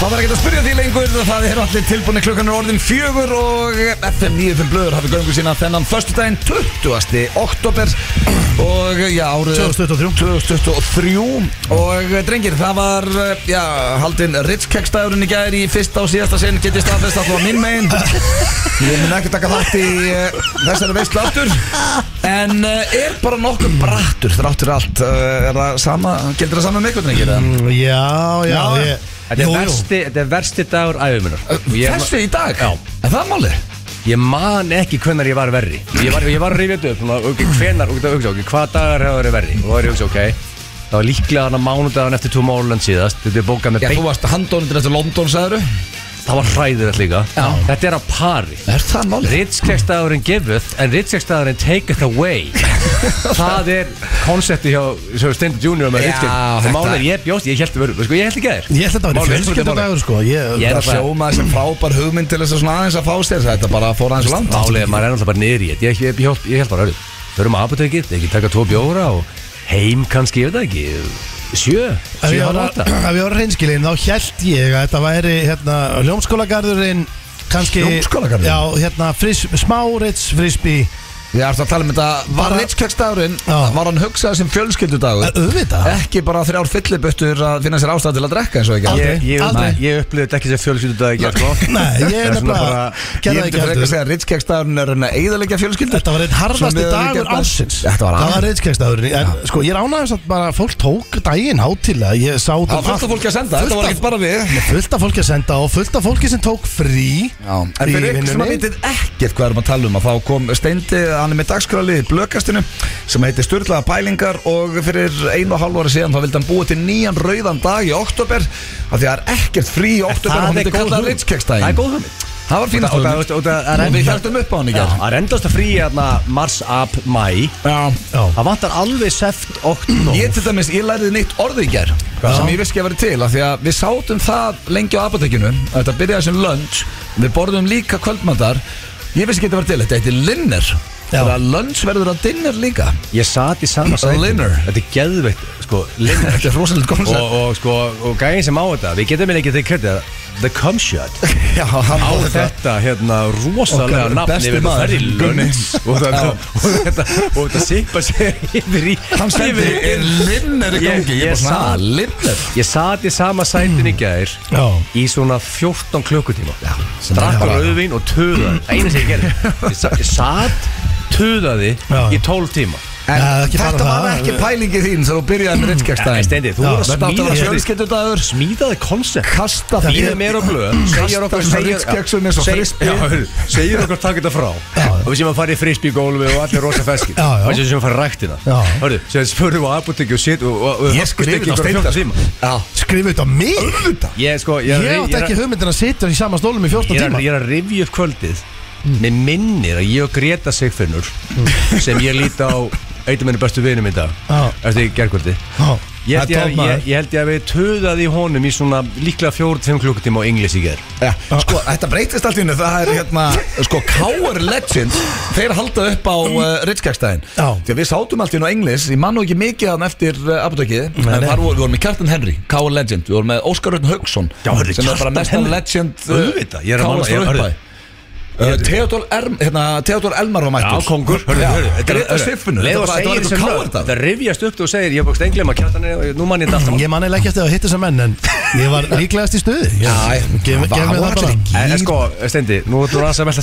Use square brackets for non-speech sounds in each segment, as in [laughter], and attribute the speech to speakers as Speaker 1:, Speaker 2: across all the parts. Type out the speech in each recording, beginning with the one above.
Speaker 1: Það er ekki að spyrja því lengur, það er allir tilbúinni klukkan er orðin fjögur og FM 95 blöður hafi göngu sína þennan föstudaginn 20. oktober og já, árið
Speaker 2: 2023.
Speaker 1: 2023 og eh, drengir, það var eh, já, haldin Ritzkekstæðurinn í gæri í fyrsta og síðasta sinn getið staðfest alltaf minn megin ég mun ekki taka þátt í uh, þessari veistlu aftur en uh, er bara nokkuð brattur þráttur allt, uh, er það sama gildir það sama með ykkur drengir? Mm.
Speaker 2: Já, já,
Speaker 1: Já.
Speaker 2: ég,
Speaker 3: Þetta er, versti, þetta er versti dagur æfuminnar
Speaker 1: Þessi í dag?
Speaker 3: Já.
Speaker 1: Er það málið?
Speaker 3: Ég man ekki hvenar ég var verri Ég var, ég var að rifja þetta upp svona, ok, Hvenar, ok, ok, ok, hvaða dagar hefur verið verri Og þá er ég að hugsa, ok Það var líklega hann að mánudagan eftir Tomorrowland síðast Þetta er bókað með
Speaker 1: Já, þú
Speaker 3: beint
Speaker 1: varst handónundir eftir London, sagður
Speaker 3: Það var hræðilegt líka
Speaker 1: Já.
Speaker 3: Þetta er á pari
Speaker 1: Er það málið?
Speaker 3: Ritskjækstaðurinn giveth En ritskjækstaðurinn taketh away
Speaker 1: [laughs]
Speaker 3: Það er konsepti hjá, hjá Stendur Junior með
Speaker 1: Já,
Speaker 3: ritskjækst
Speaker 1: þetta-
Speaker 3: Og málið, er, ég bjóst, ég held að vera sko, Ég held ekki að þér
Speaker 2: ég ætla þetta að vera fjölskyldardagur sko Ég,
Speaker 3: Ég er
Speaker 1: Það
Speaker 3: bara-
Speaker 1: sjómaði sem frábær hugmynd til þess að svona aðeins að fá sér þetta bara fór aðeins langt
Speaker 3: Málið, er, maður er alltaf bara niður í þetta Ég, ég, ég, hjálp- ég held bara, hörðu, förum á apotekið Ekki taka tvo bjóra og heim kannski, ég veit það ekki Sjö,
Speaker 2: Ef
Speaker 3: sjö
Speaker 2: ég
Speaker 3: og
Speaker 2: var-
Speaker 3: átta
Speaker 2: ef ég var reynskilinn þá held ég að þetta væri hérna, hljómskólagarðurinn kannski,
Speaker 1: Hljómskálagarðurinn?
Speaker 2: já, hérna, fris, smá reits frisbee
Speaker 1: Ég ætla að tala um þetta Var
Speaker 2: Bara-
Speaker 1: Ritskjöksdagurinn
Speaker 2: Já.
Speaker 1: Var hann hugsað sem
Speaker 2: Eh,
Speaker 1: fjölskyldudagur
Speaker 2: auðvitað
Speaker 1: Ekki bara þrjár fyllibuttur að finna sér ástæð til að drekka eins og ekki
Speaker 3: Ég, ég,
Speaker 2: Aldrei.
Speaker 3: ég upplifði þetta ekki sem fjölskyldu dag ekki
Speaker 2: [laughs] Nei, ég er nefnilega
Speaker 1: Ég myndi fyrir
Speaker 2: gerði það ekki
Speaker 1: ekki að
Speaker 2: heldur
Speaker 1: segja að Ritskjöksdagurinn er að eðalegja fjölskyldur
Speaker 2: Þetta var einn harðasti
Speaker 1: Svona miðað við
Speaker 2: dagur
Speaker 1: gerðar.
Speaker 2: ársins
Speaker 1: Þetta var
Speaker 2: Það var
Speaker 1: aðeins
Speaker 2: reynskjækstaðurinn En sko, ég ránaði samt bara Fólk tók daginn hátilega Ég sá út
Speaker 1: Það var fullt
Speaker 2: um
Speaker 1: af
Speaker 2: allt.
Speaker 1: fólki að senda, þetta
Speaker 2: Fullt
Speaker 1: var
Speaker 2: af-
Speaker 1: ekkert bara við
Speaker 2: fullt af fólki að senda og fullt af fólki sem tók frí
Speaker 1: Já, en
Speaker 2: í
Speaker 1: fyrir ykkur sem að
Speaker 2: vinnunni.
Speaker 1: vitið ekkert hvað erum að tala um að þá kom Steindi, hann er með dagskrali í blökastinu sem heitir Sturlaða pælingar og fyrir einu og hálf ári síðan þá vildi hann búa til nýjan rauðan dag í oktober af því að það er ekkert frí í oktober og hann myndi kalla
Speaker 3: Það er
Speaker 1: Ritskjöksdaginn
Speaker 3: góð hugmynd
Speaker 1: Það var fínast
Speaker 3: Og það- og það- og það- það er
Speaker 1: og við
Speaker 3: enda-
Speaker 1: heldum upp á hann í
Speaker 3: Já,
Speaker 1: gerð
Speaker 3: Það er endast að frí hérna mars, ap, mæ
Speaker 1: Já
Speaker 2: Já.
Speaker 3: Það vantar alveg seft og
Speaker 1: Ég til dæmis, ég læriði neitt orðið í gerð sem ég vissi ekki að vera til af því að við sátum það lengi á apotekinu þetta byrjaði sem lunch við borðum líka kvöldmandar ég vissi ekki að vera til, þetta heitir linner
Speaker 2: Já.
Speaker 1: þannig að lunch verður að dinner líka
Speaker 3: Ég sat í sama sæti
Speaker 1: Linner.
Speaker 3: Þetta er geðveitt, sko, linner
Speaker 1: þetta er rosalega
Speaker 3: og,
Speaker 1: koncept
Speaker 3: og sko, og gæðin sem á þetta Við getum ekki til kredið The Cum Shot
Speaker 1: [laughs] Já, hann
Speaker 3: á
Speaker 1: á þetta
Speaker 3: þetta hérna rosalega
Speaker 1: Okkar
Speaker 3: nafn
Speaker 1: besti
Speaker 3: yfir
Speaker 1: maður,
Speaker 3: ferri
Speaker 1: Gunni.
Speaker 3: lönns [laughs] og þetta og þetta og þetta sippa sér yfir í
Speaker 1: hann sendi
Speaker 3: yfir í-
Speaker 1: er linner í gangi
Speaker 3: Ég-
Speaker 1: ég,
Speaker 3: ég
Speaker 1: ég
Speaker 3: sat.
Speaker 1: sagði linner
Speaker 3: Ég sat í sama sætin í gær
Speaker 2: Já.
Speaker 3: í svona 14 klukkutíma
Speaker 1: sem
Speaker 3: drakk
Speaker 1: er bara-
Speaker 3: rauðvin og töðaði Það eina sem ég gerði Ég sa- Ég sat, töðaði
Speaker 2: Já.
Speaker 3: í 12 tíma
Speaker 1: en
Speaker 2: Já, ekki fara
Speaker 1: þetta
Speaker 2: það.
Speaker 1: var ekki pælingi þín þegar þú byrjaði með
Speaker 3: Nei,
Speaker 1: Ritskjagstæðin
Speaker 3: Mm. Steindi, þú voru að
Speaker 1: þetta átti að vera
Speaker 3: smíða-
Speaker 1: fjölskyldudagur
Speaker 3: Smíðaði konsept
Speaker 1: kasta
Speaker 2: Það
Speaker 3: Býðið
Speaker 2: er-
Speaker 3: meira á blöð Segir okkur
Speaker 1: svona
Speaker 3: segir-
Speaker 1: ritskexum eins og
Speaker 3: seg-
Speaker 1: frisbee.
Speaker 3: já, hörðu, Segir okkur takk þetta frá Og við séum að fara í frisbee gólfi og allir rosa feskir
Speaker 2: Já, já.
Speaker 3: Og við séum að fara í ræktina
Speaker 2: Já.
Speaker 3: Hörðu, sem spurðum á apotekki og sitt og- og- og-
Speaker 1: ég skrif
Speaker 3: steikir
Speaker 1: ekki
Speaker 3: á 14 tíma
Speaker 2: Skrifa þetta á mig
Speaker 3: Ég sko, ég
Speaker 2: Ég
Speaker 3: er að-
Speaker 2: átti
Speaker 3: ég er
Speaker 2: ekki
Speaker 3: að-
Speaker 2: hugmyndin að sitja í sama stólum í 14
Speaker 3: ég er
Speaker 2: tíma Mm.
Speaker 3: að- ég er að rifja upp kvöldið Mér minnir að ég og Greta Sigfinnur Sem ég líti á Eitt af minni bestu vinum í dag
Speaker 2: Já.
Speaker 3: Eftir gerkvöldi
Speaker 2: Já.
Speaker 3: Ég
Speaker 2: Það
Speaker 3: held
Speaker 2: er
Speaker 3: ég,
Speaker 2: top
Speaker 3: að-
Speaker 2: maður.
Speaker 3: ég, ég held ég að við töðaði í honum í svona líklega 4-5 klukkutíma á English í gerð
Speaker 1: Já, sko, þetta breytist allt í hennu Það er hérna, sko, K.R. Legend Þeir halda upp á uh, Ritskjagstæðin
Speaker 2: Já.
Speaker 1: Því að við sátum allt í hennu á Englis Ég man nú ekki mikið hann eftir uh, apotekið En
Speaker 2: nei.
Speaker 1: þar vorum við vorum með Kjartan Henry, K.R. Legend Við vorum með Óskar Rötn Haugsson
Speaker 3: Já, hörru,
Speaker 1: Sem er bara
Speaker 3: Kjartan
Speaker 1: mestan
Speaker 3: Henry.
Speaker 1: legend uh,
Speaker 3: Auðvitað, ég er að manna-
Speaker 1: K.R.
Speaker 3: ég-
Speaker 1: frá
Speaker 3: hörru.
Speaker 1: uppæði Uh, Theodor, Erm, hérna, Theodor Elmar var mættur
Speaker 3: Já, kongur Hörðu,
Speaker 1: Já,
Speaker 3: hörðu, þetta er-
Speaker 1: Greta
Speaker 3: hörðu.
Speaker 1: Siffinu
Speaker 3: Leið og
Speaker 1: Þetta var-
Speaker 3: segir
Speaker 1: þetta
Speaker 3: sem
Speaker 1: var
Speaker 3: lög
Speaker 1: K.R.
Speaker 3: Það
Speaker 1: dagur.
Speaker 3: rifjast upp þú og segir Ég er búin stenglema kjartan er- Nú mann ég þetta alltaf
Speaker 2: Ég man eiginlega ekki eftir að hitta þessa menn En ég
Speaker 3: [laughs]
Speaker 2: var líklegast í stuði Ég-
Speaker 1: Já, það
Speaker 2: Gef gef mér
Speaker 1: var
Speaker 2: það bara
Speaker 1: allir ekki.
Speaker 3: En en sko, Steindi, nú ertu aðeins að velta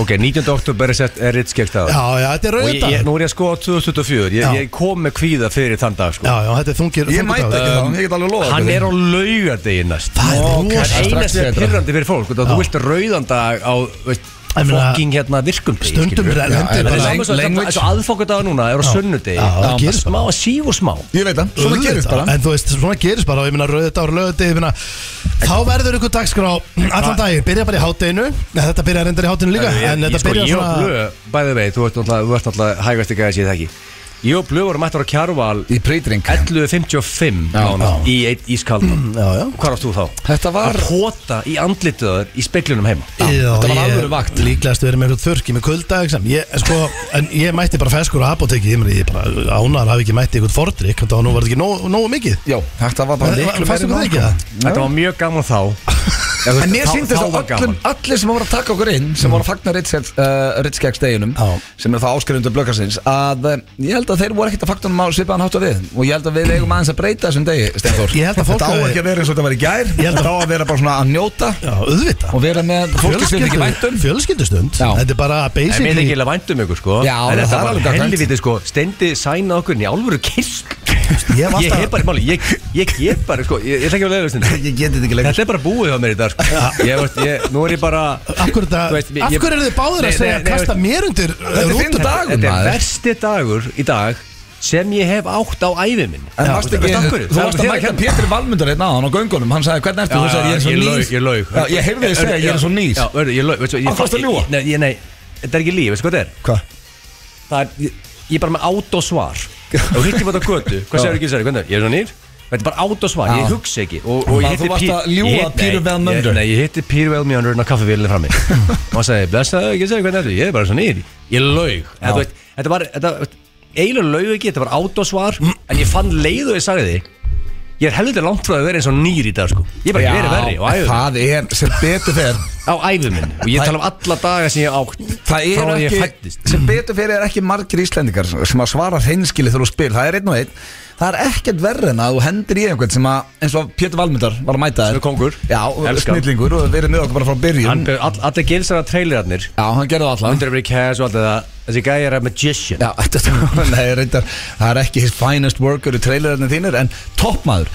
Speaker 2: [laughs]
Speaker 3: Ok, 19. oktober er sett er ritt skegst að
Speaker 2: Já, já, þetta er
Speaker 3: Og ég, ég,
Speaker 2: rauðdag
Speaker 3: nú er ég að sko á 2024 Ég,
Speaker 2: Já.
Speaker 3: ég kom með kvíða fyrir þann dag sko.
Speaker 2: Já, já, þetta er þungir
Speaker 1: Ég mæti ekki þá, ég get alveg lofa
Speaker 3: Hann er á laugardegi næst
Speaker 2: Það er
Speaker 3: Og
Speaker 2: rosa-
Speaker 3: Það er eina
Speaker 1: strax
Speaker 3: sem er
Speaker 1: betra.
Speaker 3: pyrrandi fyrir fólk út af Þú vilt rauðan dag á veist,
Speaker 2: Ég meina,
Speaker 3: Fokking hérna virkum degi,
Speaker 2: stundum
Speaker 3: skilurðu.
Speaker 2: renn-
Speaker 3: Já,
Speaker 2: lendir
Speaker 3: en Það
Speaker 2: bara-
Speaker 3: er saman svo-
Speaker 1: Leng-
Speaker 3: þetta- þessu aðfokkadagur núna er á sunnudegi
Speaker 2: Já, það
Speaker 3: Bara
Speaker 2: gerist
Speaker 3: Smá
Speaker 2: bara.
Speaker 3: að síf og smá
Speaker 1: Ég veit það, svona gerist bara
Speaker 2: En þú veist, svona gerist bara og ég meina rauðdagur, lögðið, ég meina þá verður ykkur dagskrá allan daginn, byrja bara í hátdeinu þetta byrja reyndar í hátdeinu líka
Speaker 3: Ég-
Speaker 2: en
Speaker 3: ég-
Speaker 2: þetta
Speaker 3: sko,
Speaker 2: byrja
Speaker 3: ég og
Speaker 2: svona
Speaker 3: Blö, Bæði vei, þú ert náttúrulega- þú ert náttúrulega hægvæsti gæði sér það ekki Ég og Blöð vorum mættur á Kjarval
Speaker 1: Í prítrink
Speaker 3: 11.55
Speaker 1: Já,
Speaker 3: nánast, í eitt ískaldum
Speaker 2: [clears throat] Já, já
Speaker 3: Hvað varst þú þá?
Speaker 1: Þetta var
Speaker 3: Að pota í andlituður í speglunum heima
Speaker 2: Já,
Speaker 1: þetta var
Speaker 2: ég-
Speaker 1: alvöru vakt.
Speaker 2: Líklegast verið með eitthvað þurrki með kulda ekki sem. ég, sko, En ég mætti bara feskur á apotekki Ég meina, ég bara ánar hafi ekki mætti eitthvað fordrykk Þannig að nú var þetta ekki nógu, nógu mikið
Speaker 1: Já, þetta var bara
Speaker 2: Var-
Speaker 1: miklu
Speaker 2: fannst
Speaker 1: meiri
Speaker 2: ykkur það ekki
Speaker 1: nálgun.
Speaker 3: Þetta var mjög gaman þá Já, þú veist,
Speaker 1: En mér
Speaker 3: þá-
Speaker 1: síndist
Speaker 3: þá
Speaker 1: að
Speaker 3: var
Speaker 1: öllum,
Speaker 3: gaman.
Speaker 1: allir sem voru að taka okkur inn sem voru að fagna Ritz- eh, Ritzkeks deginum
Speaker 2: Já.
Speaker 1: sem er það áskrifundur blökkarsins að eh, ég held að þeir voru ekkert að fagna um á svipaðan hátt og við og ég held að við eigum aðeins að breyta þessum degi Steinþór
Speaker 2: Ég held að fólk
Speaker 1: Þetta á
Speaker 2: hafi-
Speaker 1: ekki að vera eins og þetta var í gær
Speaker 2: Ég held að-
Speaker 1: Þetta á að vera bara svona að njóta
Speaker 2: Já, auðvitað
Speaker 1: sko. og vera með fólki sem þið ekki væntum
Speaker 2: Fjölskyldustund
Speaker 1: Já.
Speaker 2: Þetta er bara
Speaker 3: Nei, mér er ekki
Speaker 2: basically
Speaker 3: eiginlega vænt um ykkur sko
Speaker 1: Já,
Speaker 3: En
Speaker 1: það
Speaker 3: þetta
Speaker 1: er
Speaker 3: var
Speaker 1: alveg gagnkvæmt.
Speaker 3: helviti sko Stendi sæna okkur inn í álfuru kiss
Speaker 2: Ég hef
Speaker 3: Ég
Speaker 2: alltaf-
Speaker 3: hef bara, máli, ég, ég hef bara sko Ég ég ætla ekki að leiða
Speaker 1: [laughs]
Speaker 3: þetta
Speaker 1: Ég geti þetta ekki lengur
Speaker 3: Þetta er bara búið á mér í dag sko. ég, veist, ég, Nú er ég bara
Speaker 2: Af hverju þetta-
Speaker 3: Þú veist, ég-
Speaker 2: af hverju eru þið báðir að
Speaker 3: Nei,
Speaker 2: segja
Speaker 3: nei,
Speaker 2: að
Speaker 3: nei,
Speaker 2: kasta
Speaker 3: veist-
Speaker 2: mér undir
Speaker 1: er
Speaker 2: eh,
Speaker 1: fínt
Speaker 2: rútuna?
Speaker 1: dag. dagur,
Speaker 3: Þetta er
Speaker 1: maður.
Speaker 3: versti dagur í dag Sem ég hef átt á ævi minn
Speaker 1: En varst ekki, þú varst að mæta
Speaker 3: pjö
Speaker 1: Pétur Valmundur hérna á hann á göngunum Hann sagði hvernig ertu, þú sagði ég er svo nýs
Speaker 3: Ég laug
Speaker 1: Já, Ég heyrði þið segja ég er svo nýs
Speaker 3: Já, hörðu, ég laug veistu, ég-
Speaker 1: Af hverju ertu að ljúga?
Speaker 3: Nei, ég- nei, þetta er ekki líf, veistu hvað þetta er?
Speaker 1: Hvað?
Speaker 3: það er, ég, ég er bara með át og svar og hittir bara á götu, hvað segir ekki þessari, hvernig, ég er svona nýr þetta er bara át og svar,
Speaker 1: Já.
Speaker 3: ég hugsa ekki og, og
Speaker 1: Þannig að
Speaker 3: ég hitti
Speaker 1: þú varst
Speaker 3: Pí-
Speaker 1: að ljúga
Speaker 3: ég hitti-
Speaker 1: Píru
Speaker 3: nei,
Speaker 1: Vel
Speaker 3: ég-
Speaker 1: Mjölnir.
Speaker 3: nei, ég hitti Píru Velmjöndur á kaffevílinni
Speaker 1: [laughs]
Speaker 3: frammi og hann sagði, blessaðu ekki segir hvernig þetta, ég er bara svona nýr ég laug, En þú veist, þetta var þetta, eiginlega laug ekki, þetta var át og svar en ég fann leið og ég sagði því ég er helviti langt frá að vera eins og nýr í dag sko. ég er bara verið verri og æfum
Speaker 1: það er sem betur fer
Speaker 3: á æfum minn og ég
Speaker 1: Það-
Speaker 3: tala um alla daga sem ég átt
Speaker 1: Það
Speaker 3: frá
Speaker 1: er
Speaker 3: að ég
Speaker 1: ekki,
Speaker 3: fættist
Speaker 1: sem betur fyrir er ekki margir Íslendingar sem að svara hreinskili þegar þú spyr Það er einn og einn Það er ekkert verri en að þú hendir í einhvern sem að, eins og Pétur Valmundar var að mæta þér
Speaker 3: Sem er kóngur.
Speaker 1: Já, og
Speaker 3: Elskar.
Speaker 1: snillingur og verið með okkur bara frá byrjun
Speaker 3: Hann, all, allir gilsara trailerarnir
Speaker 1: Já, hann gerði það allan
Speaker 3: Under every cash og allt það Þessi gæi er að magician
Speaker 1: Já, þetta, [laughs] nei, reyndar, það er ekki his finest worker í trailerinu þínir en toppmaður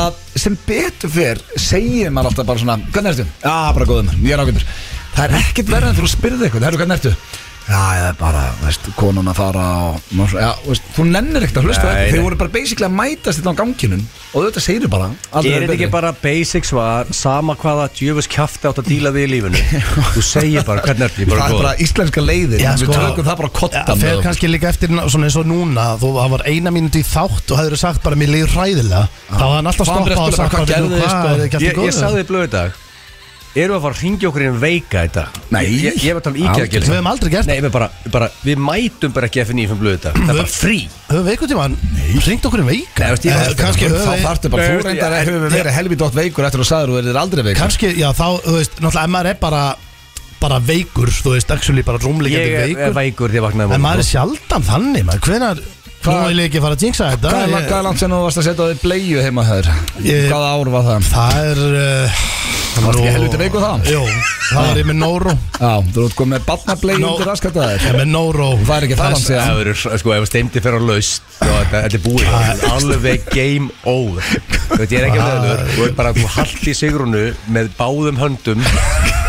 Speaker 1: að sem betur fyrr segir maður alltaf bara svona hvernig ertu? Já, bara góðum, ég er ágættur það er ekkert verið en þú spyrði eitthvað herru, hvernig ertu? Já, ég er bara, veist, konun að fara og maður svo- já, veist, þú nennir ekkert að hlusta á
Speaker 3: Nei,
Speaker 1: þetta
Speaker 3: nei.
Speaker 1: þeir voru bara basically að mætast þetta á ganginum og þetta segir bara aldrei
Speaker 3: Er
Speaker 1: verið
Speaker 3: þetta ekki
Speaker 1: betri.
Speaker 3: bara basic svar Sama hvaða djöfus kjafti átt að díla við í lífinu Þú segir bara hvernig ertu Ég bara Sko,
Speaker 1: það er
Speaker 3: góð
Speaker 1: bara íslenska leiðir
Speaker 2: Já,
Speaker 1: við
Speaker 2: sko.
Speaker 1: tökum það bara á koddan
Speaker 2: Það fer
Speaker 1: með okkur.
Speaker 2: kannski líka eftir svona eins og núna Þú það var eina mínúti í þátt og hefur sagt bara mér liður hræðilega Þá hafði hann alltaf
Speaker 1: Hvað
Speaker 2: stoppað
Speaker 1: Andrés
Speaker 2: og sagt
Speaker 1: spurði, hvað
Speaker 2: bara,
Speaker 1: gerðu
Speaker 2: "Nú,
Speaker 1: þið, sko?"
Speaker 2: Ah, er ekki allt í
Speaker 3: Ég,
Speaker 2: góðu?
Speaker 3: ég sagði þið blöðu í dag Eru að fara að ringja okkur inn veika í dag
Speaker 1: Nei.
Speaker 3: Ég, ég, ég var að tala um
Speaker 1: Aldrei.
Speaker 3: íkja
Speaker 2: Við höfum aldrei gert
Speaker 3: Nei, við bara, bara Við mætum bara ekki FNF blöðu í dag Það er bara frí
Speaker 2: Höfum við einhvern tímann ringt okkur um veika
Speaker 3: Nei, veist, ég var-
Speaker 2: Eh, Kannski
Speaker 1: þá
Speaker 2: höfum við
Speaker 1: þarftu bara,
Speaker 3: Nei,
Speaker 1: þú reyndar
Speaker 3: ég-
Speaker 1: hefur verið helvið dótt veikur eftir að þú sagður og verður aldrei veikur
Speaker 2: Kannski, já þá, þú veist, náttúrulega MR er bara bara veikur, þú veist, actually bara
Speaker 3: Ég
Speaker 2: rúmleikandi
Speaker 3: er
Speaker 2: veikur
Speaker 3: veikur þegar ég vaknaði
Speaker 2: En
Speaker 3: morgun.
Speaker 2: maður er sjaldan þannig, maður, hvenar Nú
Speaker 1: Hvað-
Speaker 2: vil ég ekki fara að jinxa þetta
Speaker 1: Hvað er
Speaker 2: Ah, Ég-
Speaker 1: langt, hvað er langt sem þú varst að setja á því bleiu heima þær?
Speaker 2: Ég-
Speaker 1: Hvaða ár var það?
Speaker 2: Það er uh,
Speaker 1: varst ekki
Speaker 2: nú-
Speaker 1: helviti veikur þá?
Speaker 2: Jú, það var ég með Nóró
Speaker 1: Já, þú ert komið með barnableiu
Speaker 2: Nó.
Speaker 1: undir raskat að
Speaker 2: Ég
Speaker 1: þér
Speaker 2: með Nóró
Speaker 1: Það er ekki það langt
Speaker 3: Ef
Speaker 1: síðan
Speaker 3: það eru, sko, ef steimdi fer á laust þá er þetta þetta er búið, Þetta er alveg game over Þú veit, ég er ekki að meðlur þú veit bara að þú haldi sigrunu með báðum höndum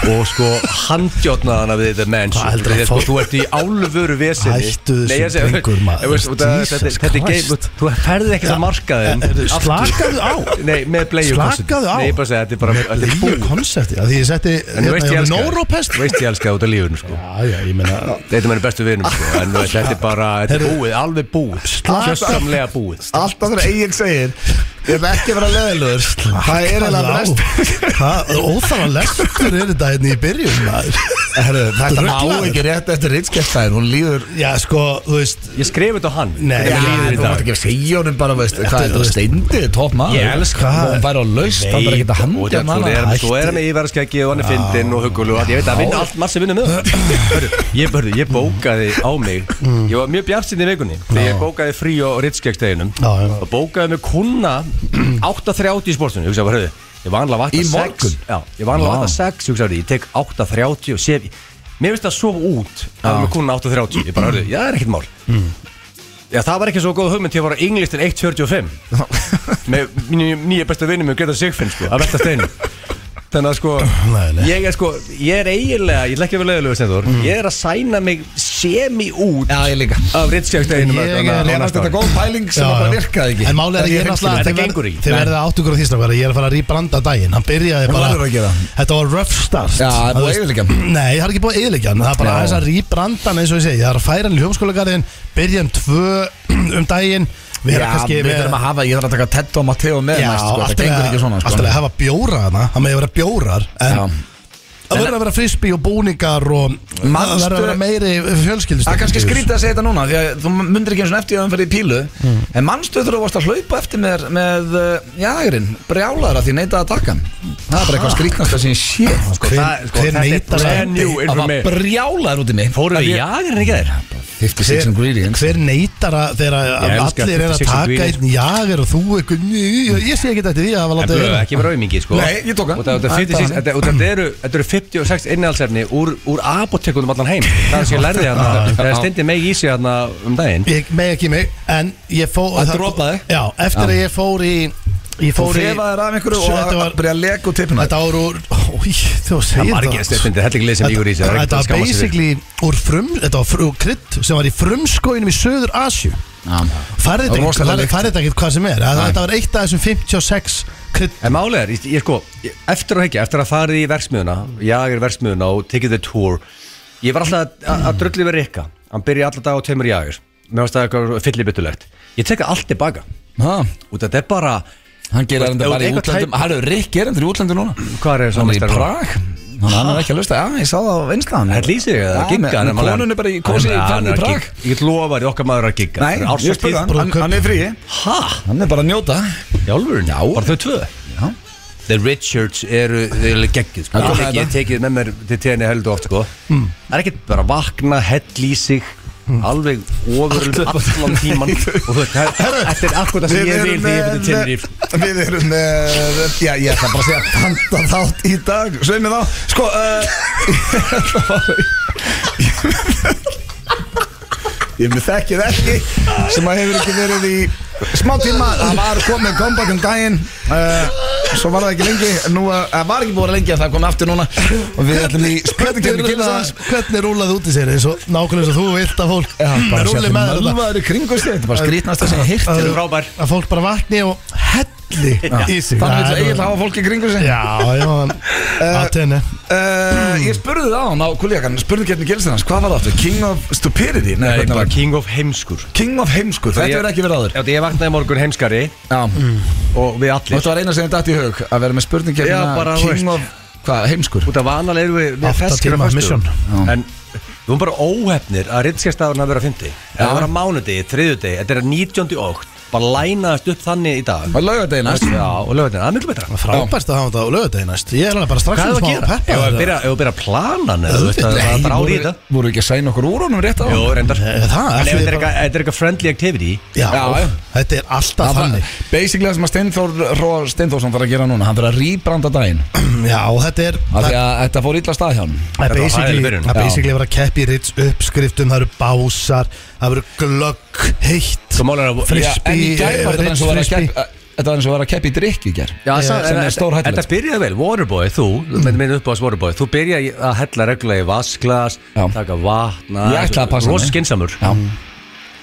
Speaker 3: og sko handjotnaðana við þetta menns
Speaker 2: Hvað heldur að
Speaker 3: sko,
Speaker 2: fólk-
Speaker 3: þú ert í álfuru vesinni
Speaker 2: Hættu þessu
Speaker 3: Nei, ég segi-
Speaker 2: drengur, maður.
Speaker 3: Þú veist, þetta-
Speaker 2: Jesus
Speaker 3: þetta- þetta er game
Speaker 2: Christ.
Speaker 3: þú ferðið ekkert að marka þeim
Speaker 2: Eh, eh, slakaðu á.
Speaker 3: nei, með bleju
Speaker 2: Slakaðu á.
Speaker 3: nei, ég bara segi, þetta er bara þetta er
Speaker 2: Líu
Speaker 3: búið
Speaker 2: konsepti, að því ég setti hérna,
Speaker 3: en þú veist ég
Speaker 2: ég
Speaker 3: elska
Speaker 2: Nórópest
Speaker 3: þú veist ég elska það út af lífun sko.
Speaker 2: Já, já, ég meina
Speaker 3: Þetta er mér bestu vinum sko, en þú veist, þetta er bara, þetta er búið, alveg búið
Speaker 2: Slaka-
Speaker 3: Hjössamlega búið
Speaker 1: Alltaf þegar eigin segir Ég ætla ekki að vera leðilegur Það er eiginlega brest
Speaker 2: Óþára lestur er þetta hérna í byrjun maður
Speaker 1: Herru, Þetta má
Speaker 2: Ruglaður.
Speaker 1: ekki rétt eftir ritskjæftæðin Hún líður
Speaker 2: Já, sko, þú veist
Speaker 3: Ég skrif þetta á hann
Speaker 2: Nei,
Speaker 3: Hvernig
Speaker 2: já,
Speaker 3: mér líður í
Speaker 1: þú
Speaker 3: dag.
Speaker 1: mátt ekki að segja honum bara veist, Hvað er það
Speaker 2: þú veist-
Speaker 1: steindið, topp maður
Speaker 3: Ég elska
Speaker 1: það
Speaker 2: það.
Speaker 1: Hún færi á laust, hann bara ekki að
Speaker 3: Og
Speaker 1: handja
Speaker 3: þetta- svo er
Speaker 2: sko-
Speaker 3: hann- Svo er hann með íverðskeggi og hann er fyndinn og hugul og allt, ég veit að vinna allt margt sem vinna með það Hörru, ég, hörru, ég bókaði á mig Ég var mjög bjartsinni í vikunni Þegar ég bókaði frí og rittskeggsteginum
Speaker 2: Já, já.
Speaker 3: Og bókaði með kuna 8.30 í sportinu, ég hugsaði bara, hörru Ég var anlega
Speaker 1: Í
Speaker 3: vatna 6
Speaker 1: morgun?
Speaker 3: Já, ég var anlega
Speaker 1: Vá.
Speaker 3: vatna 6, ég hugsaði, ég tek 8.30 og sef Mér finnst það svo út að vera með kuna 8.30 Ég bara, hörru, já, það er ekkert mál Já, það var ekki svo góð hugmynd til að fara á English til
Speaker 2: [laughs]
Speaker 3: 1.45 með mínu nýja besta vinnu með Greta Sigfinn sko, að velta steinu Þannig að sko
Speaker 2: Nei, Mm. nei.
Speaker 3: Ég er sko Ég er eiginlega Ég ætla ekki að vera leiðilegu stendur Ég er að sæna mig semi út
Speaker 1: Já, ég líka
Speaker 3: Af rittskjöfsteginum
Speaker 2: Ég er-
Speaker 1: Mér fannst þetta góð pæling sem að bara virkaði ekki
Speaker 2: En málið er að ég er náttúrulega
Speaker 3: Þetta
Speaker 2: þið verð-
Speaker 3: gengur ekki.
Speaker 2: Þið
Speaker 3: Nei.
Speaker 2: verða átt ykkur á því snakar Ég er að fara að rýbranda daginn Hann byrjaði
Speaker 1: Þú
Speaker 2: bara
Speaker 1: verður að gera það.
Speaker 2: Þetta var rough start
Speaker 1: Já, það er búið
Speaker 2: Þú
Speaker 1: að
Speaker 2: veist-
Speaker 1: eyðileggja
Speaker 2: [clears throat] Nei, það er ekki búið að eðilegja Það er bara
Speaker 1: Já.
Speaker 2: aðeins að rýbranda hann eins og ég segi Það er að færa hann í hljómskólagarðin Byrja um tvö [clears throat] um daginn
Speaker 1: Já,
Speaker 2: Við erum kannski
Speaker 1: við verðum að hafa, ég þarf að taka Ted og Matteo með
Speaker 2: Já,
Speaker 1: næst sko,
Speaker 2: alltaf
Speaker 1: það gengur ekki svona sko.
Speaker 2: Alltaf að hafa bjóra hana Það með að vera bjórar En
Speaker 1: Já.
Speaker 2: það verður að vera frisbee og búningar Og það
Speaker 1: Manstu-
Speaker 2: verður að vera meiri fjölskyldist
Speaker 1: Það er kannski skrítið að segja þetta núna Því að þú myndir ekki eins og eftir að umferði í pílu En mannstu þegar þú varst að hlaupa eftir mér Með uh, jægurinn, brjálaðara Því neitaði að taka hann Það er bara eitthvað skrítnasta sem ég sé sko.
Speaker 2: Hver,
Speaker 3: það- sko,
Speaker 2: hver
Speaker 3: þetta er
Speaker 2: neitar
Speaker 3: brand new
Speaker 2: samt-
Speaker 1: Það var brjálaðar út í mig
Speaker 3: Fóruðu
Speaker 1: Af
Speaker 3: í
Speaker 1: því-
Speaker 3: jagerinn ekki þær?
Speaker 1: 56 ingredients
Speaker 2: hver neitar að þegar að
Speaker 3: Ég elska
Speaker 2: allir er að
Speaker 3: 56
Speaker 2: taka
Speaker 3: ingredients.
Speaker 2: einn jager og þú eitthvað mjög- ég sé ekki þetta því að hafa
Speaker 3: En
Speaker 2: látið
Speaker 3: blöðu
Speaker 2: vera.
Speaker 3: ekki vera auðmingi sko
Speaker 1: Nei, ég tók hann.
Speaker 3: Og það- þetta er
Speaker 1: Það er
Speaker 3: 56
Speaker 1: bara-
Speaker 3: Þetta og þetta eru Þetta eru 56 innhaldsefni Úr, úr apotekunum allan heim Það er sem ég lærði hérna Það er stindi meg í sig hérna um daginn
Speaker 2: ég með ekki mig en ég fó
Speaker 1: Það dropaði.
Speaker 2: já eftir að ég fór í ég
Speaker 1: Þú
Speaker 2: fór í
Speaker 1: frefaðir af einhverju og
Speaker 2: þetta
Speaker 1: að
Speaker 2: var
Speaker 1: byrja að leka úr tippinu
Speaker 2: þetta var úr ói þú
Speaker 3: Það
Speaker 2: segir
Speaker 3: var ekki stindi Þetta er ekki leið sem lígur í sig
Speaker 2: Þetta
Speaker 3: það er ekkert
Speaker 2: þetta
Speaker 3: að
Speaker 2: var
Speaker 3: skamma sig fyrir.
Speaker 2: basically úr frum þetta var fr- úr krydd sem var í frumskóinum í söður Asju farið
Speaker 1: Það var
Speaker 2: þetta
Speaker 1: rosalega
Speaker 2: farið-
Speaker 1: lykt.
Speaker 2: farið þetta ekki hvað sem er Þetta- þetta var eitt af þessum 56 krydd
Speaker 3: En málið er, ég, ég sko, ég- eftir að hekja, eftir að farið í verksmiðuna, ég er verksmiðuna og tekið the tour, ég var alltaf að- að drulli við Rikka, hann byrja alla dag á tveimur jágur, mér varst það eitthvað fyllibitulegt, ég tekka allt tilbaka,
Speaker 1: Ha,
Speaker 3: út að þetta er bara,
Speaker 1: Hann gerir
Speaker 3: Ef-
Speaker 1: þetta
Speaker 3: ef
Speaker 1: bara í
Speaker 3: eitthvað
Speaker 1: útlöndum
Speaker 3: tæp-
Speaker 1: Hann er Rick er í útlöndum núna
Speaker 3: hvað er það
Speaker 1: Hann er í Prag Hann er ekki að lusta, já, ég sá það á vinstaðan
Speaker 3: Það lýsir ég, það gigga
Speaker 1: Konun er bara í kosi í
Speaker 3: hann
Speaker 1: Prag
Speaker 3: er að gigga. Ég get lofa því okkar maður er að gigga
Speaker 1: Nei, ég spurði hann, hann, hann er frí
Speaker 3: Hæ?
Speaker 1: Hann er bara að njóta
Speaker 3: Jálfurinn?
Speaker 1: Já.
Speaker 3: Bara þau tvö?
Speaker 1: Já.
Speaker 3: The Richards eru, þau eru geggið sko.
Speaker 1: Já,
Speaker 3: Ég,
Speaker 1: þetta. Mm.
Speaker 3: ég tekið með mér til tenni heldur oft sko. Það er ekkert bara að vakna, hell í sig Alveg ofur allan
Speaker 1: [laughs]
Speaker 3: tíman Og þú veist, það- þetta er akkurat það sem ég vil Þegar ég fyrir tenni í
Speaker 1: Við erum með Já, ég ætla bara að segja Panda þátt í dag Sveimi þá Sko uh, [laughs] Ég ætla bara Ég með þekkið ekki Sem að hefur ekki verið í Smá tíma Það var komið comeback um daginn uh, Svo var það ekki lengi Nú uh, var ekki búið að vera lengi En það kom aftur núna Og við ætlum í spurningarni Gilsans
Speaker 2: hvernig rúlaði út í sér eins og nákvæmlega eins og þú vilt að fólk rúli með þetta
Speaker 1: Mölvaður í kringu sig Þetta er bara skrítnasta sem ég heirt
Speaker 3: Þetta er frábær
Speaker 2: að fólk bara vakni og helli í
Speaker 1: Þannig vil
Speaker 2: sig Það er
Speaker 1: eiginlega
Speaker 2: bara-
Speaker 1: hafa fólk í kringu sig
Speaker 2: Já, já,
Speaker 3: Eh,
Speaker 2: að tenni
Speaker 1: uh, Ég spurði það á hann á kulíakan Spurði hvernig gilsin hans, hvað var það aftur? King of stupidity? Nei,
Speaker 3: Nei,
Speaker 1: hvernig
Speaker 3: bara
Speaker 1: var það?
Speaker 3: King of heimskur
Speaker 1: King of heimskur, þetta
Speaker 3: ég- Mm.
Speaker 1: verður ekki verið áður
Speaker 3: Þetta ég vaknaði í morgun heimskari
Speaker 1: Já,
Speaker 3: Og við
Speaker 1: og
Speaker 3: allir
Speaker 1: þetta var eina sem ég dætt í hug Að vera með spurning
Speaker 3: Já,
Speaker 1: hérna
Speaker 3: bara, þú
Speaker 1: King
Speaker 3: veist.
Speaker 1: of, hvað, heimskur?
Speaker 3: Út af vanalega erum við með
Speaker 2: Átta
Speaker 3: feskir á
Speaker 2: tíma
Speaker 3: föstudögum.
Speaker 1: mission.
Speaker 3: En við erum bara óhefnir að rittskjastafurinn að vera að fyndi Það var að mánudegi, þriðudegi, þetta er að 19. ótt Bara lænaðast upp þannig í dag
Speaker 1: Og laugadegi næst
Speaker 3: Já, og lögðin, það er miklu betra
Speaker 2: Frábært að hafa þetta á lögadegi næst Ég er alveg bara strax
Speaker 3: Hvað er
Speaker 2: um
Speaker 3: það að
Speaker 2: smá
Speaker 3: gera? Ef
Speaker 2: peppa
Speaker 3: við byrja, ef við byrja að plana hann, eða þú veist,
Speaker 2: Auðvitað,
Speaker 3: Það
Speaker 2: nei,
Speaker 3: það er bara árið í
Speaker 1: voru,
Speaker 3: þetta
Speaker 1: voru ekki að sæna okkur úr honum rétt á
Speaker 3: Jó, reyndar
Speaker 2: Nei, Eh, það,
Speaker 3: En ef
Speaker 2: ætli
Speaker 3: þetta er
Speaker 2: bara-
Speaker 3: eitthvað- þetta er eitthvað friendly activity
Speaker 2: Já,
Speaker 1: Já, já.
Speaker 2: þetta er alltaf þannig
Speaker 1: Basically það sem að Steinþór Róa Steinþórsson þarf að gera núna Hann þarf að rýbranda daginn
Speaker 2: Já, þetta er
Speaker 1: Af því að þetta fór illa af stað hjá hann
Speaker 2: Það er
Speaker 3: Þetta var
Speaker 2: basically,
Speaker 3: hræðileg byrjun.
Speaker 2: það er
Speaker 1: Já.
Speaker 2: basically verið að keppi rits uppskriftum, það eru básar, það eru glögg, heitt,
Speaker 3: Svo málar sko, að
Speaker 2: Frisbee,
Speaker 1: Já, En í gær var þetta
Speaker 2: eh,
Speaker 1: eins og var að
Speaker 2: frisbee.
Speaker 1: keppa Þetta var eins og var að keppa í drikk í gær
Speaker 2: Eh,
Speaker 3: Já,
Speaker 1: Sem
Speaker 3: það
Speaker 1: er stórhættulegt
Speaker 2: sko.
Speaker 3: Þetta byrjaði vel, Waterboy, þú,
Speaker 2: Mm.
Speaker 3: með minn uppáðs Waterboy Þú byrjaði að hella regla í vasklas
Speaker 1: Já.
Speaker 3: Taka vatna
Speaker 1: Ég ætlaði að passa mig.
Speaker 3: Roskinsamur
Speaker 1: Já.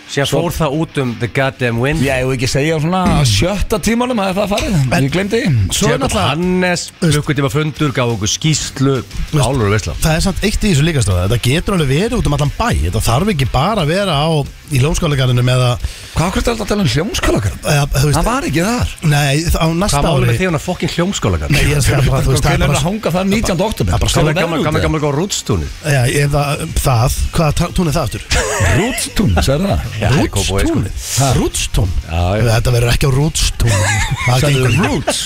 Speaker 3: Sér fór það út um the goddamn wind
Speaker 1: Ég hef ekki segja svona á sjötta tímanum að það farið Ég glemdi
Speaker 2: Svo er
Speaker 3: Jakob
Speaker 2: náttúrulega,
Speaker 3: Hannes, klukkutíma fundur, gaf okkur skýslu Álur og veisla
Speaker 2: það er samt eitt í þessu líkastöða, þetta getur alveg verið út um allan bæ, þetta þarf ekki bara að vera á, í lómskálegarinu með að,
Speaker 1: Hvað okkur er þetta að tala um hljómskálakar?
Speaker 2: eða, þú
Speaker 1: Það
Speaker 2: veist,
Speaker 1: var ekki þar
Speaker 2: nei, á næsta
Speaker 3: Hvað málum
Speaker 2: ári,
Speaker 3: við því hún að fokkin hljómskóla
Speaker 2: nei, ég er að bara, þú
Speaker 1: Hvernig
Speaker 2: veist, það er
Speaker 1: er að
Speaker 2: bara, eh.
Speaker 1: hanga það 19. oktober?
Speaker 2: það er bara
Speaker 3: Gamla,
Speaker 2: stóra
Speaker 3: gamla, gamla, gamla, gamla rútstúni
Speaker 2: já, ég er það, það, hvað tún er það aftur?
Speaker 1: Rútstún, sagði það
Speaker 3: Kópavogi, sko.
Speaker 2: Rúdstún, Rúdstún,
Speaker 3: Já, já.
Speaker 2: þetta verður ekki á
Speaker 3: [laughs]
Speaker 2: Rúdstún, það
Speaker 1: Sagði
Speaker 2: gengur ekki.
Speaker 1: Roots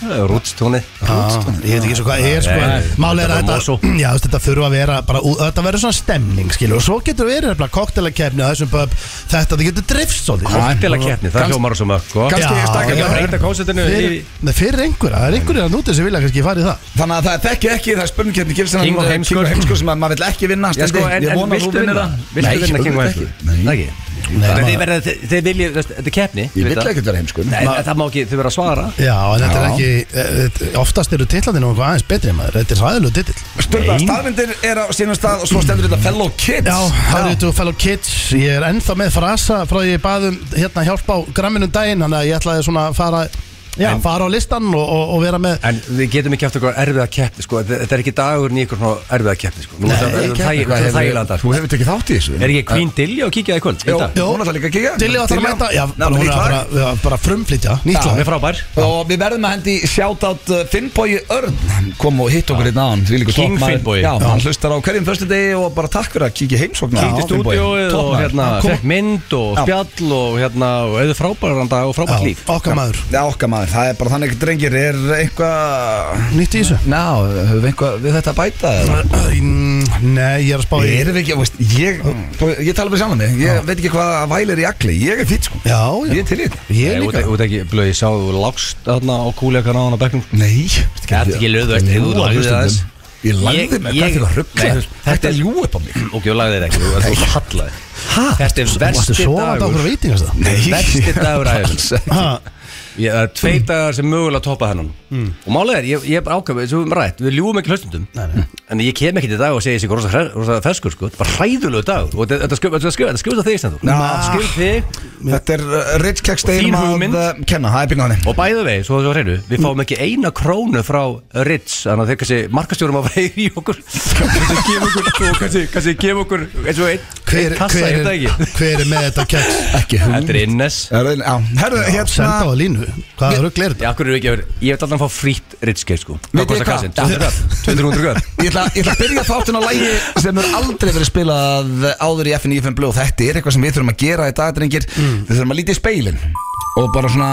Speaker 3: Rútstúni
Speaker 2: Já, ég veit ekki svo hvað er sko
Speaker 3: Nei,
Speaker 2: en
Speaker 3: nei,
Speaker 2: Málið er
Speaker 3: þetta er
Speaker 2: að
Speaker 3: bara
Speaker 2: þetta, [clears throat] já, þú veist, þetta þurfa að vera bara, ú- Þetta verður svona stemning skilur Og svo getur verið nefnilega koktelakefni á þessum pub Þetta þetta getur drift svolítið
Speaker 3: Kortila keppni, það
Speaker 1: Kannst-
Speaker 3: hljómar svo mörg sko.
Speaker 1: kannst-
Speaker 2: Já,
Speaker 1: ég stakk
Speaker 3: ekki
Speaker 2: já,
Speaker 3: að breyta konceptinu
Speaker 2: fyrir,
Speaker 3: í-
Speaker 2: Nei, fyrir einhverja, það er einhverjir að núti sem vilja kannski fara í það
Speaker 1: Þannig að það þekki ekki, það er spurningkjarni gilsin
Speaker 3: King of heimskur.
Speaker 1: King of heimskur sem að maður vill ekki vinna
Speaker 3: Já, sko,
Speaker 1: Steindi.
Speaker 3: en,
Speaker 1: Ég
Speaker 3: en
Speaker 1: vona að þú
Speaker 3: viltu
Speaker 1: vinnir
Speaker 3: vinna
Speaker 1: það.
Speaker 3: Viltu
Speaker 1: Nei,
Speaker 3: vinna King
Speaker 1: auðvitað
Speaker 3: of Heimskur?
Speaker 1: ekki. Nei.
Speaker 3: Ekki
Speaker 2: Nei,
Speaker 3: Þeir
Speaker 2: maður-
Speaker 3: verða- þeir- þeir vilja, þú veist, þetta er keppni
Speaker 1: Ég
Speaker 3: veit
Speaker 1: vil
Speaker 3: það.
Speaker 1: ekkert vera heimskun
Speaker 3: Nei, en það má ekki, þau verða að svara
Speaker 2: Já, en þetta er
Speaker 1: Já.
Speaker 2: ekki eh, þetta- Oftast eru titlandinu eitthvað aðeins betri maður Þetta er ræðilegu titill
Speaker 1: Sturla, staðvindir er á sínum stað og svo stendur þetta fellow kids
Speaker 2: Já, how do you do fellow kids Ég er ennþá með frasa frá því ég baðum hérna hjálp á gramminum daginn Þannig að ég ætlaði svona að fara Já,
Speaker 3: En-
Speaker 2: fara á listan og, og, og vera með
Speaker 3: En við getum ekki haft eitthvað erfiða keppni sko. Þe- Þetta er ekki dagurinn í eitthvað svona erfiða keppni sko. Nú er sko. það-
Speaker 1: Nei,
Speaker 3: það það- það þægilandar
Speaker 1: Þú hefur ekki þátt í þessu
Speaker 3: Er ekki Queen Dilja og kíkja í kvöld? í
Speaker 1: Jó,
Speaker 3: dag?
Speaker 1: Jó, hún ætlar líka að kíkja
Speaker 2: Dilli
Speaker 3: um
Speaker 2: að það mæta Já,
Speaker 1: Ná,
Speaker 2: bara, hún er bara,
Speaker 1: bara
Speaker 2: bara, bara frumflytja Nýtt
Speaker 3: Hún
Speaker 2: lag
Speaker 3: er frábær
Speaker 1: Og við verðum að hendi shoutout uh, Finnbogi Örn Hann kom og hitt okkur hérna á hann þvílíkur
Speaker 3: King
Speaker 1: toppmaður.
Speaker 3: Finnbogi.
Speaker 1: Já, hann hlustar á hverjum fyrstu degi og bara takk fyrir að kíkja heimsókn
Speaker 3: Kíkti stúdíóið og hérna Fekk mynd
Speaker 1: Já.
Speaker 3: og spjall og hérna Og auðvitað frábæran dag og frábært
Speaker 2: Já,
Speaker 3: líf
Speaker 2: okkar maður
Speaker 1: Já, okkar maður, það er bara þannig drengir Er eitthvað
Speaker 2: Nýtt í þessu
Speaker 1: Ná, höfum við eitthvað við þetta að bæta eða?
Speaker 2: Mm, Nei, ég er að spá í
Speaker 1: Erum við ekki, veist, ég, ég tala bara sjálf með mig Ég veit ekki hvað að væla er í agli Ég er fýtt sko,
Speaker 2: Já,
Speaker 1: ég
Speaker 2: já,
Speaker 1: er til í þetta
Speaker 2: ég
Speaker 3: Nei, Þú
Speaker 2: líka
Speaker 3: ert- þú ert ekki blöði sá Þú lágst þarna á kúleika náðan á bekknum
Speaker 1: Nei
Speaker 3: Þetta er ekki löðu eftir, þú lagðir aðeins.
Speaker 1: Ég lagði
Speaker 3: Ég-
Speaker 1: mig, hvað
Speaker 3: ég-
Speaker 1: fyrir að rugga
Speaker 3: Nei, þetta
Speaker 1: Þetta
Speaker 3: er-
Speaker 1: er ljú upp á mig
Speaker 3: Ok, þú lagði þér ekki, þú ert að halla þér Þetta er
Speaker 2: Varstu
Speaker 3: versti
Speaker 2: svo að það okkur
Speaker 3: dagur
Speaker 2: veitingast það?
Speaker 3: [laughs] Versti dagur aðeins
Speaker 2: Ha,
Speaker 3: Ég það er tvei dagar sem mögulega toppa hennan Og málega er, ég, ég er bara ákveð Svo við erum rætt, við ljúum ekki hlustundum En ég kem ekki til dag og segja þessi ykkur rosa, hre- rosa ferskur sko. Þetta var hræðulegu dag Og þetta- þetta skjöf- þetta skjöf- þetta skjöfst að þig stendur
Speaker 1: Já.
Speaker 3: Skjöf þig
Speaker 1: Þetta er uh, Rich Kekk
Speaker 3: Þín
Speaker 1: steginum að
Speaker 3: hugmynd.
Speaker 1: uh, kenna, það er pínu hannig
Speaker 3: Og bæðu vegi, svo þessu hreinu Við fáum ekki eina krónu frá Ritz Þannig að þeir kannski markastjórum að reyði í okkur Kannski gefa okkur svo Kannski, kannski gefa okkur eins og einn
Speaker 2: Hver,
Speaker 3: einn kassa
Speaker 2: hver,
Speaker 3: er það
Speaker 2: er,
Speaker 3: ekki
Speaker 2: [laughs] hver er með þetta keks?
Speaker 1: Ekki
Speaker 3: Þetta er innes
Speaker 1: Herðu,
Speaker 2: Senda á
Speaker 1: hérna
Speaker 2: að línu Hvað er rugl er þetta?
Speaker 3: Já, okkur eru ekki að vera Ég vil alltaf fá frýtt Ritz-keið sko
Speaker 1: Vitið
Speaker 3: Hvað kostar
Speaker 1: hvað?
Speaker 3: kassinn? 200 kall? 200 kall?
Speaker 1: Ég ætla, ég ætla að byrja þáttun á lægi sem er aldrei verið spilað uh, áður í FN IFN Blue og þetta er eitthvað sem við þurfum að gera í dag, drengir Við þurfum að líta í speilin og bara svona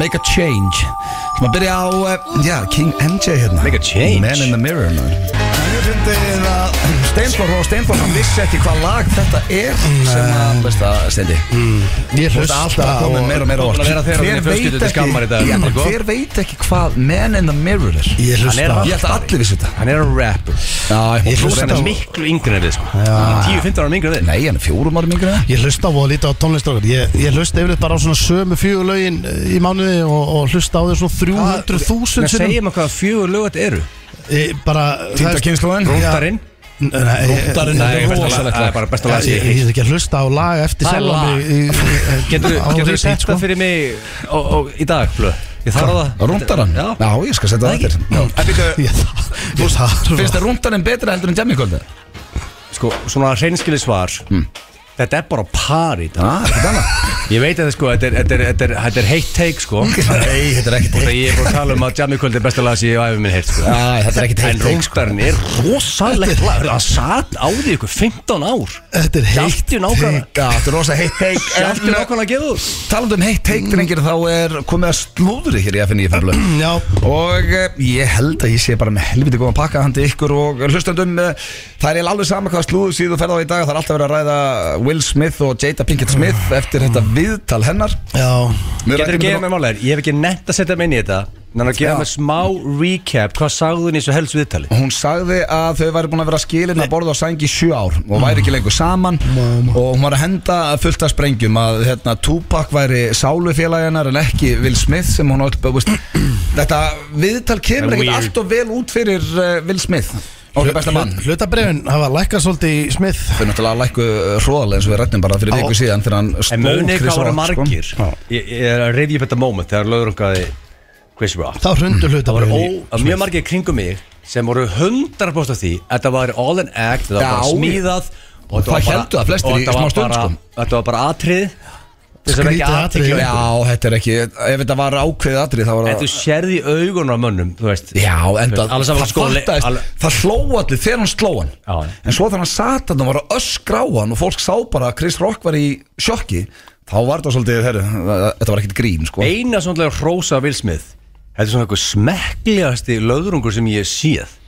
Speaker 1: make a change sem að byrja á, uh, já, King MJ hérna
Speaker 3: Make a change.
Speaker 1: Man in the Mirror man. En ég fyndið að Steinflór og Steinflór hann vissi ekki hvað lag þetta er sem að, veist það, Steindi
Speaker 2: Ég
Speaker 1: Þú veist
Speaker 2: hlusta
Speaker 1: alltaf að koma með meira og meira á
Speaker 3: Það er að þeirra minni fjölskyldu til skammar í dag,
Speaker 1: Já,
Speaker 3: Nico.
Speaker 1: Hver veit ekki hvað Man in the Mirror er Ég
Speaker 2: Ég
Speaker 3: Hann er
Speaker 2: hlusta
Speaker 3: að-
Speaker 1: held að allir vissi þetta
Speaker 3: Hann er að rapper
Speaker 1: Já,
Speaker 2: Ég
Speaker 3: Þú
Speaker 2: hlusta
Speaker 3: er
Speaker 2: á-
Speaker 3: miklu yngri en við sko. Hann er 10-15 ára yngri en við
Speaker 1: Nei, hann er fjórum árum yngri en það.
Speaker 2: Ég hlusta á og lítið á tónlistokar Ég, ég hlusta yfirleitt bara á svona sömu fjögur lögin eh, í mánuði og, og hlusta á þau svona 300.000
Speaker 3: Nei,
Speaker 2: sinnum.
Speaker 3: segjum að hvaða fjögur lög þetta eru
Speaker 2: Ég bara það er-
Speaker 1: kynslóðin
Speaker 3: Róttarinn
Speaker 2: N- nei, ég-
Speaker 1: Róttarinn,
Speaker 2: ég-
Speaker 1: nei,
Speaker 2: ég-
Speaker 1: besta
Speaker 2: ég-
Speaker 1: lag.
Speaker 3: Það er bara besta lag
Speaker 2: Ég
Speaker 3: sem
Speaker 2: ég- ég
Speaker 3: ég
Speaker 2: er ekki að hlusta á lag eftir
Speaker 3: Það er
Speaker 2: sjálfan
Speaker 3: lag.
Speaker 2: mig í- í-
Speaker 3: [laughs] Getur
Speaker 2: á
Speaker 3: þú
Speaker 2: repeat,
Speaker 3: sett
Speaker 2: sko.
Speaker 3: það fyrir mig og, og, í dag, blöð? Ég þarf það
Speaker 1: Rúndaran?
Speaker 3: Já
Speaker 1: Já, ég skal setja það
Speaker 3: Það
Speaker 1: eftir Já. En býttu,
Speaker 2: [laughs]
Speaker 3: ekki?
Speaker 2: Ég ég þarf
Speaker 1: Finnst þér
Speaker 2: að-
Speaker 1: rúndaran betra heldur en jammikvöldi?
Speaker 3: Sko, svona hreinskili svar Þetta er bara par í dag
Speaker 1: Já, Hmm. Ah, ekkert annað
Speaker 3: Ég veit að sko, þetta er, þetta er, þetta er, þetta er heitt take sko Og
Speaker 1: Nei, þetta er ekkert
Speaker 3: það ég er búin að tala um að Jammy Kvöld er besta lag sem ég æfum minn heilt sko
Speaker 1: Æ, þetta er ekkert
Speaker 3: En
Speaker 1: heitt take, sko.
Speaker 3: Róttarinn er rosalegt lag Það satt á því ykkur 15 ár
Speaker 2: Þetta er heitt
Speaker 3: Hjáttu nákvæmlega
Speaker 1: Já, þetta er rosa heitt teik
Speaker 3: Hjáttu nákvæmlega að gefa út
Speaker 1: Talandi um heitt teik, drengir, þá er komið að slúðri hér í FNÍ fjöflöð
Speaker 2: Já,
Speaker 1: Og eh, ég held að ég sé bara með helviti góðan pakka handi ykkur og hlustandum eh, Það er eiginlega alveg sama hvað slúðu síðu ferð á í dag Það er alltaf verið að ræða Will Smith og Jada Pinkett Smith eftir þetta viðtal hennar
Speaker 2: já
Speaker 3: Getur þú gefið mér málega, ég hef ekki nett að setja mig inn í þetta Þannig að gefa
Speaker 1: Já.
Speaker 3: mér smá recap Hvað sagði hún í þessu helst viðtali?
Speaker 1: Hún sagði að þau væri búin að vera skilin að borða á sængi í sjö ár og væri ekki lengur saman og hún var að henda fullt af sprengjum að hérna, Tupac væri sálufélaginnar en ekki Will Smith sem hún öll veist, Þetta viðtal kemur ekkert
Speaker 3: Weird.
Speaker 1: allt og vel út fyrir uh, Will Smith Okkar besta mann
Speaker 2: Hlutabrefin hafa lækkað svolítið í smið
Speaker 1: Þau náttúrulega lækku hróðalega eins og við rættum bara fyrir
Speaker 2: Já.
Speaker 1: viku síðan þegar hann
Speaker 3: En munið
Speaker 1: stóð
Speaker 3: hvað voru
Speaker 1: Rock, sko.
Speaker 3: margir
Speaker 2: Já.
Speaker 3: Ég ég er að reyði upp þetta moment Þegar lögur okkar Chris Rock
Speaker 2: Þá hrundu
Speaker 3: Það voru ó,
Speaker 2: hlutabrefin í
Speaker 3: að mjög margir kringum mig Sem voru 100% af því að Þetta var all an act Þetta var
Speaker 1: Já.
Speaker 3: bara smíðað Og þetta
Speaker 1: Það
Speaker 3: var bara-
Speaker 1: héldu það flestir
Speaker 3: og
Speaker 1: í
Speaker 3: þetta var
Speaker 1: smá stund,
Speaker 3: bara-
Speaker 1: sko.
Speaker 3: Þetta var bara atrið
Speaker 2: Skrítið atriði.
Speaker 1: Já, þetta er ekki, ef þetta var ákveðið atrið þá var
Speaker 3: En þú
Speaker 1: það
Speaker 3: sérði í augunum af mönnum Þú veist
Speaker 1: Já, enda,
Speaker 3: Alveg saman
Speaker 1: það
Speaker 3: sko, le-
Speaker 1: fattaðist,
Speaker 3: alveg-
Speaker 1: það hló allir þegar hann sló hann
Speaker 3: Já.
Speaker 1: En svo þegar hann sat hann og var að öskra á hann og fólk sá bara að Chris Rock var í sjokki Þá var það svolítið, herru, þetta var ekkert grín, sko
Speaker 3: eina svonlega rosa vilsmið Þetta er svona eitthvað smekklegasti löðrungur sem ég hef séð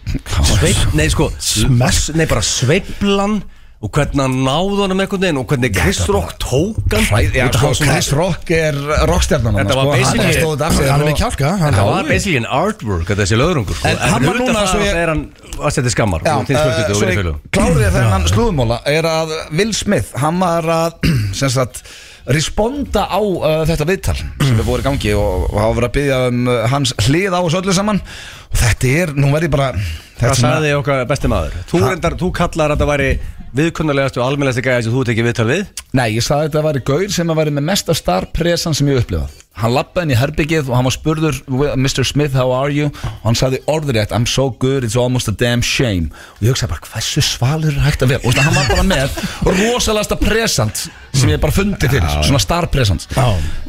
Speaker 3: Sveip, nei sko
Speaker 2: Smekk?
Speaker 3: Nei bara sveiplan og hvernig hann náði honum einhvern veginn og hvernig Chris Rock tók hann
Speaker 1: Hræð- Já,
Speaker 3: Þetta
Speaker 1: sko,
Speaker 3: var svona-
Speaker 1: Chris Rock er rockstjarnan sko.
Speaker 3: Þetta var
Speaker 1: Hann
Speaker 3: basically-
Speaker 1: stóð þetta af sig
Speaker 2: Hann er
Speaker 1: og-
Speaker 2: með kjálka hann-
Speaker 3: Það var basically an artwork að þessi löðrungur sko.
Speaker 1: En hann var
Speaker 3: utan
Speaker 1: núna
Speaker 3: það
Speaker 1: svo ég-
Speaker 3: er hann að setja skammar
Speaker 1: Já,
Speaker 3: og þinn
Speaker 1: eh,
Speaker 3: fjölskyldu og
Speaker 1: svo
Speaker 3: vinni
Speaker 1: ég
Speaker 3: fjölum
Speaker 1: kláriði þennan slúðumóla er að Will Smith, hann var að [clears throat] sem sagt, responda á uh, þetta viðtal sem við voru í gangi og, og hafa verið að byggja um uh, hans hlið á þessu öllu saman og þetta er, nú verði bara þetta
Speaker 3: Það sagði okkar besti maður Þú, reyndar, þú kallar að þetta væri viðkunnulegast og almennlegasti gæði sem þú tekið viðtal við
Speaker 1: Nei, ég sagði þetta að væri gaur sem að væri með mesta starpresan sem ég upplifað Hann lappaði inn í herbyggið og hann var spurður "Well, Mr. Smith, how are you? Og hann sagði orðrétt, I'm so good, it's almost a damn shame Og ég hugsaði bara, hversu svalur er hægt að vera Og veistu, hann var bara með rosalasta presant sem ég bara fundi fyrir Svona starpresant
Speaker 2: Já.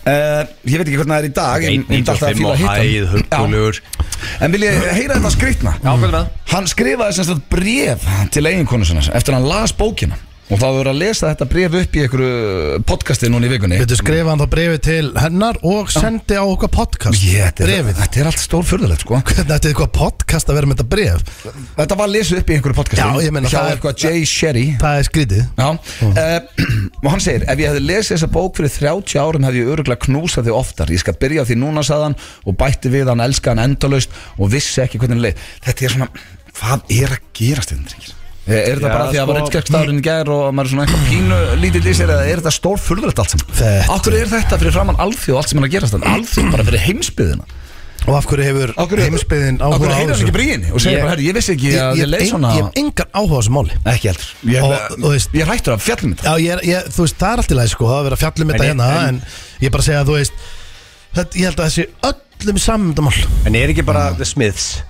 Speaker 1: Eh, Ég veit ekki hvernig það er í dag en ég myndi alltaf að
Speaker 3: 1.95
Speaker 1: fíla
Speaker 3: og
Speaker 1: að hitta hann.
Speaker 3: hæð, huggulegur
Speaker 1: Já. En vil ég heyra þetta skrýtna?
Speaker 3: Já, hvernig með?
Speaker 1: Hann skrifaði sem sagt bref til eiginkonu sinna eftir að hann las bókina og það voru að lesa þetta bref upp í einhverju podcasti núna í vikunni
Speaker 2: Við skrifa hann þá brefi til hennar og sendi á okkar podcast
Speaker 1: Ég, þetta, er,
Speaker 2: Brefið
Speaker 1: þetta er allt stór fyrðulegt sko
Speaker 2: Þetta er eitthvað podcast að vera með þetta bref
Speaker 1: Þetta var lesið upp í einhverju podcasti
Speaker 2: Já, ég meina,
Speaker 1: Hjá
Speaker 2: það er-
Speaker 1: eitthvað Jay Sherry
Speaker 2: Það er skrítið
Speaker 1: Já, uh, [clears throat] og hann segir Ef ég hefði lesið þessa bók fyrir 30 árum hefði ég öruglega knúsað þig oftar Ég skal byrja á því núna, sagði hann Og bætti við hann, elska hann endalaust Og vissi ekki hvernig leið Þetta er svona, hvað er að gerast þetta, drengir? Er, er þetta
Speaker 3: Já,
Speaker 1: bara því að
Speaker 3: sko-
Speaker 1: var rettskjöksdagurinn í gær og maður er svona eitthvað pínu lítill í sér eða er þetta stór furðulegt allt saman?
Speaker 2: Þetta-
Speaker 1: Akkur er þetta fyrir framann alþjóð allt sem er að gerast þetta? Alþjóð bara fyrir heimsbyðina
Speaker 2: Og af hverju hefur
Speaker 1: Af hverju- Af
Speaker 2: heimsbyðin áhuga
Speaker 1: hverju
Speaker 2: á
Speaker 1: heyrir hann
Speaker 2: þessu
Speaker 1: ekki bríðinni og segir
Speaker 3: Ég-
Speaker 1: bara, herri, ég vissi ekki
Speaker 2: Ég
Speaker 1: að
Speaker 2: ég
Speaker 1: ég leið
Speaker 2: hef ein-
Speaker 1: svona
Speaker 2: ég hef engan áhuga á þessu máli
Speaker 1: Ekki heldur Ég,
Speaker 2: Og- og þú veist-
Speaker 1: ég er hættur af fjallmynd
Speaker 2: Já, ég, er- ég, þú veist, það er allt í lagi sko, það er verið að fjalla um þetta
Speaker 3: En ég-
Speaker 2: hérna
Speaker 3: en-
Speaker 2: en, ég er bara að segja að þú veist þetta, ég held að þessi öllum samendamál
Speaker 3: En er ekki bara The Smiths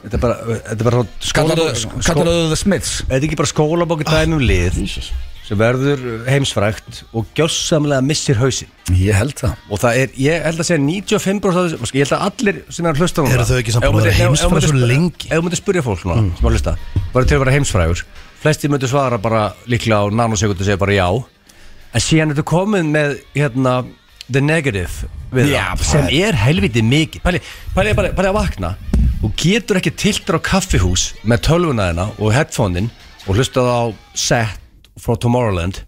Speaker 3: Þetta er bara, þetta er bara skólabók- skó-
Speaker 1: Kallarðu The Smiths
Speaker 3: Þetta er ekki bara skólabók dæmi um lið sem verður eh, heimsfrægt og gjörsamlega missir hausin
Speaker 1: Ég held það
Speaker 3: og það er, ég held að segja 95% af þessu- sko, ég held að allir sem er að hlusta núna
Speaker 2: Eru þau ekki samt
Speaker 3: Ef þú
Speaker 2: búin að vera
Speaker 3: myndir- ef- ef þú
Speaker 2: heimsfræg
Speaker 3: myndir
Speaker 2: svo
Speaker 3: spyrja-
Speaker 2: lengi?
Speaker 3: Ef þú myndir spyrja fólk núna, sem að hlusta bara til að vera heimsfrægur, flestir myndir svara bara líklega á nanosekundu segja bara já en síðan ertu komin með hérna, the negative við
Speaker 1: Já,
Speaker 3: það, sem er helviti mikið pæli, pæli, pæli, pæli að vakna og getur ekki tiltur á kaffihús með tölvuna þina og headphone-in og hlustað á set frá Tomorrowland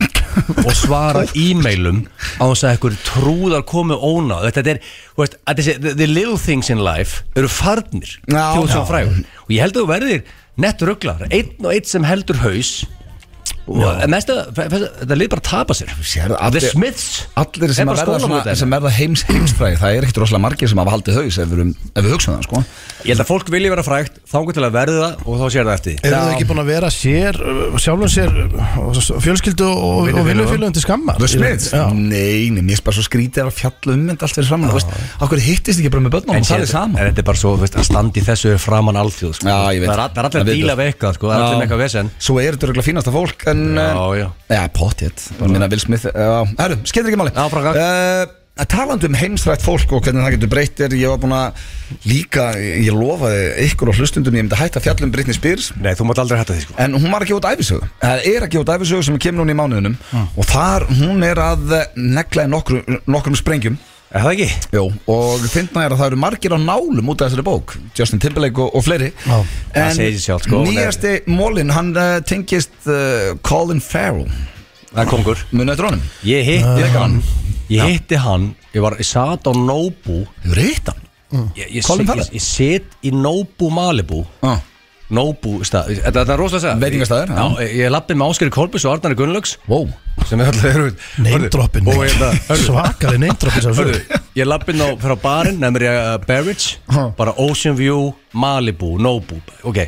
Speaker 3: og svara e-mailum á þess að einhver trúðar komi óna þetta er, þú veist, að þessi, the, the little things in life eru farnir
Speaker 1: Já,
Speaker 3: til þess
Speaker 1: já.
Speaker 3: að frægur og ég held að þú verðir nett rugglar, einn og einn sem heldur haus og mest að þetta lið bara tapa sér
Speaker 1: Sérðu,
Speaker 3: The
Speaker 1: allir-
Speaker 3: Smiths
Speaker 1: Allir
Speaker 3: Er
Speaker 1: sem
Speaker 3: bara
Speaker 1: að verða, svona,
Speaker 3: skólamótaefni.
Speaker 1: sem verða heims, heimsfræði Það er ekkert rosalega margir sem hafa haldið haus Ef við, erum- ef við hugsaum það sko
Speaker 3: Ég held að fólk vilji vera frægt, þangur til að verði það og þá sér það eftir því.
Speaker 2: eru þau ekki búin að vera sér uh, sjálfum sér uh, fjölskyldu og, og vinnufélögum til skammar
Speaker 1: The Smiths?
Speaker 2: Já.
Speaker 1: Nei, nei, mér er bara svo skrítið að fjalla um mynd allt fyrir saman Akkur hittist ekki bara með börnum og
Speaker 3: sér-
Speaker 1: talið saman
Speaker 3: En þetta er bara svo, þú veist, að standi þessu er framan alþjóð sko.
Speaker 1: Já, ég veit.
Speaker 3: Það er all- það er allir
Speaker 1: Það
Speaker 3: að
Speaker 1: veit
Speaker 3: díla
Speaker 1: það.
Speaker 3: við eitthvað, sko. það er allir með eitthvað vesen
Speaker 1: Svo er þetta örugglega fínasta fólk en, eh,
Speaker 3: Já, já.
Speaker 1: Já, potjett Minna Will Smith eh, Já, herru, skemmtir ekki máli
Speaker 3: Já, bara gott.
Speaker 1: uh, Talandi um heimsrætt fólk og hvernig það getur breytir Ég var búin að líka Ég lofaði ykkur og hlustundum Ég myndi hætta að fjalla um Britney Spears
Speaker 3: Nei, þú mátt aldrei hætta því sko.
Speaker 1: En hún var að gefa út æfisögu Það er að gefa út æfisögu sem kemur hún í mánuðinum Og þar hún er að eh, negla í nokkru, nokkrum sprengjum
Speaker 3: Er það ekki?
Speaker 1: Jó, og finna er að það eru margir á nálum út af þessari bók Justin Timberlake og, og fleiri
Speaker 2: Já.
Speaker 3: Það segir sig sjálft, sko. Hún er-
Speaker 1: nýjasti mólin, hann uh, tengist uh, Colin Farrell
Speaker 3: Það er kongur
Speaker 1: Muna eftir honum
Speaker 3: Ég hitti
Speaker 1: Ég
Speaker 3: hann
Speaker 1: hann.
Speaker 3: Ég hitti hann Ég var, ég sat á Nobu
Speaker 1: Hefur hitt hann?
Speaker 3: Ég, ég,
Speaker 1: Colin
Speaker 3: sit-
Speaker 1: Farrell?
Speaker 3: ég, ég sit í Nobu Malibu
Speaker 1: Já.
Speaker 3: Nobu stað Þetta þetta er rosalega segja
Speaker 1: Ah. Veitingastaður,
Speaker 3: Já, ég, ég lappi með Áskeri Kolbis og Arnari Gunnlaugs
Speaker 1: Vó
Speaker 3: sem er alltaf eru
Speaker 2: Neymdroppin
Speaker 3: Og hérna, hörðu,
Speaker 2: svakari neymdroppin sem
Speaker 3: Hörru,
Speaker 2: svo
Speaker 3: ég lappi ná frá barinn nefnir ég uh, Barrage bara Ocean View, Malibu, Nobu ok,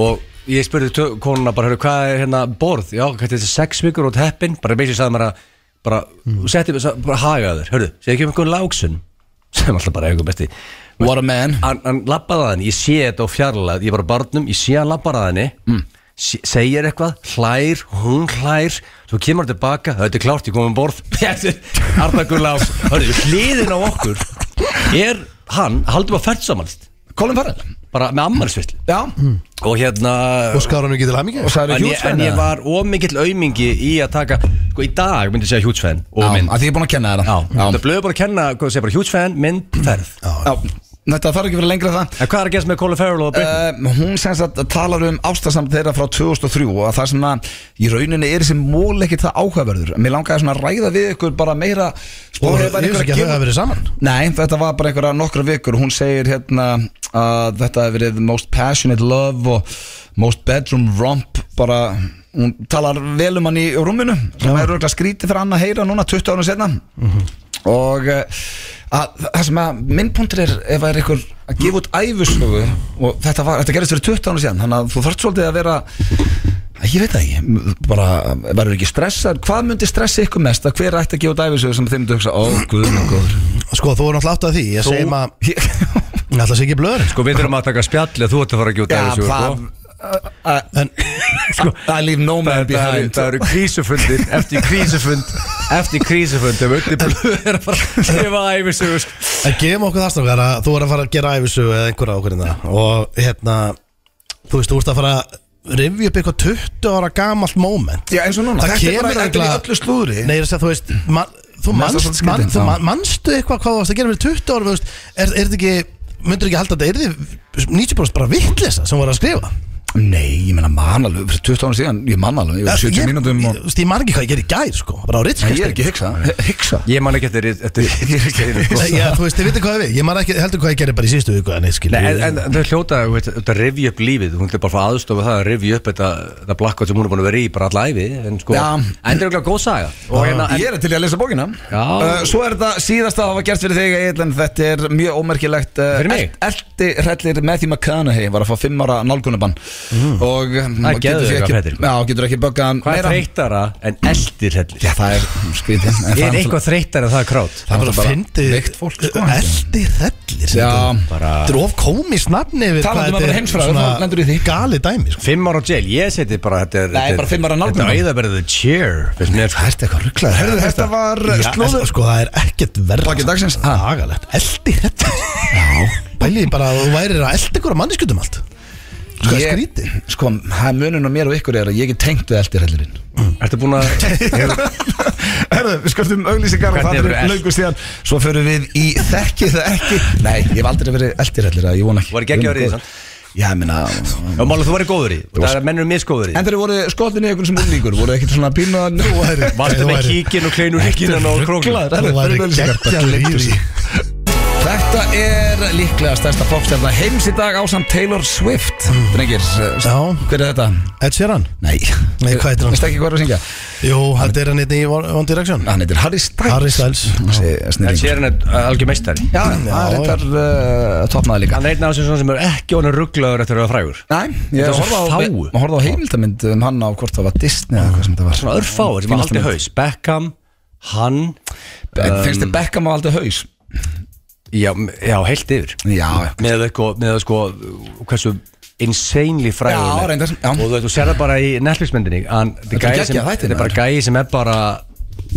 Speaker 3: og ég spurði tö- konuna bara, hörru, hvað er hérna borð já, hvað er þetta, sex vikur og teppin bara basically sagði mér að bara, mm. setti, sa- bara haga þér, hörru, segði ekki um einhvern lágsun [laughs] sem alltaf bara er einhver besti
Speaker 1: What a man
Speaker 3: hann, hann lappaði að henni, ég sé þetta á fjarlæð ég var á barnum, ég sé hann lappaði að henni se- segir eitthvað, hlær hún hlær, svo kemur hann tilbaka þetta er klárt, ég kom um borð [laughs] Arna Gullás, hörðu, hliðin á okkur er hann haldum að ferð saman
Speaker 1: Colin Farrell
Speaker 3: bara með ammarsvill
Speaker 1: Já
Speaker 3: og hérna
Speaker 2: og hérna, skar hann ekki til hamingju
Speaker 1: Og sagði
Speaker 3: Hmm. en ég, en
Speaker 1: hjútsvenni
Speaker 3: ég var ómikill aumingi í að taka sko í dag myndi ég segja hjútsfenn og mynd
Speaker 1: Því ég er búin að kenna þér
Speaker 3: Já,
Speaker 1: Já
Speaker 3: þetta blöðu bara að kenna, hvað þú segir bara hjútsfenn, mynd, ferð
Speaker 1: Já Þetta þarf ekki að vera lengra en það
Speaker 3: En hvað er að gerast með Colin Farrell og Britney?
Speaker 1: Uh, hún sem sagt talar um ástasamt þeirra frá 2003 og að það sem að í rauninni er þessi mól ekkert það áhugaverður mér langaði svona að ræða við ykkur bara meira sko, hefur
Speaker 2: Og ég
Speaker 1: bara
Speaker 2: veist
Speaker 1: einhver
Speaker 2: ekki að
Speaker 1: gefa-
Speaker 2: þau hafa verið saman
Speaker 1: Nei, þetta var bara einhverja nokkra vikur Hún segir hérna að þetta hefur verið most passionate love og most bedroom romp bara, hún talar vel um hann í rúminu sem er auðvitað skrítið fyrir hann að heyra núna 20 ára setna og eh, að, það sem að minnpuntur er ef það er einhver að gefa út æfusögu og þetta, var, þetta gerist fyrir 20 ára setna þannig að þú þarft svolítið að vera ég veit það ekki, bara verður ekki stressar, hvað myndi stressa ykkur mest að hver ætti að gefa út æfisögu sem þeim myndi hugsa, ó, guð, minn góður
Speaker 2: Sko, þú er náttúrulega átt að því Ég segi
Speaker 3: [laughs]
Speaker 2: maður, ég ætla að segja ekki blöður
Speaker 3: Sko við þurfum að taka spjall eða þú ert að fara að gjóta
Speaker 1: Já,
Speaker 3: þessu
Speaker 1: það
Speaker 3: sko.
Speaker 2: En
Speaker 1: I leave no man
Speaker 3: [laughs] Það það eru,
Speaker 1: behind
Speaker 3: það eru krísufundir eftir krísufund eftir krísufund ef öllu blöður er að fara að skrifa æfisögu sko.
Speaker 2: En gefum okkur það strákar að þú er að fara að gera æfisögu eða einhverja okkur en það og hérna, þú veist, þú ert að fara að rifja upp eitthvað 20 ára gamalt moment
Speaker 1: Já, eins og núna
Speaker 2: Það
Speaker 1: Þetta er
Speaker 2: kemur
Speaker 1: bara þetta er í
Speaker 2: örugglega-
Speaker 1: öllu slúðri
Speaker 2: Nei, ég er að segja, þú veist, man, þú
Speaker 1: Mér finnst það svolítið
Speaker 2: manst, man,
Speaker 1: skrítið,
Speaker 2: þú
Speaker 1: já.
Speaker 2: man, manstu eitthvað hvað þú varst að gera fyrir 20 ára, þú veist, er, er þetta ekki, myndur ekki halda að þetta, er þið 90% bara vittlisa sem voru að skrifa?
Speaker 1: Nei, ég menna man alveg Fyrir 20 ára síðan, ég man alveg Ég var 70 mínútum
Speaker 2: Ég,
Speaker 1: og
Speaker 2: þú veist, ég man ekki hvað ég gerði í gær, sko, bara á
Speaker 1: Nei, ég er
Speaker 2: ritskast.
Speaker 1: ekki að hugsa Hugsa
Speaker 3: Ég man ekki eftir eftir- eftir- sko.
Speaker 2: Já, þú veist, þið vitið hvað er við, ég man ekki heldur hvað ég gerði bara í síðustu viku, en ég skil.
Speaker 3: Nei, en, en það er hljóta þú veit, þetta rivja upp lífið, hún er bara að fá aðstofa það að rivja upp þetta, þetta blakkátt sem hún er búin að vera í bara alla æfi, en sko,
Speaker 1: Já.
Speaker 3: en þetta er okkur góð saga og hérna,
Speaker 1: Ég
Speaker 3: en,
Speaker 1: er til í að lesa bókina
Speaker 3: Já.
Speaker 1: uh, Svo er þetta síðasta að hafa gert fyrir þig Egill, En þetta er mjög ómerkilegt uh,
Speaker 3: Fyrir mig?
Speaker 1: Eldi hrellir Matthew McConaughey Var að fá 5 ára nálgunabann Og um,
Speaker 3: Mm. Það
Speaker 1: getur
Speaker 3: er geðveikur
Speaker 1: sig
Speaker 3: að fréttir.
Speaker 1: ekki Já, getur ekki böggað hann
Speaker 3: hvað er
Speaker 1: meira.
Speaker 3: þreytara en eldir hellir?
Speaker 1: Já, það er skrítið en það
Speaker 3: Er
Speaker 1: náttúrulega-
Speaker 3: eitthvað þreytara en það er krát?
Speaker 2: Það er
Speaker 1: Það
Speaker 2: bara að fyndi
Speaker 1: veikt fólk, sko.
Speaker 2: Eldi Hrellir
Speaker 1: Já.
Speaker 2: Þetta er of komís nafni yfir
Speaker 1: Talandi um
Speaker 2: hvað
Speaker 1: að
Speaker 2: þetta
Speaker 1: vera
Speaker 2: er
Speaker 1: heimsfrægur,
Speaker 2: svona
Speaker 1: þá lendur í því.
Speaker 2: Gali dæmi sko.
Speaker 3: Fimm ára á jail, ég seti bara þetta er,
Speaker 1: Nei, bara fimm ára nálgun.
Speaker 3: Þetta er æðaberðið the cheer finnst mér, sko.
Speaker 2: Það er eitthvað rugglega
Speaker 1: Heyrðu, þetta var uh,
Speaker 2: Já,
Speaker 1: slúður
Speaker 2: en sko það er ekkert verð
Speaker 1: Plaggi dagsins?
Speaker 2: Það er agalegt Eldi Hrellir Já Bæli bara að þú værir að elda ykkur að manniskutum allt Sko það er
Speaker 1: Ég-
Speaker 2: skríti
Speaker 1: Sko, það er munun á mér og ykkur er að ég er tengt við eldirhellirinn
Speaker 3: Ertu búin að
Speaker 1: Herðu, við skortum auglýsingar og
Speaker 3: Hvernig
Speaker 1: það
Speaker 3: hefur
Speaker 1: er
Speaker 3: elt?
Speaker 1: löngu síðan Svo förum við í þekki það ekki Nei, ég hef aldrei verið eldirhellir ég vona ekki
Speaker 3: Var ekki ekki árið í því, sant?
Speaker 1: Já, ég meina
Speaker 3: [laughs] Já, Mála, þú væri góður í, það er að mennur misgóður í
Speaker 1: En þeir voru skotinni ykkur sem úlíkur Voru ekkert svona pínu að nú Herðu,
Speaker 3: Varstu með kíkin og kleinu hikkinan og krókin
Speaker 1: Rugglaður,
Speaker 2: Þú
Speaker 1: herðu,
Speaker 2: væri
Speaker 1: förum í auglýsingar. Bara
Speaker 2: geggjaður í
Speaker 1: klikktu
Speaker 2: því.
Speaker 1: sig. Þetta er líklega stærsta popstjarna heims í dag ásamt Taylor Swift Drengir, eh,
Speaker 2: Já.
Speaker 1: hver er þetta?
Speaker 2: Ed Sheeran
Speaker 1: Nei,
Speaker 2: Nei, hvað heitir hann?
Speaker 1: Veistu ekki hvað er að syngja?
Speaker 2: Jú, þetta er hann einnig í One One Direction
Speaker 1: Hann heitir Harry Styles
Speaker 2: Harry Styles
Speaker 3: En
Speaker 1: Styles
Speaker 3: sér hann er uh, algjör meistari
Speaker 1: Já, það er reyndar uh, topnaði líka
Speaker 3: Hann er einn af þessum svona sem er ekki honum rugglaður eftir að vera frægur
Speaker 1: Nei, ég
Speaker 3: Þetta er
Speaker 1: horfði á,
Speaker 3: fáu.
Speaker 1: maður horfði á heimildamind um hann á hvort það var Disney eða hvað sem það var
Speaker 3: Svona örfáir sem er aldrei haus Beckham, hann
Speaker 1: En Finnst
Speaker 3: Um,
Speaker 1: þið Beckham á aldrei haus?
Speaker 3: Já, m- já heilt yfir
Speaker 1: Já,
Speaker 3: Með það sko, með það sko hversu insanely frægur
Speaker 1: Já,
Speaker 3: hann er.
Speaker 1: reyndar, já.
Speaker 3: Og þú veit, þú sér það bara í Netflix-myndinni hann- Þetta
Speaker 1: Þetta er
Speaker 3: gæi sem-
Speaker 1: geggjað þættir,
Speaker 3: þetta er bara
Speaker 1: maður.
Speaker 3: gæi sem er bara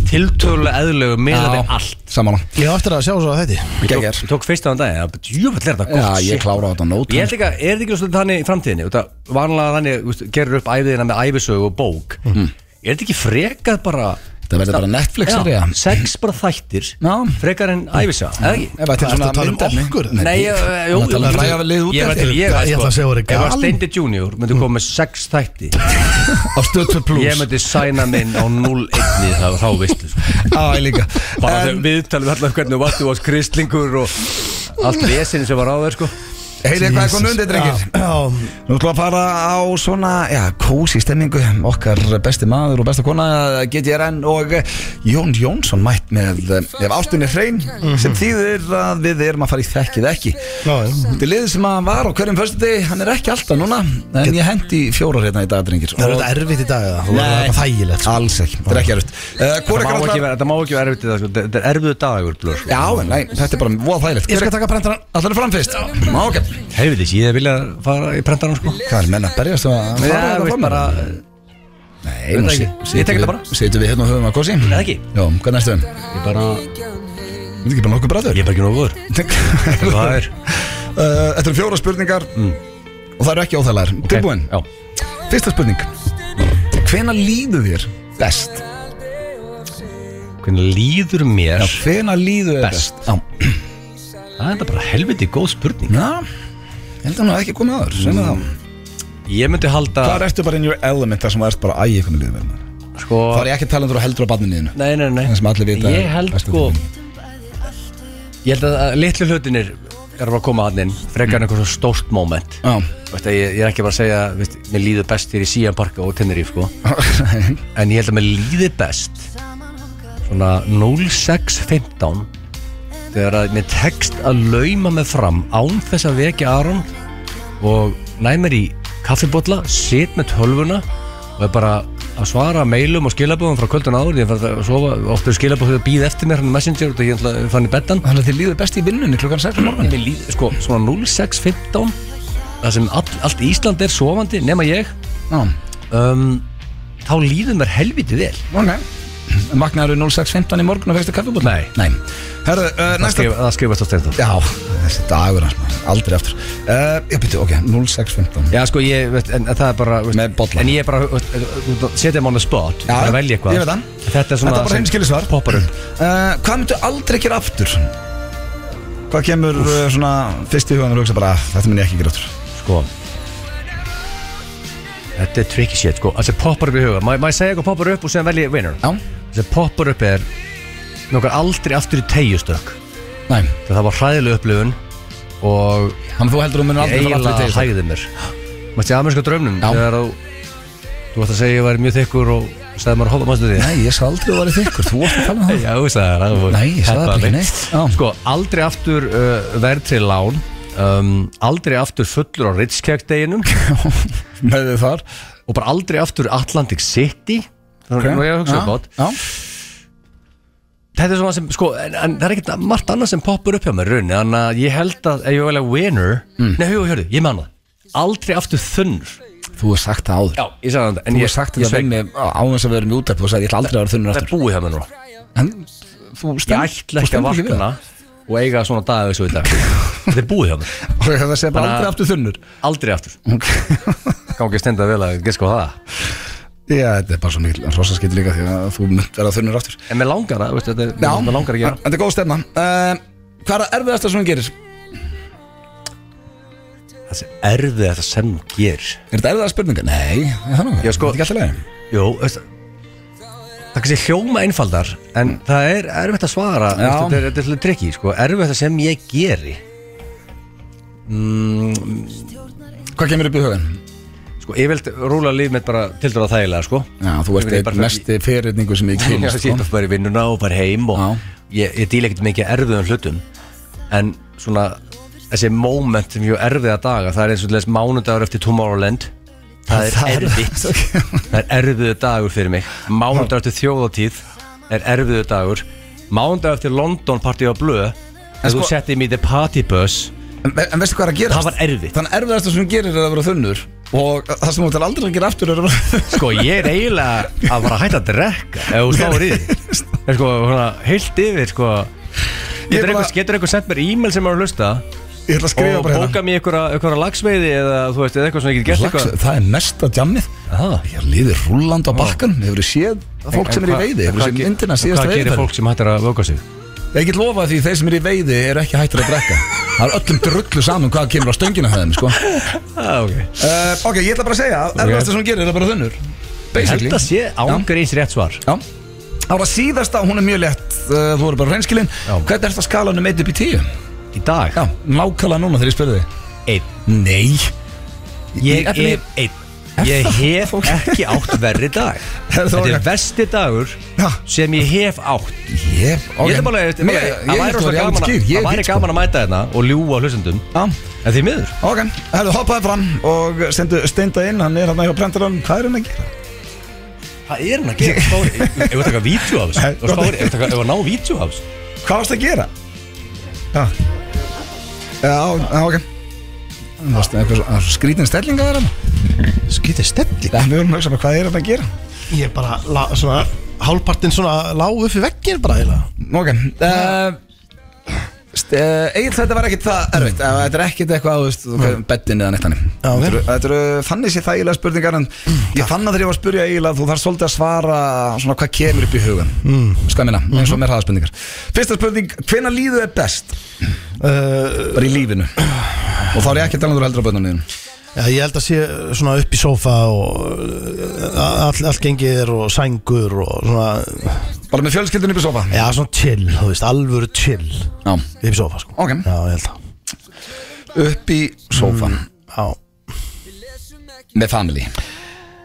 Speaker 3: tiltölulega eðlögu með
Speaker 1: Já.
Speaker 3: við allt
Speaker 1: saman á
Speaker 2: Ég á eftir að sjá svo að þetta
Speaker 3: Ég tók,
Speaker 1: Geggjær.
Speaker 3: ég tók fyrst á þann dag Júfell er þetta gott
Speaker 1: Já, ég
Speaker 3: shit.
Speaker 1: klára á þetta nót
Speaker 3: Ég held ekki að, er þetta ekki svolítið þannig í framtíðinni Þú veit að vanlega þannig, þú veist, gerir upp æfiðina með æfisögu og bók
Speaker 1: Mhm.
Speaker 3: Er þetta ekki frekað bara
Speaker 1: Það verður bara Netflix er
Speaker 3: Já,
Speaker 1: ég
Speaker 3: sex bara þættir
Speaker 1: Já.
Speaker 3: Frekar en æfisaga, eða ekki?
Speaker 1: Ef þetta
Speaker 2: Hvað
Speaker 1: er
Speaker 2: ertu
Speaker 1: svona
Speaker 2: að tala um
Speaker 1: myndefni
Speaker 2: okkur?
Speaker 1: Nei,
Speaker 3: Nei,
Speaker 1: ég-
Speaker 3: ég, jú,
Speaker 1: Þetta er að um ræða við lið út
Speaker 3: ég var
Speaker 1: eftir.
Speaker 3: til, ég var
Speaker 2: Ég
Speaker 3: sko-
Speaker 2: ætla að segja voru
Speaker 3: Ef að
Speaker 2: gal.
Speaker 3: Steindi Junior myndi koma með sex þætti
Speaker 1: Á stöð 2
Speaker 3: Ég
Speaker 1: plus
Speaker 3: myndi sæna minn á 0-1 í það og þá veistu sko.
Speaker 1: Já, ég líka
Speaker 3: Bara
Speaker 1: En-
Speaker 3: þegar viðtalið allar hvernig þú varst, þú varst kristlingur og allt vesinni sem var á þér sko
Speaker 1: Heyrið hvað er konum undir, drengir?
Speaker 2: Já,
Speaker 1: Nú ætlum við að fara á svona, já, kósi stemmingu Okkar besti maður og besta kona GTRN og eh, Jón Jónsson mætt með eh, Ef ástinni hrein sem þýðir að við erum að fara í þekkið ekki
Speaker 2: Já, já.
Speaker 1: Þetta er liðið sem að hann var á hverjum fyrstu hann er ekki alltaf núna En ég hendi fjórar hérna í dag, drengir
Speaker 2: það er
Speaker 1: Og-
Speaker 2: þetta erfitt í dag eða? Þú verður
Speaker 1: Nei.
Speaker 2: þetta þægilegt sko.
Speaker 1: Alls ekki, þetta er ekki erfitt uh, Hvor er
Speaker 3: Það má,
Speaker 1: ekki
Speaker 3: ekki
Speaker 1: alltaf?
Speaker 3: vera, það má ekki vera erfitt í það, sko. þetta er erfiðu dagur blöð, sko.
Speaker 1: Já, en nei, þetta er bara voða þægilegt
Speaker 2: Ég
Speaker 1: Hver
Speaker 2: skal
Speaker 1: er
Speaker 2: taka prentaran
Speaker 1: alltaf fram fyrst? Má, ok
Speaker 3: Helvitis, ég vilja fara í prentarinn sko.
Speaker 1: Hvað er menn að berjast um að
Speaker 3: Já,
Speaker 1: fara þetta
Speaker 3: veist
Speaker 1: fram?
Speaker 3: bara
Speaker 1: Nei, nú
Speaker 3: Veit
Speaker 1: sit-
Speaker 3: ekki. Ég tek
Speaker 1: situm
Speaker 3: þetta
Speaker 1: við-
Speaker 3: bara.
Speaker 1: Situm við hérna og höfum að kosi
Speaker 3: Eða ekki?
Speaker 1: Jó, hvað næstu þeim?
Speaker 3: Ég bara,
Speaker 1: Þetta er ekki bara nokkuð bræður
Speaker 3: ég er bara ekki nógur Það
Speaker 1: [laughs]
Speaker 3: er Mm.
Speaker 1: Uh, Þetta eru fjóra spurningar Og það eru ekki óþæglegar Tilbúin
Speaker 3: Já
Speaker 1: Fyrsta spurning Hvena líður þér best?
Speaker 3: Hvernig líður mér
Speaker 1: Hvena líður þér
Speaker 3: Best.
Speaker 1: best? Já.
Speaker 3: Það er þetta bara helviti góð spurning
Speaker 1: Já, ég held að hann hafi ekki komið aður Sveinu
Speaker 3: Mm.
Speaker 1: þá
Speaker 3: Ég myndi halda
Speaker 1: Hvað ertu bara in your element þar sem þú ert bara æg eitthvað með liðum
Speaker 3: sko,
Speaker 1: Það er ég ekki að tala um þú heldur á barninu þínu
Speaker 3: Nei, nei, nei
Speaker 1: hérna. Það sem allir vita
Speaker 3: Ég
Speaker 1: er
Speaker 3: held
Speaker 1: besta
Speaker 3: sko
Speaker 1: tilfinning.
Speaker 3: Ég held að- að litlu hlutinir er að koma hann inn frekar en eitthvað svona stórt moment
Speaker 1: Já [laughs]
Speaker 3: Veist að ég, ég er ekki bara að segja veist, Mér líður best hér í Sian Parka og Tenerife sko.
Speaker 1: Já,
Speaker 3: En ég held að mér líður best Svona 06.15 Þegar að mér tekst að lauma mig fram Án þess að vekja Aron Og næ mér í kaffibotla Sit með tölvuna Og er bara að svara meilum og skilabóðum frá kvöldun ári Ég fann að sofa, oft er skilabóð þegar býð eftir mér hann á messenger og ég ætla- fann í beddan
Speaker 1: Þannig að þið líður best í vinnunni klukkan 6 morgun
Speaker 3: Mér líður, sko, svona 06.15 Það sem all, allt Ísland er sofandi Nema ég
Speaker 1: Já,
Speaker 3: um, Þá líður mér helviti vel
Speaker 1: ok Magnaður 06.15 í morgun og fegstu kaffibúl?
Speaker 3: Nei.
Speaker 1: Nei Herðu, uh,
Speaker 3: Það
Speaker 1: næsta
Speaker 3: skrif- Það skrifast á steindur
Speaker 1: Já, þessi dagur hans maður, aldrei aftur uh, Ég byrju, ok, 06.15
Speaker 3: Já, sko, ég, veist, en en það er bara veist,
Speaker 1: Með bolla.
Speaker 3: En ég er bara, veist, út að setja mig on the spot
Speaker 1: Já,
Speaker 3: bara að velja eitthvað
Speaker 1: ég veit það.
Speaker 3: Þetta er svona
Speaker 1: Þetta er bara
Speaker 3: sem
Speaker 1: hreinskilnisvar.
Speaker 3: Poppar upp
Speaker 1: uh, Hvað myndu aldrei gera aftur? Hvað kemur uh, svona fyrst í hugan og hugsa bara "Ah, Þetta myndi ég ekki gera aftur
Speaker 3: Sko Þetta er tricky shit, sko Það sem poppar upp í huga Má má ég segja eitthvað poppar upp og sem velja winner
Speaker 1: Já,
Speaker 3: Það sem poppar upp er Nókar aldrei aftur í tegjustök
Speaker 1: nei
Speaker 3: Það var hræðileg upplifun Og
Speaker 1: Þannig að þú heldur þú myndir
Speaker 3: ég
Speaker 1: aldrei fara
Speaker 3: eiginlega
Speaker 1: aftur í tegist
Speaker 3: hægði mér Mætti ameríska draumnum
Speaker 1: Já.
Speaker 3: Þegar þú Þú varst að segja að ég væri mjög þykkur og stæði maður að hoppa, mástu því?
Speaker 1: Nei, ég sá aldrei að vera þykkur, þú varst að tala um það
Speaker 3: Já, þú sagði það þú-
Speaker 1: Nei, ég sagði það
Speaker 3: Peppa
Speaker 1: bara ekki
Speaker 3: mig.
Speaker 1: neitt. Já.
Speaker 3: Sko, aldrei aftur uh, verð til lán um, Aldrei aftur fullur á Ritskjækdeginum
Speaker 1: Með þið þar
Speaker 3: Og bara aldrei aftur Atlantic City
Speaker 1: Ok.
Speaker 3: okay. Nú ég að
Speaker 1: Já,
Speaker 3: hugsa upp átt
Speaker 1: Já,
Speaker 3: Þetta er svona sem, sko, en, en það er ekkert margt annað sem poppur upp hjá mér raun Þannig að ég held að ef ég velja winner
Speaker 1: Mm.
Speaker 3: Nei, hjú, hörðu, ég man það Aldrei aftur þunnur
Speaker 1: þú hefur sagt það áður
Speaker 3: Já, ég sagði það en
Speaker 1: Þú
Speaker 3: ég-
Speaker 1: hefur sagt
Speaker 3: ég
Speaker 1: þetta
Speaker 3: sveik-
Speaker 1: við mig á þess að við erum í útarp Þú sagði ég ætla aldrei að vera þunnur
Speaker 3: Það
Speaker 1: aftur
Speaker 3: er búið hjá mér núna
Speaker 1: En þú
Speaker 3: Ég
Speaker 1: stend- þú
Speaker 3: ætla ekki
Speaker 1: stendur
Speaker 3: að
Speaker 1: við
Speaker 3: vakna og eiga svona dag eins og í
Speaker 1: [laughs]
Speaker 3: dag Þetta er búið hjá mér
Speaker 1: það. Og það sé bara
Speaker 3: Þannig að-
Speaker 1: aldrei aftur þunnur
Speaker 3: Aldrei aftur
Speaker 1: Ok
Speaker 3: Gangi að stenda vel að geska á það
Speaker 1: Já, þetta er bara svo mikil rosaskitt líka því að þú mynd verða þunnur aftur
Speaker 3: En mér langar það, veistu, þetta er- mér langar að gera
Speaker 1: þetta er góð stefna uh, Hvað er það erfiðasta sem hún gerir?
Speaker 3: Þessi erfið þetta sem hún ger
Speaker 1: Er þetta erfiða spurninga? Nei, það er nú
Speaker 3: Já, sko-
Speaker 1: Þetta er ekki alltaf
Speaker 3: Jó, veistu Það kannski hljóma einfaldar En það er erfitt að svara
Speaker 1: Já.
Speaker 3: veistu, Þetta er- þetta er svolítið trikki, sko Erfið þetta sem ég geri
Speaker 1: leið Hvað kemur upp í hugan?
Speaker 3: Sko, ég vilt rúla líf mitt bara tildur að þægilega, sko
Speaker 1: Já, þú
Speaker 3: Ég
Speaker 1: ert
Speaker 3: vil
Speaker 1: eitt
Speaker 3: bara-
Speaker 1: mesti fyrirningu
Speaker 3: [laughs]
Speaker 1: sem ég
Speaker 3: Ég
Speaker 1: kynst
Speaker 3: sýtt
Speaker 1: sko.
Speaker 3: bara í vinnuna og bara heim og
Speaker 1: Já.
Speaker 3: ég, ég díla ekkert mikið erfiðum hlutum en svona þessi moment sem ég á erfiða daga það er eins og þess mánudagur eftir Tomorrowland það
Speaker 1: [laughs] Það
Speaker 3: er
Speaker 1: er-
Speaker 3: erfitt það er erfiðu dagur fyrir mig mánudagur eftir þjóðatíð er erfiðu dagur mánudagur eftir London party á Blö en
Speaker 1: sko-
Speaker 3: þú setti mig í the party bus
Speaker 1: en, en veistu hvað er að gera?
Speaker 3: það var erfitt
Speaker 1: Þannig erfiðasta sem hún gerir er að vera þunnur Og það sem hún ætlar aldrei að gera aftur er að vera [laughs] þunnur
Speaker 3: sko ég er eiginlega að fara að hætta að drekka ef þú sláir í því En sko svona, heilt yfir sko
Speaker 1: Ég
Speaker 3: Getur
Speaker 1: bara-
Speaker 3: eitthvað, getur eitthvað sendt mér e-mail sem er að hlusta
Speaker 1: Ég ætla að skrifa
Speaker 3: og
Speaker 1: bara hérna.
Speaker 3: bóka mér einhverja, einhverja lagsveiði eða þú veist, eða eitthvað sem ég get gert
Speaker 1: Lax,
Speaker 3: eitthvað
Speaker 1: Það er mesta djammið
Speaker 3: Það
Speaker 1: Ég liðir rúlland á bakkan Hefur séð fólk sem er í veiði Hefur séð myndina síðasta
Speaker 3: Hvað
Speaker 1: veiðiferð?
Speaker 3: gerir fólk sem hættir að vöka sig?
Speaker 1: Ég get lofa því þeir sem eru í veiði eru ekki hættir að drekka Það er öllum drullu saman hvað kemur á stöngina þeim sko. uh,
Speaker 3: Ah, okay.
Speaker 1: Eh, Ok, ég ætla bara að segja Erfasta sem hún gerir er bara þunnur
Speaker 3: Ég held að sé
Speaker 1: Já.
Speaker 3: ángur eins rétt svar
Speaker 1: Já. Það var að síðasta, hún er mjög lett uh, Þú eru bara reynskilinn
Speaker 3: Já.
Speaker 1: Hvernig er þetta skalanum 1 upp í 10?
Speaker 3: Í dag,
Speaker 1: Já, nákvæmlega núna þegar ég spurði þig
Speaker 3: einn
Speaker 1: Nei Í
Speaker 3: Ég er
Speaker 1: efni-
Speaker 3: einn Ég hef ekki átt verri
Speaker 1: [laughs]
Speaker 3: dag
Speaker 1: Herðu,
Speaker 3: Þetta er
Speaker 1: ok.
Speaker 3: vesti dagur
Speaker 1: Já.
Speaker 3: sem ég hef átt
Speaker 1: Ég,
Speaker 3: Ég hef bara, ég held
Speaker 1: Mér-
Speaker 3: bara-
Speaker 1: ég held
Speaker 3: það væri
Speaker 1: að
Speaker 3: rosa
Speaker 1: vera í alveg
Speaker 3: gaman að-
Speaker 1: skýr. Ég
Speaker 3: það
Speaker 1: er
Speaker 3: væri
Speaker 1: fínn, sko.
Speaker 3: gaman að mæta hérna og ljúa hlustundum
Speaker 1: Já.
Speaker 3: En því miður
Speaker 1: Ok, hefðu hoppaði fram og sendu steinda inn, hann er hann hjá prentarunum, hvað er hann að gera?
Speaker 3: Hvað er hann að gera? [laughs] Stóri, ef við taka vítjú af
Speaker 1: Nei,
Speaker 3: þessu Og Stóri, ef við taka- ef við ná vítjú af þessu
Speaker 1: Hvað varst að gera? Já Já, já, ok Það varst eitthvað svo- það var svo skrítin stellinga þar hann
Speaker 2: Skýtið stelli
Speaker 1: Það er mjög um að hugsa bara hvað er þetta að gera
Speaker 2: Ég er bara, la, svona, hálfpartinn svona lág upp í veggin bara eða
Speaker 1: Ok uh, Egil þetta var ekkit það erfitt uh, Þetta er ekkit eitthvað, þú veist, mm. beddin eða neitt þannig
Speaker 2: Já, ok. Mm,
Speaker 1: Þetta eru- Þetta eru þannig sér þægilega spurningar en ég fann að þegar ég var að spurja Egil að þú þarf svolítið að svara svona hvað kemur
Speaker 2: Mhm.
Speaker 1: upp í hugan mm. Ska minna, eins og mér hraða spurningar Fyrsta spurning, hvenær líðu er best?
Speaker 2: uh,
Speaker 1: Bara í
Speaker 2: [sighs]
Speaker 1: lífinu Og þá er ég ekki að tala um eldra bönnum þín
Speaker 2: já, Ég held að sé svona upp í sófa og uh, all, allt gengir og sængur og svona
Speaker 1: Bara með fjölskyldunni upp í sofa
Speaker 2: Já, svona chill, þú veist, alvöru chill
Speaker 1: Já
Speaker 2: upp í sófa, sko
Speaker 1: Ok.
Speaker 2: Já, ég held það
Speaker 1: Upp í sofa
Speaker 2: Já,
Speaker 1: Með family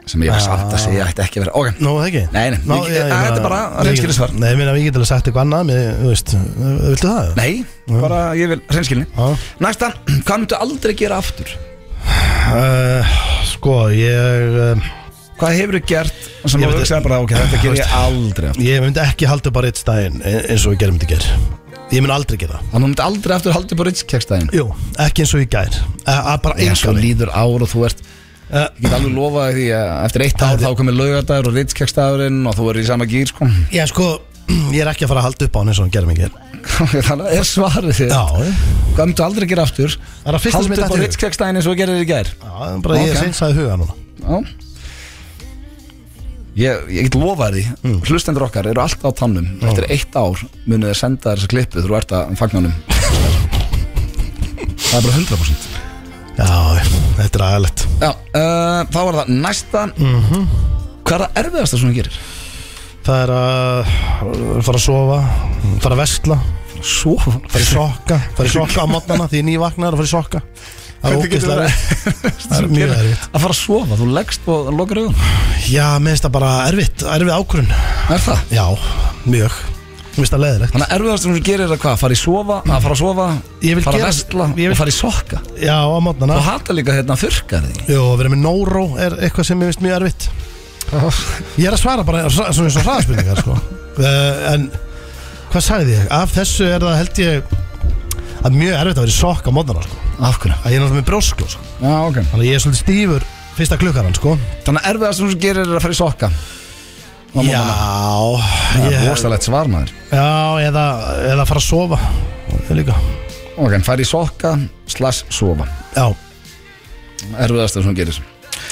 Speaker 1: Sem ég var satt að segja ætti ekki að vera Ok
Speaker 2: nú það ekki
Speaker 1: Nei, nei,
Speaker 2: Ná,
Speaker 1: ég- eh, þetta er bara hreinskilið svar.
Speaker 2: Nei, ég meina, ég get alveg sagt eitthvað annað, mér, þú veist, eh, viltu það?
Speaker 1: Nei, bara ég vil hreinskilni
Speaker 2: Já.
Speaker 1: Næsta, hvað myndu aldrei gera aftur?
Speaker 2: Uh, sko, ég, uh,
Speaker 1: Hvað hefur þú gert sem þú
Speaker 2: Ég veit-
Speaker 1: hugsaði bara, ok, þetta ger ég aldrei aftur
Speaker 2: ég myndi ekki halda bara eitt stæðin eins og ég gerum þetta ger Ég myndi aldrei gera það.
Speaker 1: Þannig að þú myndi aldrei aftur haldið på ritskjækstæðin
Speaker 2: Jú, ekki eins og ég gær Eh, að Bara
Speaker 1: Já, svo
Speaker 2: engan veginn.
Speaker 1: líður ár og þú ert
Speaker 2: Eh,
Speaker 1: Ég get alveg lofaði því að eftir eitt ár þá komið laugardagurinn og ritskjækstæðurinn og þú er í sama gýr, sko [laughs]
Speaker 2: Já, sko, ég er ekki að fara að halda upp á hann eins og hann gerum þetta ger
Speaker 1: Þannig að er svarið þitt
Speaker 2: Já, eh.
Speaker 1: Hvað myndu aldrei gera aftur?
Speaker 2: Það er að fyrsta sem ég
Speaker 1: Haldið
Speaker 2: datt
Speaker 1: på
Speaker 2: í hug.
Speaker 1: ritskjækstæðin eins og þú gerir þér í gær
Speaker 2: Já, bara ég
Speaker 1: Ok.
Speaker 2: seinsaði huga núna
Speaker 1: Já Ég, ég get lofað því
Speaker 2: Mm.
Speaker 1: Hlustendur okkar eru alltaf á tannum Eftir eitt ár munið þeir senda þér þessa klippu Þú ert að fagnanum Það er bara 100%
Speaker 2: Já, þetta er aðalegt
Speaker 1: Já, uh, þá var það næsta
Speaker 2: Mm.
Speaker 1: Hvað er það erfiðasta sem þú gerir?
Speaker 2: Það er að uh, fara að sofa, fara að vestla,
Speaker 1: Svo
Speaker 2: fara í sokka, fara í sokka á mótnana því ég nývagnar og fara í sokka. Það er
Speaker 1: Hvernig getur
Speaker 2: ógeðslega erfitt. Það er mjög erfitt.
Speaker 1: Að fara að sofa, þú leggst og lokar augun
Speaker 2: Já, mér finnst það bara erfitt, erfið ákvörun.
Speaker 1: Er það?
Speaker 2: Já, mjög. Mér finnst það leiðilegt.
Speaker 1: Þannig að erfiðasta sem þú gerir er að hvað? Fara í sofa, að fara að sofa
Speaker 2: Ég vil
Speaker 1: Fara að
Speaker 2: gera-
Speaker 1: vestla
Speaker 2: ég vil-
Speaker 1: og fara í sokka
Speaker 2: Já, á mótnana.
Speaker 1: Þú hata líka hérna þurrkar því
Speaker 2: Jó, að vera með nóró er eitthvað sem mér finnst mjög erfitt. Ég er að svara bara svona eins og hraðspurningar, sko. Uh, en hvað sagði ég? Af þessu er það held ég að mjög erfitt að vera í sokka á mótnana, sko.
Speaker 1: Af hverju?
Speaker 2: Að ég er náttúrulega með brjósklo, sko.
Speaker 1: Já, ok
Speaker 2: Þannig að ég er svolítið stífur fyrsta klukkan hann sko
Speaker 1: Þannig að erfiðast sem þú gerir er að fara í sokka Á
Speaker 2: Já
Speaker 1: morgnana. Það er
Speaker 2: ég,
Speaker 1: rosalegt svar maður
Speaker 2: Já, eða, eða fara að sofa Ég líka
Speaker 1: Ok, en fara í sokka slash sofa
Speaker 2: Já,
Speaker 1: Erfiðast sem þú gerir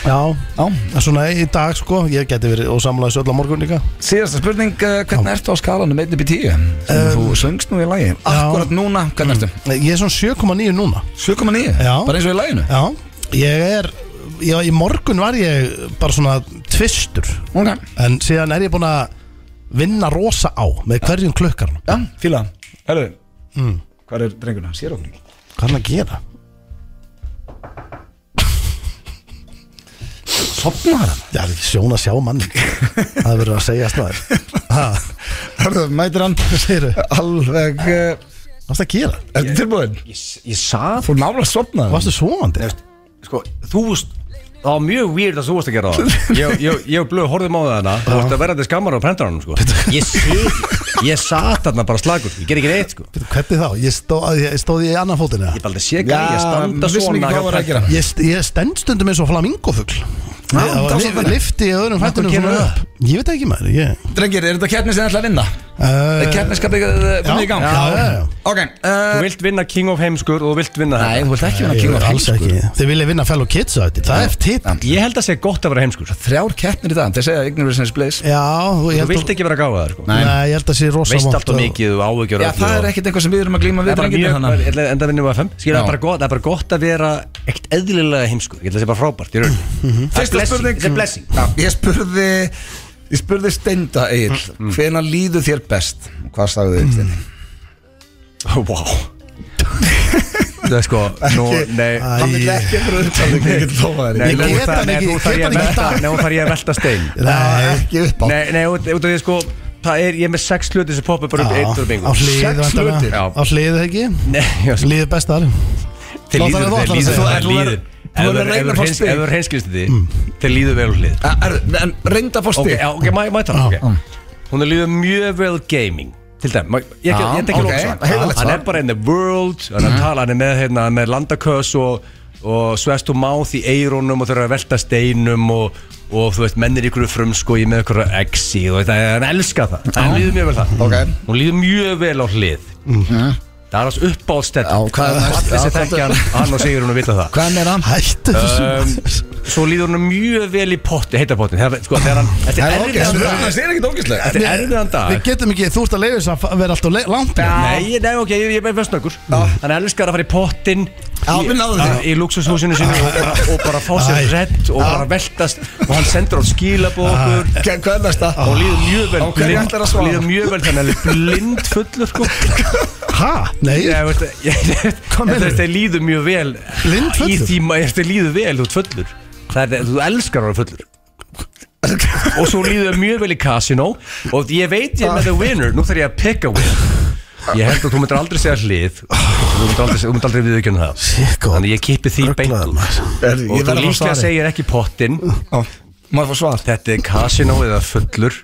Speaker 2: já
Speaker 1: Já,
Speaker 2: En Svona í dag sko, ég geti verið og samlaði söll á morgun líka
Speaker 1: síðasta spurning uh, Hvernig ertu á skalanum 1 upp í 10? Um, þú söngst nú í lagi Akkurat núna, hvernig ertu?
Speaker 2: Ég er svona 7,9 núna
Speaker 1: 7,9
Speaker 2: Já.
Speaker 1: Bara eins og í laginu
Speaker 2: Já, ég er já, Í morgun var ég bara svona tvistur
Speaker 1: Ok,
Speaker 2: En síðan er ég búinn að vinna rosa á með hverjum klukkarnum
Speaker 1: já, fíla Herðu, Hmm. hvað er drengurna? Sér okkur ekki
Speaker 2: Hvað er hann að gera?
Speaker 1: Sopnar hann?
Speaker 2: Já, það er ekki sjón að sjá manni Það verður að segja snæður Hvað
Speaker 1: Herðu, mætir hann
Speaker 2: segir þau?
Speaker 1: Alveg, uh,
Speaker 2: Hvað er það að gera?
Speaker 1: ertu tilbúin?
Speaker 3: Ég, ég sað
Speaker 1: Þú nála sopnar
Speaker 2: Varstu svovandi?
Speaker 3: sko, þú veist Það var mjög weird að þú varst að gera [laughs] það Ég, ég, ég og blöð horfðum á það hana Þú varst að vera þetta skammar á prentanum sko. Ég sé, ég sat þarna bara slagur Ég ger ekki neitt sko
Speaker 2: Bíddu, Hvernig þá? Ég, stó, að ég stóð í annan fótinn eða?
Speaker 3: Ég bara aldrei sé gæði, ég standa
Speaker 1: vissum
Speaker 3: svona
Speaker 1: ekki hvað
Speaker 3: hjá
Speaker 1: var að
Speaker 3: prentanum.
Speaker 1: gera
Speaker 2: Ég, st- ég stend stundum eins og flamingofugl
Speaker 1: það var svo
Speaker 2: Ég
Speaker 1: þannig.
Speaker 2: lifti í öðrum fættunum
Speaker 3: gerir
Speaker 2: svona
Speaker 3: það?
Speaker 2: upp Ég veit ekki maður ég,
Speaker 1: Drengir, er þetta keppni sem þið ætla að vinna?
Speaker 2: uh,
Speaker 1: Er keppniskapið komið í gang?
Speaker 2: já, já, já.
Speaker 1: Ok,
Speaker 3: Þú
Speaker 1: uh,
Speaker 3: vilt vinna King of Heimskur og þú vilt vinna
Speaker 1: nei,
Speaker 3: þetta
Speaker 1: þú vilt ekki vinna
Speaker 2: Ég
Speaker 1: King
Speaker 2: vil
Speaker 1: of
Speaker 2: alls
Speaker 1: Heimskur
Speaker 2: ekki Þið vilja vinna fellow kids á þetta Það er titt Já,
Speaker 3: Ég held að segja gott að vera heimskur
Speaker 1: Þrjár keppnir í dag, þeir segja Ignorance is Bliss
Speaker 2: þú ég
Speaker 3: Þú
Speaker 2: held
Speaker 3: vilt
Speaker 2: að
Speaker 3: ekki vera gáðaður sko.
Speaker 2: Nei, ég held að sé rosa
Speaker 3: Veist
Speaker 2: vont
Speaker 3: allt og
Speaker 2: að-
Speaker 3: mikið og áhugjör
Speaker 1: Já, það er ekkert eitthvað sem við erum að glíma
Speaker 3: Það
Speaker 1: við
Speaker 3: er bara
Speaker 1: drengir
Speaker 3: mjög,
Speaker 1: þannig að-
Speaker 3: bara- enda vinnum á FM Skilja,
Speaker 1: Já.
Speaker 3: það, er bara gott- það er bara gott að vera ekkert eðlilega heimskur Ég held að það sé bara frábært í rauninni Það er
Speaker 1: Fyrsta
Speaker 3: blessing,
Speaker 1: spurning
Speaker 3: þetta er blessing.
Speaker 1: Já, Ég spurði Ég spurði Steinda Egil Hvena líður þér best? Og Hvað sagði þið Steindi?
Speaker 3: [laughs] Vá Það er sko
Speaker 1: [laughs]
Speaker 3: nú, Nei
Speaker 2: Æ,
Speaker 1: Hann vil ekki að bröða Ég get lofað
Speaker 3: Nei,
Speaker 1: þér
Speaker 3: nú
Speaker 2: Ég get
Speaker 3: þarf-
Speaker 2: hann
Speaker 3: nei,
Speaker 2: ekki-
Speaker 3: nú þarf
Speaker 2: get
Speaker 3: ég að
Speaker 2: hann ekki
Speaker 3: velta-
Speaker 2: í dag.
Speaker 3: nei, nú þarf ég að velta
Speaker 1: [laughs]
Speaker 3: stein
Speaker 1: Það er
Speaker 2: Nei,
Speaker 1: ekki upp á
Speaker 3: Nei, nei, út út af því sko Það er, ég er með sex hluti sem poppa bara upp eitt úr
Speaker 2: Já, á
Speaker 3: bingo
Speaker 1: Sex
Speaker 2: hlið
Speaker 1: hlutir.
Speaker 2: væntanlega.
Speaker 3: Já.
Speaker 2: Á hlið ekki
Speaker 3: Nei, já, sko,
Speaker 2: Hlið bestar
Speaker 3: þeir
Speaker 2: láta það
Speaker 3: líður, þeir
Speaker 2: votla
Speaker 3: líður,
Speaker 2: sig.
Speaker 3: þeir
Speaker 1: Þú verður-
Speaker 3: líður
Speaker 1: þú verður að reyna að fá Mm.
Speaker 3: Ef
Speaker 1: stig.
Speaker 3: þú er hreinskilist í því, þeir líður vel á hlið
Speaker 1: Æ, er- En reynda fórst
Speaker 3: Ok,
Speaker 1: þig
Speaker 3: já, ok, má ég mæta
Speaker 2: Já.
Speaker 3: hann okay. Hún er lífið mjög vel gaming Til dæmi, má- ég
Speaker 1: Já,
Speaker 3: ég- ég tek
Speaker 1: ok,
Speaker 3: ekki lóksa
Speaker 1: heiðarlegt svar.
Speaker 3: Hann
Speaker 1: Mhm.
Speaker 3: er bara in the world Hann er að tala, hann er með, hérna, með landaköss og, og svest og máð í eirónum og þau eru að velta steinum og, og þú veist, mennir ykkur frumskogi með ykkur exi og þetta, hann elskar það Hann líður mjög vel það
Speaker 1: Ok. Mhm.
Speaker 3: Hún líður mjög vel á hlið Það er hans uppáðstætt
Speaker 1: Já, hvað er næst?
Speaker 3: Allir
Speaker 1: Já,
Speaker 3: sem
Speaker 1: hvað er-
Speaker 3: þekkja hann, hann og Sigrún að vita það
Speaker 1: [laughs] Hvað er það?
Speaker 2: Hættu þessu
Speaker 3: Um,
Speaker 2: maður.
Speaker 3: svo líður hann mjög vel í potti, heita potti þegar, sko, þegar hann, þetta
Speaker 1: Það
Speaker 3: er
Speaker 1: er
Speaker 3: erfiðan
Speaker 1: ógeðslega
Speaker 3: dag
Speaker 1: Það er ekkert ógeðslega
Speaker 3: þetta er erfiðan dag
Speaker 2: Við getum ekki, þú ert að leiða þess að fa- vera alltaf le- langt
Speaker 3: Um, Nei, ég- nei, ok, ég, ég er vestnökkur Hann elskar að fara í pottin
Speaker 1: Já,
Speaker 3: í,
Speaker 1: við náðum
Speaker 3: að-
Speaker 1: því.
Speaker 3: í luxushúsinu sinu og, og, og bara fá
Speaker 2: Æ.
Speaker 3: sér redd og bara veltast og hann sendur á skilabóð okkur
Speaker 1: Hvað er næsta?
Speaker 3: og líður mjög vel
Speaker 1: Á hverju
Speaker 3: blind-
Speaker 1: ætlarðu að svara?
Speaker 3: líður mjög vel þannig að hann er blind fullur sko.
Speaker 1: [laughs]
Speaker 2: Hæ? Nei,
Speaker 3: ég veist ég- ég-
Speaker 2: Hvað
Speaker 3: en
Speaker 2: meinarðu?
Speaker 3: þetta líður mjög vel
Speaker 2: Blind
Speaker 3: í
Speaker 2: fullur?
Speaker 3: því maður þetta líður vel þú ert fullur það er, þú elskar að vera fullur og svo líður þér mjög vel í casino og ég veit ég er með the winner nú þarf ég að pick a winner ég held að þú myndir aldrei segja hlið þú myndir aldrei, þú myndir aldrei viðurkjönda það
Speaker 2: Shit, góð.
Speaker 3: þannig ég kippi því beint
Speaker 2: Ruglaður,
Speaker 3: og
Speaker 2: maður.
Speaker 1: Er- Ég
Speaker 3: þú
Speaker 1: verð að fá
Speaker 3: líklega
Speaker 1: svari
Speaker 3: segir ekki pottin
Speaker 1: Á, Maður fá svar
Speaker 3: þetta er casino eða
Speaker 2: [laughs]
Speaker 3: fullur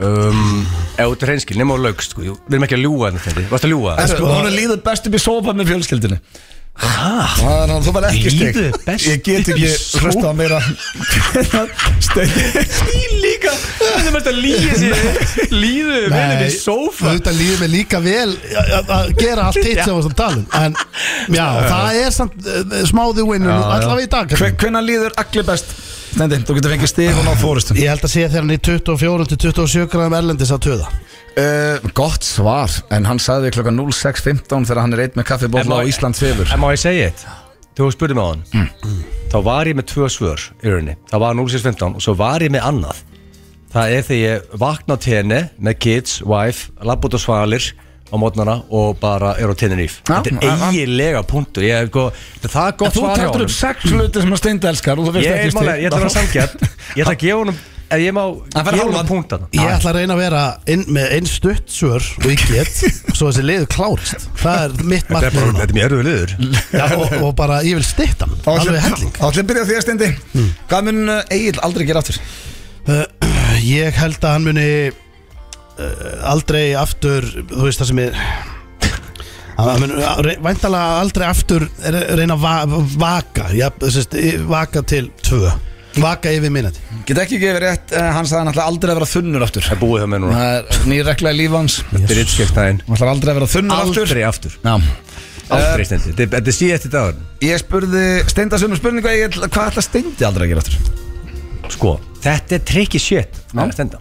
Speaker 3: um, eða út er reynskil nema á laugst sko. Jú, við erum ekki að ljúga þetta varst að ljúga
Speaker 1: Sko, hún er líður best upp í sofa með fjölskyldinu Það er hann, þú var ekki stygg
Speaker 3: Líður best
Speaker 1: Ég get
Speaker 3: upp
Speaker 1: ekki
Speaker 3: í sófa?
Speaker 1: hlusta á meira [laughs] Stygg
Speaker 3: líka það er mest að líða sér líðu vel upp í sófa
Speaker 2: Þetta líður mig líka vel að- að að gera allt eitt sem við erum talum um. En já, það er samt eh, smáði vinnur
Speaker 3: Já, já.
Speaker 2: allavega í dag Kallur.
Speaker 1: Hvenna líður allir best? Stendi, þú getur fengið stig og náð fórustum
Speaker 2: Ég held að sé þegar hann í 24 til 27 gráðum erlendis að töða
Speaker 1: uh, Gott svar, en hann sagði klokka 06.15 þegar hann er eitt með
Speaker 3: En
Speaker 1: kaffibóla
Speaker 3: má-
Speaker 1: á Ísland Mm. sefur
Speaker 3: En má ég segja eitt? Þú spurði mig á hann Þá var ég með tvö svör í rauninni Það var 0615 og svo var ég með annað Það er þegar ég vakna á tenni með kids, wife, labb út á svalir á mótnana og bara er á Tenerife
Speaker 1: Já,
Speaker 3: Þetta
Speaker 1: já,
Speaker 3: er
Speaker 1: já.
Speaker 3: eiginlega punktur ég, hef go, Það er
Speaker 1: En þú
Speaker 3: gott
Speaker 1: um
Speaker 3: svar hjá
Speaker 1: taktur
Speaker 3: honum
Speaker 1: upp sex hluti sem að Stendi elskar og þú veist
Speaker 3: Ég
Speaker 1: ekki
Speaker 3: er málega, ég ætla að vera samgjart Ég ætla að gefa honum Ef ég má
Speaker 1: Hann fær
Speaker 3: gefa
Speaker 1: hálfan.
Speaker 3: honum punktan
Speaker 2: Ég ætla að reyna að vera inn, með einn stutt svör og ég get Svo þessi liður klárist Það er mitt
Speaker 3: Þetta er
Speaker 2: markmið
Speaker 3: bara-
Speaker 2: núna.
Speaker 3: þetta er mjög erfið liður
Speaker 2: Já, og, og bara ég vil stýtta hann
Speaker 1: Þá ætlum
Speaker 2: Alveg helling
Speaker 1: þá ætlum við að byrja á því að Stendi
Speaker 3: Hmm.
Speaker 1: Hvað mun Egil aldrei gera aftur?
Speaker 2: Uh, Ég held að hann muni uh, aldrei aftur þú veist það sem er hann muni væntalega aldrei aftur re- reyna að va vaka já, sest, vaka til tvö vaka yfir minnati
Speaker 1: Get ekki gefið rétt, eh, hann sagði hann ætla aldrei að vera þunnur aftur
Speaker 3: Það er búið það með núna
Speaker 1: Það er nýr regla í líf hans
Speaker 3: Þetta er ytskjöktæðin
Speaker 1: Hann ætlar aldrei að vera þunnur aftur Eh.
Speaker 3: Aldrei aftur
Speaker 1: Já.
Speaker 3: Aldrei stendur Þetta er- þetta er síðast í dagur
Speaker 1: Ég spurði Steinda sömu spurningu Egill, Hvað ætla Steindi aldrei að gera aftur?
Speaker 3: Sko, þetta er tricky shit
Speaker 1: Já.
Speaker 3: að stenda.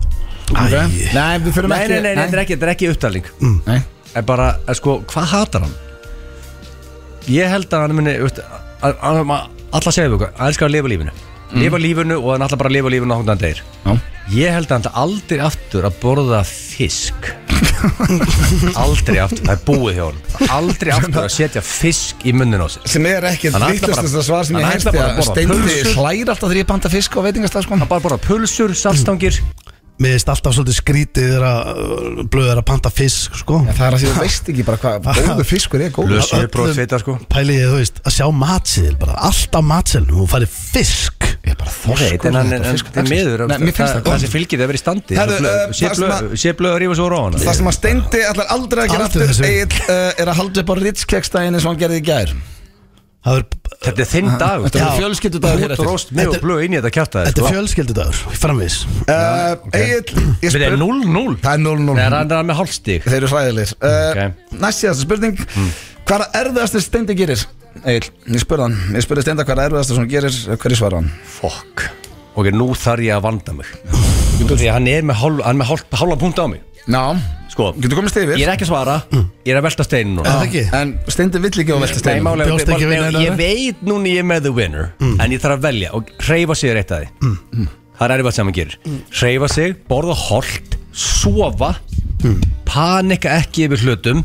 Speaker 2: Æ.
Speaker 1: Nei, við Mm.
Speaker 3: Nei,
Speaker 1: þurfum
Speaker 3: nei,
Speaker 1: ekki
Speaker 3: nei, nei, þetta er ekki, þetta er ekki upptaling
Speaker 1: nei.
Speaker 3: En bara, að sko, hvað hatar hann? Ég held að hann muni Alla segja við okkur, hann elskar að lifa lífinu
Speaker 1: Mm.
Speaker 3: Lifa lífinu og hann ætla bara að lifa lífinu Náttúrulega hann deyr
Speaker 1: Já.
Speaker 3: Ég held að hann ætli aldrei aftur að borða
Speaker 1: [laughs]
Speaker 3: fisk Aldrei aftur, það er búið hjá hann Aldrei aftur að setja fisk í munnin á sér
Speaker 1: Sem er ekki
Speaker 3: Hann ætlar
Speaker 1: vittlustast
Speaker 3: bara-
Speaker 1: að svar sem ég
Speaker 3: hann
Speaker 1: heist
Speaker 3: ætlar bara að borða
Speaker 1: Steindi
Speaker 3: pulsur.
Speaker 1: hlægir alltaf þegar ég panta fisk á veitingastað sko.
Speaker 3: Hann bara borða pulsur, saltstangir
Speaker 1: Mm.
Speaker 2: mér finnst alltaf svolítið skrítið þegar að blöður að panta fisk sko.
Speaker 1: En Það er að því þú veist ekki bara hvað góður fiskur er góður
Speaker 3: Blöð. sjöbrót fita, sko.
Speaker 2: pæli ég þú veist að sjá matseðil bara alltaf matseðil og færi fisk
Speaker 1: Ég er bara
Speaker 3: Ég veit,
Speaker 1: þorskur
Speaker 3: en hann
Speaker 1: Sko, þetta
Speaker 3: er en
Speaker 1: fiskur
Speaker 3: það er
Speaker 1: dagsins.
Speaker 3: miður
Speaker 1: Nei, mér finnst það
Speaker 3: það
Speaker 1: gott.
Speaker 3: sem fylgir það að vera í standi
Speaker 1: Herðu,
Speaker 3: Svo blöð-
Speaker 1: eh,
Speaker 3: sé
Speaker 1: það sem
Speaker 3: blöð- sé blöð að rífa svo róan
Speaker 1: Það sem að Steindi ætlar aldrei að gera
Speaker 2: Aldrei
Speaker 1: aftur
Speaker 2: þessu.
Speaker 1: Egil, uh, er að halda upp á Ritz-kekstæðin eins og hann gerði í gær
Speaker 2: það er
Speaker 3: Þetta er þinn dag
Speaker 1: Þetta
Speaker 2: Já.
Speaker 1: er fjölskyldudagur hér
Speaker 3: Þú
Speaker 1: eftir
Speaker 3: róst mjög
Speaker 2: Þetta er-
Speaker 3: blöð inn í þetta sko. kjarta
Speaker 2: Þetta
Speaker 1: sko.
Speaker 2: er fjölskyldudagur, framvís
Speaker 1: Uh, Egil, ég
Speaker 3: Þetta er
Speaker 1: spurði
Speaker 3: 0-0
Speaker 1: Það er 0-0
Speaker 3: Nei, hann er með hálfstík
Speaker 1: Þeir eru hræðilegir uh,
Speaker 3: Ok. Hmm.
Speaker 1: Næst síðasta spurning Hvað er að erfiðastir Steindi gerir? Egil, ég spurði hann Ég spurði Steinda hvað er að erfiðastir sem hann gerir Hverju svara hann?
Speaker 3: Fuck Ok, nú þarf ég að vanda mig Því að hann er með hálf- hann er með hálf- hálfan punkt á mig
Speaker 1: Ná,
Speaker 3: Sko,
Speaker 1: getur komist yfir
Speaker 3: ég er ekki að svara
Speaker 1: Mm.
Speaker 3: Ég er að velta steinu núna
Speaker 2: Er það ekki?
Speaker 1: En Steindi vill ekki á velta
Speaker 3: Nei,
Speaker 1: Steindi
Speaker 3: málega,
Speaker 2: Bjóst ekki við Mm.
Speaker 3: ég,
Speaker 2: neina
Speaker 3: ég
Speaker 2: aðra?
Speaker 3: veit núna ég er með the winner En ég þarf að velja og hreyfa sig er eitt að því
Speaker 2: Mm.
Speaker 3: Það er erfitt sem hann gerir Hreyfa sig, borða holt, sofa
Speaker 2: Mm.
Speaker 3: Panika ekki yfir hlutum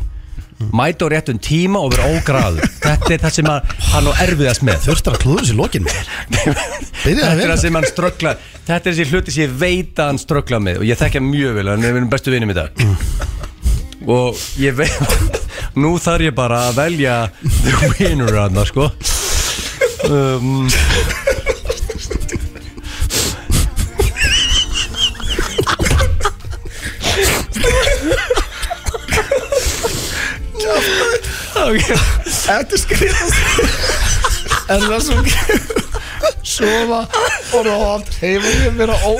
Speaker 3: Mæta á réttum tíma og vera
Speaker 2: [laughs]
Speaker 3: ógráður Þetta er það sem að, hann á erfiðast með
Speaker 2: Þurftar að klúður sér lokin mér Byrjaði að
Speaker 3: Þetta er
Speaker 2: vera
Speaker 3: það sem hann ströggla Þetta er þessi hluti sem ég veit að hann ströggla með Og ég þekkja hann mjög vel, hann er minn bestu vinum í dag Og ég veit Nú þarf ég bara að velja The winner hann, sko um, okay.
Speaker 1: Þetta skrifast En það sem Sofa Og rátt Hefur ég vera ó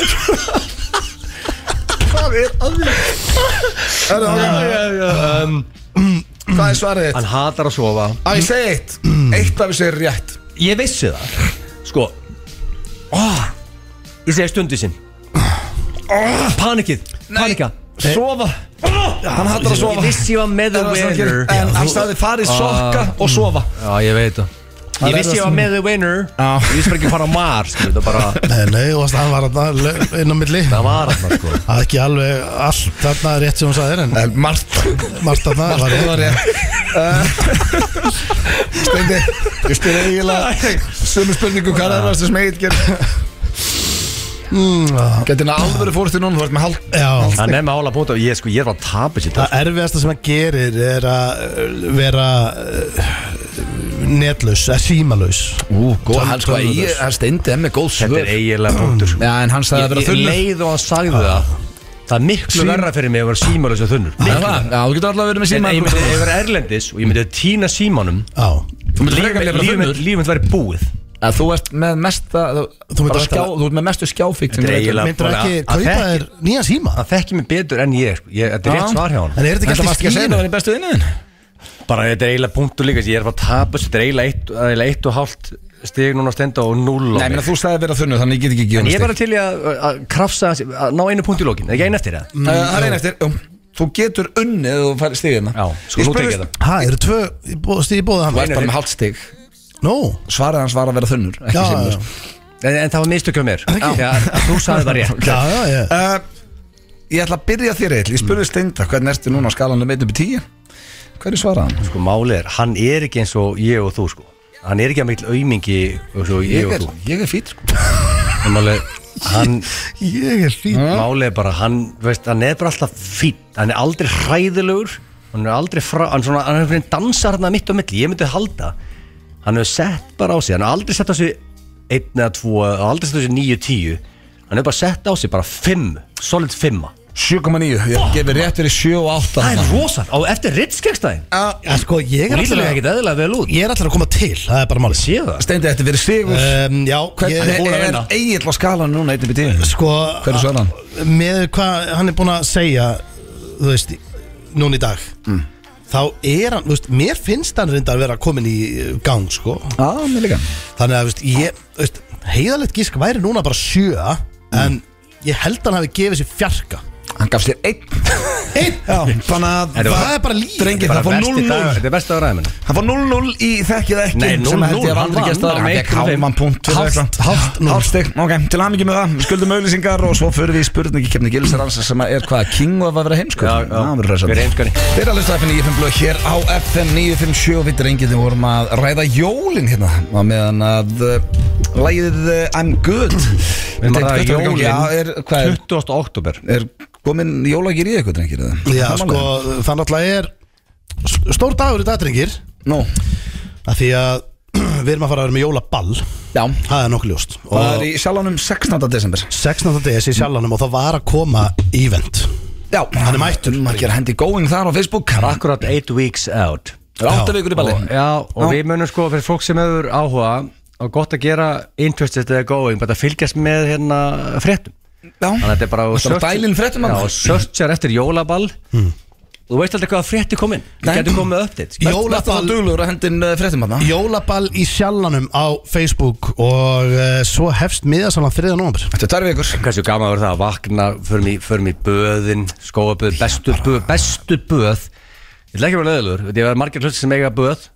Speaker 1: Hvað er að því? Herra, ok,
Speaker 3: um,
Speaker 1: Hvað er svarið þitt?
Speaker 3: Hann hatar að sofa
Speaker 1: Á, ég segi eitt Eitt af þessu er rétt
Speaker 3: Ég vissi það Sko, Ég segi stundu sinn Panikið, panika
Speaker 1: Sofa Hann hattar að
Speaker 3: Ég
Speaker 1: sofa
Speaker 3: vissi ég var með the
Speaker 1: Það er það sem hann
Speaker 3: winner Ah.
Speaker 1: gerir. En hann sagði farið sokka og sofa
Speaker 3: Já, ég veit það Ég
Speaker 1: er
Speaker 3: vissi
Speaker 1: það
Speaker 3: ég var
Speaker 1: sem-
Speaker 3: með the winner Ég vissi bara ekki að fara á mar skilur, Það bara,
Speaker 2: Nei, nei, og það var þarna le- inn á milli
Speaker 3: það var alltaf sko
Speaker 2: Það er ekki alveg allt þarna rétt sem hún sagði þér,
Speaker 1: En margt
Speaker 2: en margt þarna var
Speaker 1: Það var
Speaker 2: rétt
Speaker 1: ég [laughs] Steindi Ég spyr eiginlega Sömu spurningu Hvað er það sem smegið gerir Gæti hann alveg fórst í núna Þú ert með hald
Speaker 2: Mm, Já,
Speaker 3: Það nefn ála punkt og ég sko, ég var að tapa sér
Speaker 2: það erfiðasta sem hann gerir er að uh, vera uh, netlaus, eða símalaus
Speaker 1: Ú, góð
Speaker 2: Tölv-
Speaker 1: Hann sko
Speaker 2: tölvulaus.
Speaker 1: ég- hann Steindi er með góð
Speaker 3: Þetta
Speaker 1: svör
Speaker 3: er eiginlega punktur sko.
Speaker 1: Já, en hann sagði að vera
Speaker 3: Ég- ég
Speaker 1: þunnur
Speaker 3: Leið og hann sagði það Það er miklu
Speaker 1: Sím-
Speaker 3: verra fyrir mig að vera símalösa þunnur
Speaker 1: Það
Speaker 3: Miklu
Speaker 1: er það? Já, þú getur allavega verið með
Speaker 3: En
Speaker 1: síma
Speaker 3: ef ég myndi- ef ég verið erlendis og ég myndi týna símanum
Speaker 2: Já,
Speaker 1: Þú myndir frekar vilja vera
Speaker 3: Lífum
Speaker 1: þunnur.
Speaker 3: þetta verið búið
Speaker 1: að þú ert með mesta þú,
Speaker 2: myndir
Speaker 1: bara
Speaker 2: væntanlega-
Speaker 1: skjá, þú ert með mestu skjáfíkt sem
Speaker 3: Þetta er
Speaker 1: ég veit um.
Speaker 3: eiginlega-
Speaker 2: myndir
Speaker 3: bara
Speaker 2: ekki
Speaker 3: að
Speaker 2: kaupa
Speaker 3: þekki-
Speaker 2: þér nýjan síma
Speaker 3: Það þekki mig betur en ég, sko. ég Þetta er rétt
Speaker 1: Já.
Speaker 3: svar hjá hann
Speaker 2: En er
Speaker 1: Þetta
Speaker 2: þetta ekki
Speaker 1: varst
Speaker 2: allt
Speaker 1: ekki
Speaker 2: í
Speaker 1: að segja það
Speaker 2: skýnu?
Speaker 1: var í bestu vinnuðin
Speaker 3: Bara þetta er eiginlega punktur líka Ég er bara að tapa Þetta er eiginlega eitt, það er eiginlega eitt og hálft stig núna að stenda og null á
Speaker 1: Nei,
Speaker 3: mig
Speaker 1: menn að þú sagði að vera þunnu, þannig ég get ekki
Speaker 3: En
Speaker 1: gefið
Speaker 3: ég er bara til í að, að krafsa að ná einu punkt í lókin Ekki einu eftir það
Speaker 1: Það er einn eftir, um, þú getur unnið og færi stigina
Speaker 3: Já, sko, nú tek ég það.
Speaker 2: Hæ, eru tvö í bó- stig í
Speaker 1: Þú
Speaker 2: bóða hann?
Speaker 1: ert bara með hálft stig
Speaker 2: Nú,
Speaker 1: Svarað hans var að vera þunnur,
Speaker 2: já,
Speaker 1: ekki
Speaker 2: já,
Speaker 1: símur
Speaker 3: En, en það var mistökjum mér Já, Þú sagði [laughs] það rétt
Speaker 2: já, já, já
Speaker 1: uh, Ég ætla að byrja þér eitthvað Ég spurði Steinda, hvernig ertu núna á skalanum 1 upp í 10? Hverju svaraði hann?
Speaker 3: Sko málið er, hann er ekki eins og ég og þú sko Hann er ekki að mikil aumingi eins og
Speaker 1: Ég
Speaker 3: ég, og
Speaker 1: er,
Speaker 3: þú
Speaker 1: ég er sko. fýt
Speaker 3: En Málið, er, hann,
Speaker 2: Ég er fín
Speaker 1: Hm?
Speaker 3: málið er bara, hann, veist, hann er bara alltaf fín Hann er aldrei hræðilegur Hann er aldrei frá, hann, svona, hann er einhvern veginn dansar hann mitt á milli Ég myndi halda Hann hefur sett bara á sig, hann hefur aldrei sett á sig Einn eða tvo, hann hefur aldrei sett á sig níu, tíu Hann hefur bara sett á sig bara fimm, solid fimma
Speaker 1: 7,9, ég gefi rétt fyrir 7 og 8
Speaker 3: Það er rosal, á eftir ritskegstæðin
Speaker 2: Já, sko, ég
Speaker 3: Hún
Speaker 2: er
Speaker 3: lítur
Speaker 2: alltaf
Speaker 3: ekki eðlilega vel út
Speaker 2: Ég er alltaf að koma til, það er bara málið
Speaker 3: Sé það
Speaker 1: Steinda, þetta verið sigur
Speaker 2: um, Já,
Speaker 1: Hvernig
Speaker 2: ég,
Speaker 1: er, er
Speaker 3: vinna.
Speaker 1: eiginlega á skalanum núna 1 upp í 10?
Speaker 2: sko
Speaker 1: Hverju svarar hann?
Speaker 2: Með hvað hann er búin að segja Þú veist, núna í dag
Speaker 1: Mm.
Speaker 2: Þá er hann, þú veist, mér finnst hann reynda að vera komin í eh, gang, sko
Speaker 1: Já, mér líka
Speaker 2: Þannig að, þú veist, ég, þú veist, heiðalegt gísk væri núna bara sjö
Speaker 1: Mm.
Speaker 2: En ég held hann hafi gefið sér fjarka
Speaker 1: Hann gaf sér einn Einn? Já Þannig að
Speaker 3: Þetta var-
Speaker 2: Það er bara líf
Speaker 1: Drengir,
Speaker 3: Bara
Speaker 1: það fór
Speaker 3: versti
Speaker 1: 0-0
Speaker 3: dagur- Þetta er besta á ræðinu
Speaker 1: Hann fór 0-0 í þekkið ekki
Speaker 3: Nei, 0-0,
Speaker 1: sem held ég að
Speaker 3: hann
Speaker 1: aldrei
Speaker 3: vann,
Speaker 1: gæst það
Speaker 3: hann
Speaker 1: Hann
Speaker 3: fékk
Speaker 1: fekk hálfan
Speaker 3: hálfan
Speaker 1: punkt Hálft, hálft, hálft stygg Ok, til hamingi með það, skuldum auðlýsingar og svo förum við í spurningi kemni Gilsarans sem er hvað, King og að vera sko. heimskur
Speaker 3: Já, já. Við erum heimskari.
Speaker 1: Þeir eru að hlusta FN 95 blöð hér á FM 957 og við drengið vorum að ræða jólin hérna á meðan að uh, lægið uh, I'm Good Við
Speaker 3: erum að ræða jólin.
Speaker 1: Já, er, hvað er,
Speaker 3: 20. oktober
Speaker 1: er komin jólagir í eitthvað drengir eða?
Speaker 2: Já,
Speaker 1: Það er
Speaker 2: sko,
Speaker 1: málið.
Speaker 2: það náttúrulega er s- Stór dagur í dag, drengir
Speaker 1: Nú,
Speaker 2: að Því að [clears throat] við erum að fara að vera með jólaball
Speaker 1: já
Speaker 2: Það er nokkuð ljóst
Speaker 1: Það er í sjálfanum 16. desember
Speaker 2: 16. DS í sjálfanum og það var að koma event
Speaker 1: Já, hann
Speaker 2: er mættur.
Speaker 1: Margir hendi going þar á Facebook
Speaker 3: Akkurat 8 weeks out
Speaker 1: Það er átta
Speaker 2: Já.
Speaker 1: vikur í balli
Speaker 3: og, Já, og
Speaker 1: Já.
Speaker 3: við munum sko fyrir fólk sem hefur áhuga og gott að gera interested eða going bara að fylgjast með hérna fréttum þannig að
Speaker 1: Já,
Speaker 3: þetta er bara
Speaker 1: Þetta var
Speaker 3: search-
Speaker 1: dælin fréttum,
Speaker 3: Já,
Speaker 1: maður.
Speaker 3: og searchar eftir jólaball þú veist alltaf hvaða frétti kom inn þú
Speaker 1: Nei.
Speaker 3: getur komið með update sko.
Speaker 2: Jó.
Speaker 1: jólaball Þetta var duglur að hendin uh, fréttum hann
Speaker 2: Jólaball í sjálfanum á Facebook og uh, svo hefst miðasalan 3. november
Speaker 1: Þetta er tvær vikur
Speaker 3: hversu gaman verður það að vakna förum í, förum í böðin, skóaböð bestu böð, bestu böð ég ætla ekki að vera leðilur, þetta er margir hluti sem eiga böð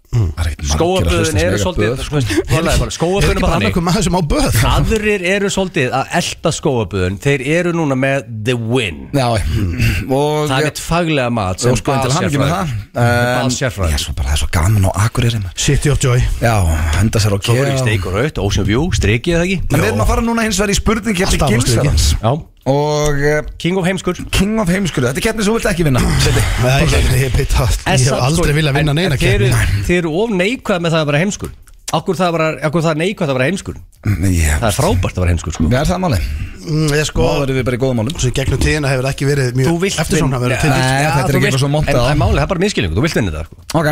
Speaker 3: skóaböðin eru svolítið sko.
Speaker 2: Er
Speaker 3: skóaböðin
Speaker 2: ekki
Speaker 3: er bara
Speaker 2: bara
Speaker 3: þannig
Speaker 2: annarkur maður sem á böð
Speaker 3: Aðrir eru svolítið að elta skóaböðun Þeir eru núna með the win
Speaker 1: Já, mm, og
Speaker 3: Það er mitt faglega mat sem
Speaker 1: Og sko, en til hamingju með það. En-
Speaker 3: Baðsérfræður
Speaker 1: Já, sko. svo bara það er svo gaman á Akureyri maður.
Speaker 2: City of Joy
Speaker 1: Já, henda sér á
Speaker 3: Svo
Speaker 1: kjá.
Speaker 3: voru í steik og raut, Ocean View, streikið það ekki
Speaker 1: En við erum að fara núna hins vegar í spurning hérna Kjæfti
Speaker 2: Alltaf á
Speaker 1: Gilsarans
Speaker 3: Já,
Speaker 1: Og uh,
Speaker 3: King of Heimskur
Speaker 1: King of Heimskurðu Þetta er keppni sem þú vilt ekki vinna Seti.
Speaker 2: Nei, ég, ég, beit, ég
Speaker 3: sko,
Speaker 2: hef aldrei viljað vinna neina
Speaker 3: keppni
Speaker 2: keppni
Speaker 3: Þeir eru of neikvæð með það að vera heimskur Akkur það, bara, akkur það er neikvæð að vera heimskur
Speaker 1: Mm, ég-
Speaker 3: Það er frábært að vera heimskur sko.
Speaker 1: Það er það máli
Speaker 2: Mm, Ég sko,
Speaker 1: Þá erum við bara í góðum málum
Speaker 2: svo í gegnum tíðina hefur ekki verið
Speaker 3: Þú
Speaker 2: mjög
Speaker 3: vilt
Speaker 2: eftirsóna verið
Speaker 1: Nei,
Speaker 2: til
Speaker 1: þetta er
Speaker 3: þú
Speaker 1: ekki
Speaker 3: vilt-
Speaker 1: eitthvað svo montað á.
Speaker 3: En það er málið, það er bara miskilning, þú vilt vinna það sko.
Speaker 1: Ok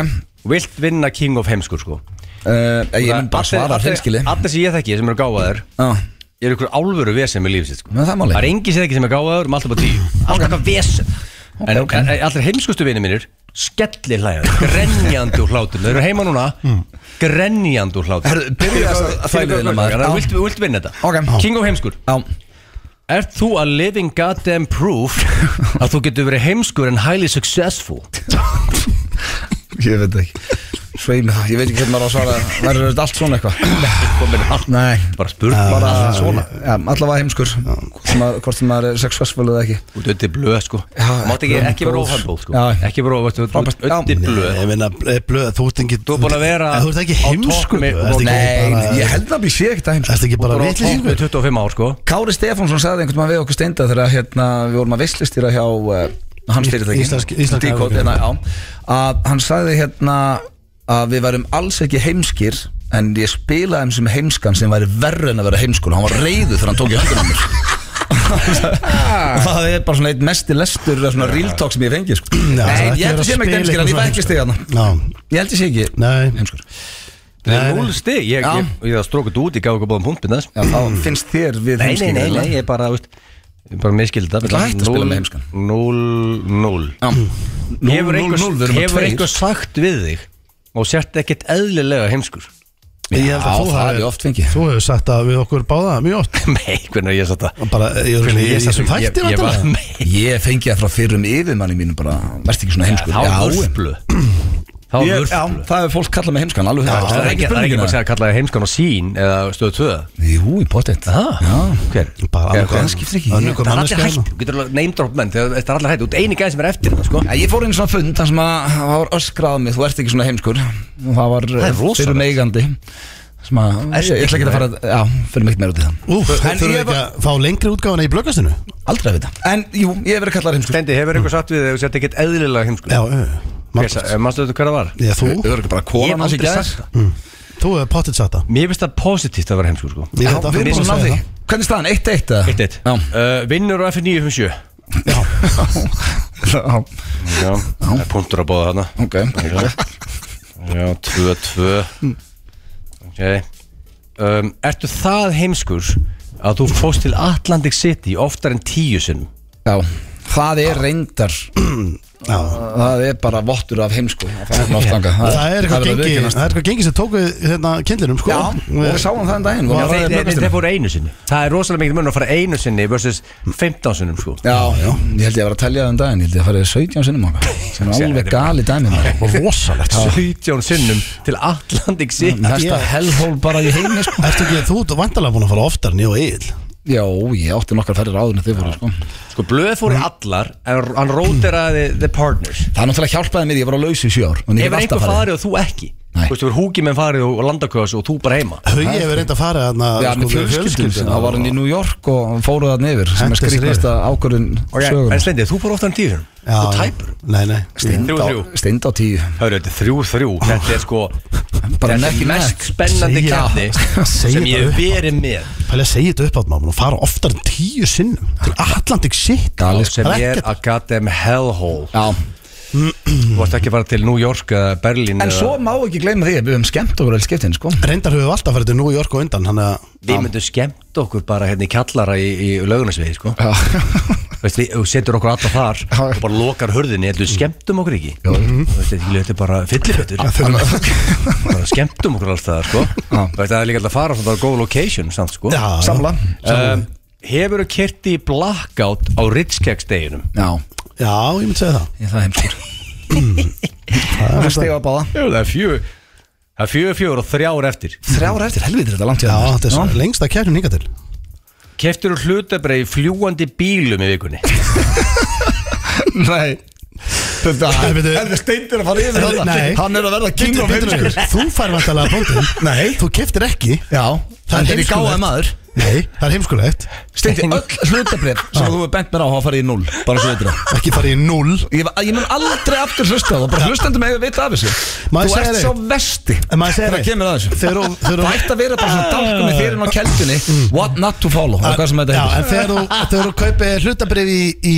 Speaker 3: Þú Vilt vinna King of Heimskur sko.
Speaker 1: uh, Ég mun bara
Speaker 3: Allir-
Speaker 1: svara
Speaker 3: allir-
Speaker 1: hreinskili
Speaker 3: Allir sem ég þekki sem eru gáðaðir
Speaker 1: Já
Speaker 3: Ég er ykkur alvöru vesen með lífið sitt sko.
Speaker 1: Nú, það er málið.
Speaker 3: Það er engi sem ekki sem er gáðaður, um alltaf bara tíu Alltaf eitthvað vesen En
Speaker 1: ok.
Speaker 3: okay. allir heimskustu vinir mínir Skellir hlæðan, grenjandi úr hlátum Þeir eru heima núna,
Speaker 1: Hmm.
Speaker 3: grenjandi úr hlátum
Speaker 1: Herru, byrja þess að þæli þína, maður.
Speaker 3: Þú
Speaker 1: Já.
Speaker 3: vilt, vilt vinna þetta
Speaker 1: Ok.
Speaker 3: King of heimskur
Speaker 1: Já
Speaker 3: Ert þú a living goddamn proof að þú getur verið heimskur en highly successful?
Speaker 1: Ég veit ekki Sveina, ég veit ekki hvernig maður á að svara Verður þetta allt svona eitthvað?
Speaker 3: Komin allt
Speaker 1: Nei
Speaker 3: bara spurt uh,
Speaker 1: bara,
Speaker 3: bara svona
Speaker 1: ja, allavega heimskur Hvort sem maður- hvort sem maður er successful eða ekki
Speaker 3: Þú ert ötti blöð sko
Speaker 1: Já,
Speaker 3: Mátt ekki,
Speaker 1: blöð,
Speaker 3: ekki vera
Speaker 1: góð.
Speaker 3: óhæmbúl sko
Speaker 1: Já.
Speaker 3: Ekki vera óhæmbúl Þú ert
Speaker 1: Frábært, já.
Speaker 3: ötti blöð
Speaker 2: Ég meina, eh, blöð, þú ert ekki
Speaker 3: Þú ert búin að vera
Speaker 2: Þú ert ekki
Speaker 3: á
Speaker 2: heimskur
Speaker 3: toppmi-
Speaker 2: blöð, ertu ekki bara-
Speaker 1: Nei, ég held að ég sé ekkert að heimskur
Speaker 2: Ertu ekki
Speaker 3: Þú
Speaker 2: bara
Speaker 3: ert á topp
Speaker 2: vitlisíkur?
Speaker 3: með 25 ár sko
Speaker 1: Kári Stefánsson sagði einhvern veginn við okkur steinda þegar hérna, við vorum að vislistýra hjá uh, hans
Speaker 2: Í-
Speaker 1: fyrirtæki
Speaker 2: íslensk- íslenska
Speaker 1: Decode,
Speaker 2: fyrirtæki.
Speaker 1: hérna, já, að hann sagði hérna að við værum alls ekki heimskir en ég spilaði þeim sem heimskan sem væri verri en að vera heimskul hann var reyðu þegar hann tók í höndunum mér og það er bara svona eitt mesti lestur eða svona real talk sem ég fengi sko.
Speaker 2: Já, það er
Speaker 1: Nei,
Speaker 2: ekki
Speaker 1: ég held
Speaker 2: verið
Speaker 1: að sé
Speaker 2: að
Speaker 1: mig ekki
Speaker 2: spila
Speaker 1: heimskir en ég
Speaker 2: eitthvað
Speaker 1: fæ ekki
Speaker 2: svona
Speaker 1: stig hann
Speaker 2: Já.
Speaker 1: ég held að sé ekki
Speaker 2: Nei.
Speaker 1: heimskur
Speaker 3: Það
Speaker 2: Nei,
Speaker 3: er
Speaker 2: nei.
Speaker 3: núl stig Ég,
Speaker 1: Já.
Speaker 3: ég, ég, ég strókut út, ég gaf ekki báðum punktin þess
Speaker 1: Já, þá finnst þér við
Speaker 3: Nei, nei,
Speaker 1: heimskir
Speaker 3: nei, nei, ég bara, þú veist Ég bara miskildi
Speaker 1: Ætla að hætta að spila með heimskan.
Speaker 3: 0-0
Speaker 1: 0-0,
Speaker 3: Hefur
Speaker 1: við
Speaker 3: einhver-
Speaker 1: erum að
Speaker 3: hefur
Speaker 1: tveir
Speaker 3: einhver sagt við þig og sért ekkert eðlilega heimskur [laughs]
Speaker 2: Ég held að
Speaker 1: Já,
Speaker 2: þú
Speaker 1: það
Speaker 2: hafir-
Speaker 1: hef ég oft fengið.
Speaker 2: Þú hefur sagt að við okkur báða mjög oft
Speaker 3: Nei, hvernig er ég satt að
Speaker 2: Bara, ég er í þessum
Speaker 3: Ég-
Speaker 2: þætti
Speaker 3: ég var-
Speaker 2: væntanlega.
Speaker 3: Nei,
Speaker 1: Ég fengi það frá fyrrum yfirmanni mínum bara, verðst ekki svona heimskur
Speaker 3: Þá vörflu Þá
Speaker 1: Ég, já,
Speaker 3: vörflu
Speaker 1: það hefur fólk kallað mig heimskan alveg
Speaker 3: Það er ekki það er ekki bara að segja að kalla það heimskan og sín eða stöðu tvö
Speaker 1: Jú, í pottet
Speaker 3: Já, hver?
Speaker 2: Bara
Speaker 3: Hver-
Speaker 2: annað hvað-
Speaker 3: hver?
Speaker 1: það skiptir ekki.
Speaker 2: annað hvað
Speaker 3: Það er
Speaker 2: manneskja
Speaker 3: allir
Speaker 2: er
Speaker 3: hætt, þú getur alveg neymdróp menn þegar þetta er allir hætt, þú ert eini gæði sem er eftir það sko
Speaker 1: Já, Ég fór inn í svona fund þar sem að það var öskrað á mig, þú ert ekki svona heimskur og það var
Speaker 3: er
Speaker 1: eh,
Speaker 3: rosalegt.
Speaker 1: fyrrum eigandi sem að,
Speaker 3: Ertu
Speaker 1: ég ég ætla ekki að fara já, fyrir meitt meira út í það
Speaker 2: Úf, þú
Speaker 1: En
Speaker 2: þurfum
Speaker 1: ég
Speaker 2: ekki
Speaker 1: var
Speaker 2: að fá lengri útgáfana í blöggastinu
Speaker 1: aldrei að vita En jú, ég hef verið kallað heimskur
Speaker 3: Stendi, hefur einhver sagt við þig að þú sért ekkert eðlilega heimskur?
Speaker 2: Já, ö,
Speaker 3: Hver
Speaker 2: margt.
Speaker 3: sa- eh, Manstu þetta hver það var?
Speaker 2: Já, þú,
Speaker 1: Þau eru ekki bara
Speaker 3: Ég hef
Speaker 1: konan hans í
Speaker 3: aldrei
Speaker 1: gær
Speaker 3: sagt það
Speaker 2: þú hefur pottet sagt það
Speaker 3: Mér finnst það positíft að vera heimskur sko
Speaker 2: Ég
Speaker 1: Já,
Speaker 2: held að
Speaker 1: við
Speaker 2: þú
Speaker 1: erum
Speaker 2: bara
Speaker 1: búin að ná
Speaker 2: sagði
Speaker 1: því
Speaker 2: það.
Speaker 1: Hvernig er staðan? 1-1 eða?
Speaker 3: Eitt eitt uh, Vinnur á F957
Speaker 1: [laughs] Já Já,
Speaker 3: Já, það er punktur að bóða þarna
Speaker 1: ok
Speaker 3: Já, 2-2 Mm. Ok um, Ertu það heimskur að þú fóst til Atlantic City oftar en tíu sinn
Speaker 1: Já, það er reyndar
Speaker 2: Já.
Speaker 1: Það er bara vottur af heimsku að fara svona oft þangað.
Speaker 2: Það er eitthvað
Speaker 1: verður að
Speaker 2: gengi
Speaker 1: viðurkennast.
Speaker 2: Það er eitthvað gengi sem tók við hérna kindlinum sko
Speaker 1: Já, og við sáum það en daginn
Speaker 3: Já,
Speaker 1: vorum að ræða
Speaker 3: þeir,
Speaker 2: hérna
Speaker 3: þeir,
Speaker 1: blöggastinu.
Speaker 3: þeir fóru einu sinni Það er rosalega mikið mun að fara einu sinni versus 15 sinnum sko
Speaker 1: Já, ég held ég að vera að telja það en daginn Ég held ég að fara 17 sinnum okkar Sem er
Speaker 3: Sér, þetta
Speaker 1: alveg
Speaker 3: er
Speaker 1: gali dæmi maður.
Speaker 2: Rósalegt
Speaker 3: 17 sinnum til Atlantic City
Speaker 1: Næsta hellhól bara í heimi sko.
Speaker 2: Ertu ekki þú ert vandalega búin að fara oftar en ég og Egil
Speaker 1: Já, ég átti nokkar ferðir áður en þið fóru sko.
Speaker 3: Sko, blöð fóru
Speaker 1: Mm.
Speaker 3: allar en hann róteraði The Partners
Speaker 1: Það er náttúrulega hjálpaði mér, ég var á lausu í sjö ár En ég
Speaker 3: Hefur
Speaker 1: hef
Speaker 3: einhver
Speaker 1: alltaf farið
Speaker 3: farið og þú ekki
Speaker 1: Nei.
Speaker 3: Þú veist, þú er húkimenn farið og landaköðs og þú bara heima
Speaker 2: Hauði hefur reynd að fara þarna
Speaker 1: Já,
Speaker 2: sko,
Speaker 1: með
Speaker 2: við
Speaker 1: fjölskyldum
Speaker 2: fjölskylduna
Speaker 1: Það var hann í New York og fóruð það nefir Sem er
Speaker 2: Hentu sér
Speaker 1: skrifnasta ákvörðun
Speaker 3: Ok, En
Speaker 1: sögum
Speaker 3: Slendi, þú fór oftar en tíu sinnum
Speaker 2: Já,
Speaker 3: Þú
Speaker 2: já.
Speaker 3: tæpur
Speaker 2: Nei, nei
Speaker 3: Þrjú, þrjú.
Speaker 1: Steind á tíu
Speaker 3: Hörru, þetta er þrjú þrjú Þetta er sko
Speaker 1: Bara
Speaker 3: Þetta
Speaker 1: neck
Speaker 3: er
Speaker 1: í
Speaker 3: mest
Speaker 1: neck.
Speaker 3: spennandi
Speaker 2: Segja-
Speaker 1: [laughs]
Speaker 3: kæfni
Speaker 2: segja
Speaker 3: Sem ég
Speaker 2: bara upp.
Speaker 3: hef verið með
Speaker 2: Pæli að segja þetta upp átt maður og fara oftar en tíu sinnum Til Atlantic City
Speaker 1: Gali,
Speaker 3: Sem
Speaker 2: Það er
Speaker 3: er
Speaker 2: ekkert-
Speaker 3: að goddamn hellhole
Speaker 1: Já,
Speaker 3: Þú varst ekki að fara til New York eða Berlín
Speaker 1: Mm. en
Speaker 3: eða-
Speaker 1: svo má ekki gleyma því að við höfum skemmt okkur öll skiptin sko.
Speaker 2: Reyndar höfum við alltaf farið til New York og undan Þannig að
Speaker 3: Við myndum skemmt okkur bara hérna í kjallara í, í laugunasvegi sko.
Speaker 1: Já.
Speaker 3: [laughs] Veist, við, Þú setur okkur alltaf þar og bara lokar hörðinni Þetta
Speaker 1: Mm.
Speaker 3: skemmtum okkur ekki Veist, Þetta þetta er bara fyllifettur Bara skemmtum okkur alltaf þar sko. Veist, Það er líka alltaf að fara svona á góð location samt sko
Speaker 2: Já,
Speaker 1: Samla.
Speaker 3: Um, Hefur þú kert í blackout á Ritz-Kex deginum?
Speaker 1: Já,
Speaker 2: Já, ég myndi segja það
Speaker 1: ég það er heimskur Það er stig á báða
Speaker 3: Jú, það er fjö Það er fjö, fjör og þrjár eftir
Speaker 1: Þrjár eftir helvitir þetta er langt hjá
Speaker 2: Já,
Speaker 1: þér.
Speaker 2: þetta er lengst að kærum hinga til
Speaker 3: Keftur þú hlutabreið í fljúandi bílum í
Speaker 1: [laughs]
Speaker 3: vikunni
Speaker 1: Nei Þetta
Speaker 2: Nei,
Speaker 1: er
Speaker 2: veitu-
Speaker 1: þetta steindir að fara yfir
Speaker 2: Nei.
Speaker 1: þetta
Speaker 2: Nei.
Speaker 1: Hann er að verða king
Speaker 2: Bíddu,
Speaker 1: of
Speaker 2: bíddu,
Speaker 1: heimskur
Speaker 2: sko, Þú fær vantalega bóndin
Speaker 1: Nei.
Speaker 2: Þú keftir ekki
Speaker 1: Já, það er í
Speaker 2: heimskulegt.
Speaker 1: gáða maður
Speaker 2: Nei, það er heimskulegt
Speaker 1: Steindir öll hlutabrif sem þú er bent mér á hafa farið í null Bara svo veitir það
Speaker 2: Ekki farið í null
Speaker 1: Ég, ég mun aldrei aftur hlusta á það Bara hlustandi með að vita af þessu
Speaker 2: Maður
Speaker 1: Þú
Speaker 2: segir
Speaker 1: ert
Speaker 2: eitt.
Speaker 1: svo vesti
Speaker 2: En maður segir
Speaker 1: Þegar
Speaker 2: eitt.
Speaker 1: kemur að þessu
Speaker 2: Þegar þú- þegar
Speaker 1: Það
Speaker 2: þú-
Speaker 1: ætti að vera bara svona dálkum með þérinn á keldunni What not to follow eða Hvað sem þetta
Speaker 2: Já,
Speaker 1: heitir
Speaker 2: en þegar þú, þegar þú kaupir hlutabrif í, í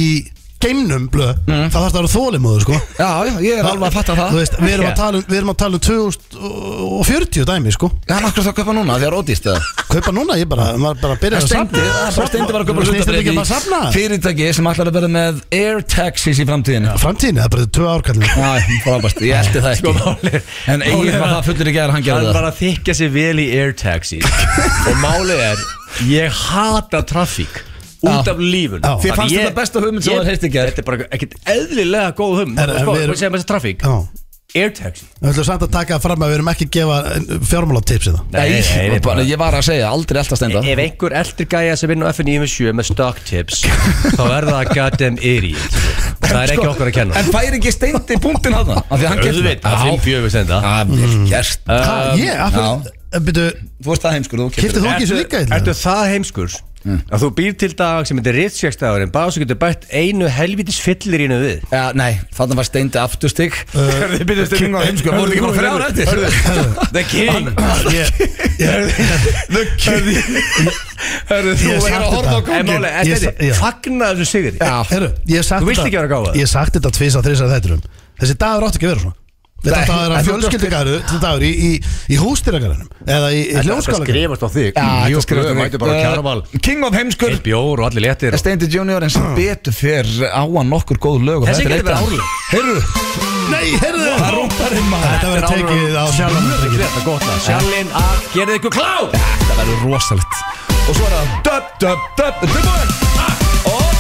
Speaker 2: geimnum blöð þá þarf það að vera þólimóðu sko
Speaker 1: Já, já, ég er Mm. alveg að fatta það
Speaker 2: Þú veist, við erum
Speaker 3: Já.
Speaker 2: að tala um, við erum að tala um 2040 dæmi sko
Speaker 1: Já, hann akkur það að kaupa núna því að rótist eða
Speaker 2: Kaupa núna, ég bara, maður bara byrjar
Speaker 1: Það
Speaker 2: að
Speaker 1: steindi,
Speaker 2: safna.
Speaker 1: það steindi var að kaupa
Speaker 2: Snýst þetta
Speaker 1: hlutabréf
Speaker 2: ekki bara að
Speaker 1: í
Speaker 2: safna
Speaker 1: fyrirtæki sem ætlar að vera með air taxis í framtíðinu
Speaker 2: Framtíðinni, það er bara tvö árkallin
Speaker 1: Æ, frábært, ég eldi það
Speaker 3: Sko,
Speaker 1: ekki
Speaker 3: málið-
Speaker 1: En eigin
Speaker 3: málið er
Speaker 1: var
Speaker 3: að-
Speaker 1: það fullur í gerð, hann
Speaker 3: Hann
Speaker 1: gerði það
Speaker 3: var að
Speaker 1: [laughs]
Speaker 3: þykja sér vel í air taxi Og málið er Ég hata trafík út
Speaker 2: Já.
Speaker 3: af lífun
Speaker 2: Já.
Speaker 1: Þér fannst þetta besta hugmynd sem þú hafðir heyrt í gær.
Speaker 3: Þetta er bara ekkert eðlilega góð hugmynd
Speaker 2: Er-
Speaker 3: Sko,
Speaker 2: við erum-
Speaker 3: Hvað segir maður þess að trafík?
Speaker 2: Já
Speaker 3: Air taxi
Speaker 2: Við ætlum samt að taka það fram að við erum ekki að gefa fjármála tips í það
Speaker 1: Nei,
Speaker 3: nei, nei,
Speaker 1: bara,
Speaker 3: bara-
Speaker 1: ég var að segja, aldrei alltaf stenda
Speaker 3: Ef einhver eldri gæja sem vinn á FN97 með stock tips þá er það goddamn idiot Það er ekki okkur að kenna
Speaker 1: Sko, En fær ekki steindi punktinn hann Af því að hann getur
Speaker 3: Auðvitað,
Speaker 1: það.
Speaker 3: fimm fjögur senda
Speaker 1: Já, vel gert
Speaker 2: Ha, ég? af hverju- eh, Byrju,
Speaker 1: Mm. Þú veist það heimskur, þú
Speaker 2: Keyptir
Speaker 1: kemur
Speaker 2: þú- ekki þessu líka hérna?
Speaker 3: Ertu það heimskurs
Speaker 1: Mm.
Speaker 3: að þú býr til dag sem þetta er rittskjöksdagurinn bara svo getur bætt einu helvitis fyllirínu við
Speaker 1: Já, nei, þannig var steindi afturstig
Speaker 3: Uh,
Speaker 1: [laughs] Þið byrjuðist king á heimskur, voru ekki bara þrjára eftir
Speaker 3: The King
Speaker 2: ég, ég,
Speaker 1: The king Hörðu, þú er
Speaker 2: Ég
Speaker 1: að
Speaker 2: samt
Speaker 1: horfa á
Speaker 2: þetta.
Speaker 3: En
Speaker 1: kongin
Speaker 3: máli,
Speaker 2: Ég
Speaker 3: þetta
Speaker 2: sa- já.
Speaker 3: er fagna þessu sigri
Speaker 1: Já,
Speaker 2: heru, ég hef sagt
Speaker 3: Þú vilt ekki vera gáfaður.
Speaker 2: Ég hef sagt þetta tvís að þrís að þætturum Þessi dagur átti ekki að vera svona Þetta
Speaker 1: Nei,
Speaker 2: átti að vera
Speaker 1: en þú
Speaker 2: fjölskyldugarðu Þetta dagur í, í, í hústýragarðinum Eða í, í hljómskálagarðinum
Speaker 3: skrifast á þig
Speaker 1: Já,
Speaker 3: Jú,
Speaker 1: þetta skrifaði
Speaker 3: þú
Speaker 1: mig.
Speaker 3: mætir bara á kjárval
Speaker 1: Uh, King of heimskur
Speaker 3: Eitt bjór og allir léttir og-
Speaker 1: Steindi Junior [clears throat] en sem betur fyrr á hann nokkur góð lög og
Speaker 3: Þessi
Speaker 1: þetta er
Speaker 3: getur
Speaker 1: eitt
Speaker 3: verið
Speaker 1: af-
Speaker 3: árleg.
Speaker 1: Heyrðu,
Speaker 2: Nei, heyrðu
Speaker 1: það rúmpar inn maður
Speaker 2: Þetta verður
Speaker 3: Þetta er
Speaker 2: tekið á
Speaker 3: alveg-
Speaker 2: sjálfum
Speaker 3: Þetta er gott að Sjallinn að Gerðið ykkur klá
Speaker 1: Þetta verður rosalegt Og svo er það Döp, döp, döp Tilbúin Og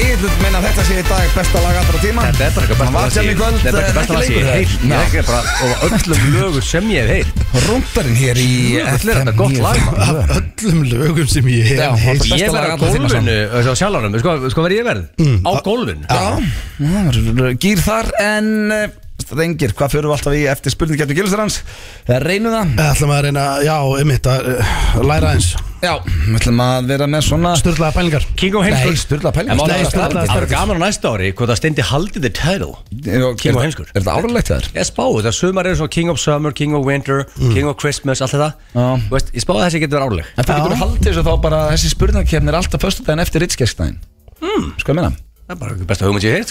Speaker 1: Egil meina að þetta sé í dag besta lag allra tíma
Speaker 3: Þetta er bara eitthvað
Speaker 1: Hann var
Speaker 3: besta lag sem
Speaker 1: sem í
Speaker 3: ég-
Speaker 1: kvöld
Speaker 3: Þetta er
Speaker 1: en
Speaker 3: eitthvað besta
Speaker 1: ekki
Speaker 3: lag sem ég
Speaker 1: lengur,
Speaker 3: hef heyrt
Speaker 1: Nei.
Speaker 3: Ég er bara Og öllum lögur sem ég hef heyrt
Speaker 1: Rúndarinn hér í
Speaker 3: Þetta er þetta gott lag maður.
Speaker 2: Af öllum lögum sem ég hef
Speaker 1: Já,
Speaker 2: heyrt.
Speaker 1: besta
Speaker 3: Ég
Speaker 1: lag
Speaker 3: verð á
Speaker 1: allra tíma
Speaker 3: gólfinu Á sjallanum Sko, sko verð
Speaker 1: Mm.
Speaker 3: ég verð Á gólfinu
Speaker 1: Já, gýr þar en eh, Strengir, hvað fyrir við alltaf í eftir spurningi Gættu Gilsarans? Reynum það
Speaker 2: ætlum að reyna, já, einmitt að uh, læra eins
Speaker 1: Já, við ætlum að vera með svona
Speaker 2: Sturlaða pælingar
Speaker 3: King of sko. Heimskur
Speaker 1: Nei, sturla pælingar.
Speaker 3: En
Speaker 1: Nei,
Speaker 3: máli-
Speaker 2: sturla
Speaker 3: Það
Speaker 2: pælingar.
Speaker 3: er gaman á næsta ári Hvort að steindi haldið the title King of heimskur.
Speaker 1: Er þetta áralegt þér?
Speaker 3: Ég spáði þetta Sumar eru svo King of Summer, King of Winter King of Christmas, allt þetta
Speaker 1: Mm. Já.
Speaker 3: Þú veist, Ég spáði að þessi getur verið árleg
Speaker 1: En þú getur haldið þessu þá bara að þessi spurningakefni er alltaf föstudaginn eftir ritskeskdæðin mm. Sko að minna
Speaker 3: Það er bara besta hugmynd sem ég hef heyrt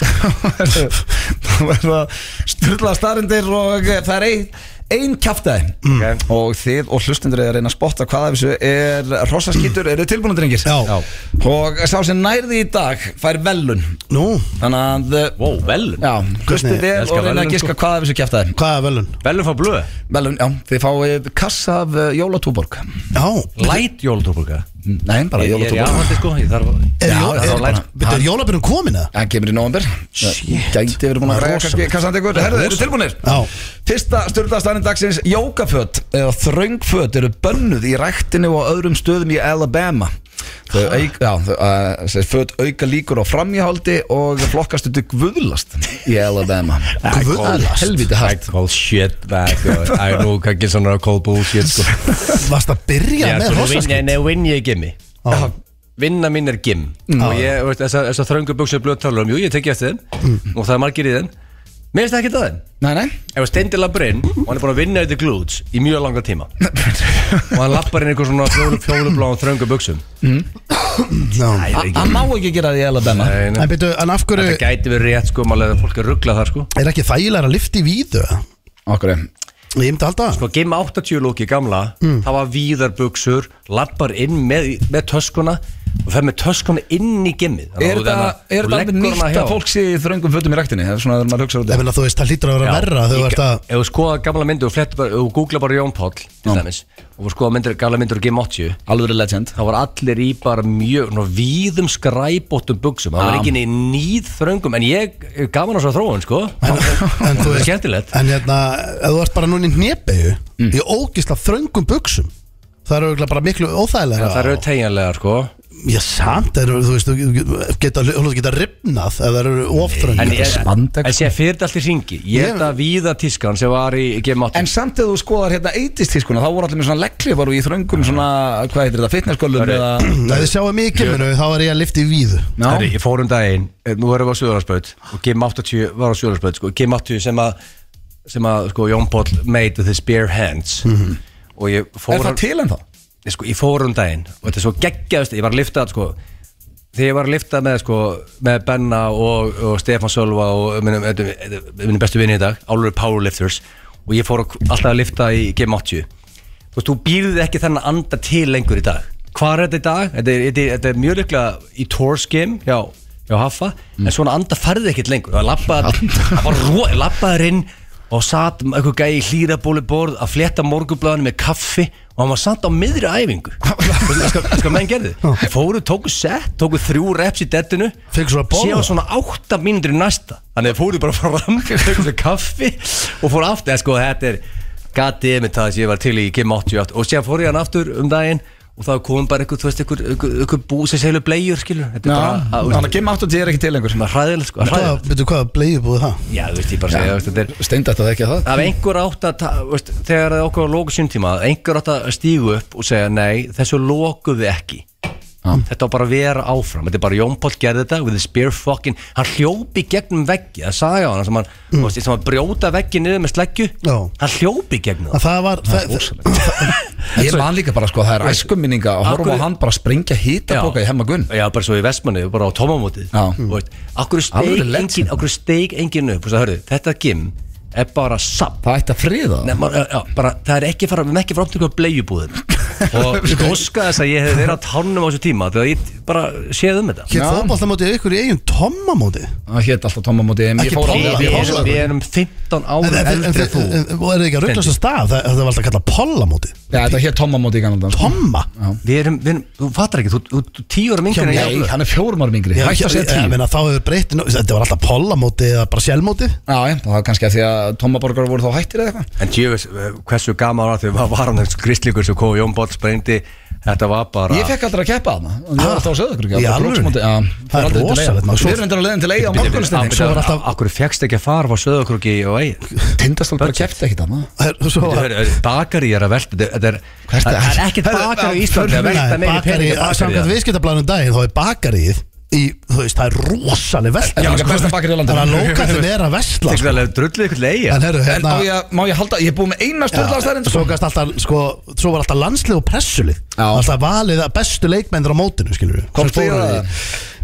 Speaker 3: sko.
Speaker 1: [laughs] Það er það styrla starindir og eh, það er ein, ein kjaftaði
Speaker 3: Ok.
Speaker 1: Og þið og hlustendur er að reyna að spotta hvað af þessu er rossaskýtur, eru tilbúinu drengir?
Speaker 2: Já.
Speaker 1: Og sá sem nærði í dag fær velun
Speaker 2: Nú,
Speaker 1: Þannig að, eh,
Speaker 3: Wow, velun
Speaker 1: já, hlustið
Speaker 2: Hvernig-
Speaker 1: vel
Speaker 3: Ég elska
Speaker 1: og reyna
Speaker 3: verðlaun,
Speaker 1: að giska
Speaker 3: sko.
Speaker 1: hvað af þessu kjaftaði
Speaker 2: hvað er velun?
Speaker 3: Velun fá blöð
Speaker 1: Velun, já, þið fáið kassa af eh, jólatúborg
Speaker 2: Já,
Speaker 3: Light jólatúrburga
Speaker 1: Nei, bara
Speaker 3: Ég er í
Speaker 1: jólatúborg
Speaker 3: áhaldi sko Ég þarf að
Speaker 2: er,
Speaker 1: Já,
Speaker 2: jó,
Speaker 1: það
Speaker 2: er,
Speaker 1: var lært.
Speaker 2: er, byrju, er jólabjörnum
Speaker 1: [laughs]
Speaker 2: komin eða?
Speaker 1: Hann kemur í november Gæti verið búin að ræða kannski Kassan tegur Herðu, eru tilbúinir?
Speaker 2: Já.
Speaker 1: Fyrsta stjórnastænin dagsins Jókaföt eða þröngföt eru bönnuð í ræktinu og öðrum stöðum í Alabama Þau auk, já, þau, uh, þessi föt auka líkur á framjáhaldi og flokkast undir guðlast í Alabama [laughs]
Speaker 2: Guðlast?
Speaker 1: Helviti hægt
Speaker 3: I call shit back Það er nú hvað Gilson er að call bullshit sko
Speaker 2: Varst að byrja með
Speaker 3: Nei,
Speaker 2: rossaskýt?
Speaker 3: nei, vinn ég gimmi Ah.
Speaker 2: Já.
Speaker 3: Vinna mín er gimm
Speaker 1: Mm.
Speaker 3: Og ég, veist, þessar þessa þröngu buksur blöð talar um Jú, ég tekja eftir þeim
Speaker 1: Mm.
Speaker 3: Og það er margir í þeim Mér finnst það ekkert að þeim
Speaker 1: Nei, nei
Speaker 3: Ef að stendir lappar inn Og hann er búin að vinna yfir glúts Í mjög langa
Speaker 1: [laughs]
Speaker 3: tíma Og hann lappar inn eitthvað svona fjólu, fjólubláðan þröngu buksum
Speaker 2: Já.
Speaker 1: Hann hann má ekki gera það í Alabama
Speaker 3: Nei, nei.
Speaker 2: En byrju, en af hverju
Speaker 3: Það gæti verið rétt sko Málega fólk er rugglað þar sko
Speaker 2: er ekki þægilega að lifta í víðu? eða?
Speaker 1: Okkur
Speaker 2: Ég myndi alltaf
Speaker 3: Sko, Game 80 lóki gamla,
Speaker 1: Mm.
Speaker 3: það var víðar buksur, lappar inn með, með töskuna og fer með töskuna inn í gimmið.
Speaker 1: Er þetta er þetta alveg nýtt að fólk sé í þröngum fötum í ræktinu? Það er svona þegar maður hugsa út
Speaker 2: Ég meina þú veist, það lítur að vera verra þegar þú ert
Speaker 3: [laughs]
Speaker 2: að
Speaker 3: Ef þú skoða gamla myndu og flettu bara, ef þú googla bara Jón Páll, til dæmis, og þú skoða myndir, gamla myndur Game 80,
Speaker 1: Alveg legend
Speaker 3: þá var allir í bara mjög, ná, víðum skræbóttum buksum, það
Speaker 1: Já.
Speaker 3: var ekki í nýð þröngum, en ég er gaman á svo þróun, sko.
Speaker 2: [laughs] En þú
Speaker 3: Það er
Speaker 2: veist-
Speaker 3: skemmtilegt. Mm.
Speaker 2: En hérna, ef þú ert bara núna í hnebegu Í ógisla þröngum buksum Það eru auðvitað bara miklu óþægilega
Speaker 3: Það eru tegjanlega, sko.
Speaker 2: Já, samt, það eru, þú veist, þú geta, þú geta ripnað ef það eru
Speaker 3: En
Speaker 2: ofþröngum
Speaker 3: ég,
Speaker 1: spandex.
Speaker 3: en sé fyrir þetta allt í ringi. Ég
Speaker 2: Ég-
Speaker 3: er þetta víða tískan sem var í Game 80.
Speaker 1: En samt ef þú skoðar hérna 80s tískuna þá voru allir með svona leggli voru í þröngum svona, hvað heitir þetta, fitnessköllum
Speaker 3: Hörru.
Speaker 1: eða
Speaker 2: [clears throat] Ef þið sjáum mig í gimminu, þá er ég að lifta í víðu
Speaker 1: Já.
Speaker 3: Herri, ég fór um daginn, eh, nú erum við á Suðurlandsbraut og Game 80 var á Suðurlandsbraut sko, Game 80 sem að, sem að sko, Jón Páll made with his bare hands og ég
Speaker 1: Mhm.
Speaker 3: fór,
Speaker 1: Er það til en þá?
Speaker 3: Ég, sko, ég fór um daginn og þetta er svo geggjaðust, ég var að lifta sko, þegar ég var að lifta með, sko, með Benna og, og Stefán Sölva og minnum, þetta- þetta- minnum bestu vinni í dag, álur powerlifters og ég fór að- alltaf að lifta í Game 80 þú veist, þú býrði ekki þennan anda til lengur í dag hvað er þetta í dag? Þetta er, þetta er, þetta er mjög líklega í Tours game hjá, hjá Haffa en svona anda færði ekkert lengur það lappaði, það var ró, lappaði inn og satt einhver gæi í hlýrabóli borð að fletta morgublaðinu með kaffi og hann var satt á miðri
Speaker 2: [laughs]
Speaker 3: æfingu sko, sko menn gerði fóru, tóku set, tóku þrjú reps í dettinu
Speaker 2: Fengu svona að borða.
Speaker 3: síðan svona átta mínútur í næsta þannig að fóru bara fram, tóku sér kaffi og fóru aftur, eða sko þetta er gatið með það sem ég var til í Kim 88 og síðan fóru ég hann aftur um daginn og þá kom bara einhver, þú veist, einhver, einhver, einhver bú sem seglu blegjur, skilur þetta er bara, að,
Speaker 1: Þannig að Gim 80 er ekki til lengur
Speaker 3: þú veist, hræðileg sko,
Speaker 2: Hvað,
Speaker 3: hræðileg
Speaker 2: veitu hvað, bleið búið það?
Speaker 3: já, þú veist, ég bara segja, þú veist, þetta er
Speaker 1: Steindætt að ekki að það
Speaker 3: af einhver átt að ta- veist, þegar það okkur var lóku sjöndtíma einhver átt að stígu upp og segja nei þessu lókuðu ekki þetta var bara að vera áfram þetta er bara Jón Páll gerði þetta with his spear fucking hann hljópi gegnum veggi það sagði á hann sem hann mm. veist, sem að brjóta veggi niður með sleggju
Speaker 2: Já.
Speaker 3: hann hljópi gegnum
Speaker 2: Að
Speaker 3: það
Speaker 2: það var það,
Speaker 1: Ég man líka bara sko, það er æskuminninga að horfa á hann bara springja hítabóka í hemmagunn
Speaker 3: já, bara svo í Vestmanni, bara á tómamótið
Speaker 1: Já.
Speaker 3: Þú veist, akkur
Speaker 1: Alvöru
Speaker 3: steig
Speaker 1: legend.
Speaker 3: engin, akkur steig engin upp og það, hörðu, þetta gym er bara samt
Speaker 1: Það ætti að friða
Speaker 3: Nei, maður, já, já, bara, það er ekki fara, við erum ekki fara átt ykkur bleiubúðin [laughs] og
Speaker 2: sko-
Speaker 3: ég óska þess að ég hef verið á tánum á þessu tíma þegar ég bara séð um þetta
Speaker 2: hér
Speaker 1: Já.
Speaker 2: fótballtamóti ykkur í eigin tommamóti
Speaker 1: Það hétt alltaf Tóma móti EM Ég
Speaker 2: Ekki
Speaker 1: fór á
Speaker 2: Pálmi,
Speaker 1: það. Ég
Speaker 3: við, við,
Speaker 1: fór á
Speaker 3: erum,
Speaker 1: það.
Speaker 3: við erum 15
Speaker 2: En,
Speaker 3: ára
Speaker 2: en, en, en,
Speaker 3: eldri en þú
Speaker 2: en, en og er það ekki að ruggast að stað það, það var alltaf kallað pollamóti
Speaker 1: Já, þetta hétt Tóma móti í sko. ganandan
Speaker 2: Tomma?
Speaker 3: við erum, við erum, þú fattar ekki, þú, þú, þú tíu ára mingur en ég
Speaker 1: Nei, hann er fjórum árum yngri
Speaker 2: Já,
Speaker 1: Hætti að
Speaker 2: ég,
Speaker 1: segja
Speaker 2: ég,
Speaker 1: tíu
Speaker 2: meina þá hefur breytt Þetta var alltaf pollamóti eða bara sjálfmóti
Speaker 1: Já, ég, það var kannski að því að Tóma borgar voru þá hættir eða eitthvað
Speaker 3: en tjöfis, hversu gaman var þegar maður var hann þessu gristlíkur sem kom Jón Bótt sprendi þetta var bara
Speaker 1: Ég fekk aldrei að keppa þarna Ég var alltaf á söðakröki
Speaker 2: Ah. Í alvöru? Það er rosalegt, maður.
Speaker 1: Við erum endur að leiðin til eiga á morgunstinni
Speaker 2: Svo var alltaf-
Speaker 3: Akkur fegst ekki að fara á söðakrúki og eigi
Speaker 1: Tindastól bara keppti ekkit þarna
Speaker 2: Það er- Svo var
Speaker 3: Bakari er að velta þetta- Þetta er,
Speaker 2: Hvert er-
Speaker 3: það er ekkert bakari í Íslandi að velta
Speaker 2: Nei,
Speaker 3: meiri
Speaker 2: bakari,
Speaker 3: peningi
Speaker 2: samkvæmt viðskiptablanum daginn þá er bakaríð í, þú veist, það er rosaleg velta
Speaker 1: Það er líka besta bakarí í landinu.
Speaker 2: Þannig að lókallin er að vestla
Speaker 3: Þegar það drullið ykkur leiði
Speaker 2: sko. En herru,
Speaker 1: En
Speaker 2: hérna
Speaker 1: á ég að- má ég halda, ég er búið með eina stöldlastærin
Speaker 2: Svo gast alltaf, sko, svo var alltaf landslið og pressulið
Speaker 1: Já.
Speaker 2: Alltaf valið að bestu leikmennir á mótinu, skilur við
Speaker 1: Komst þú í það?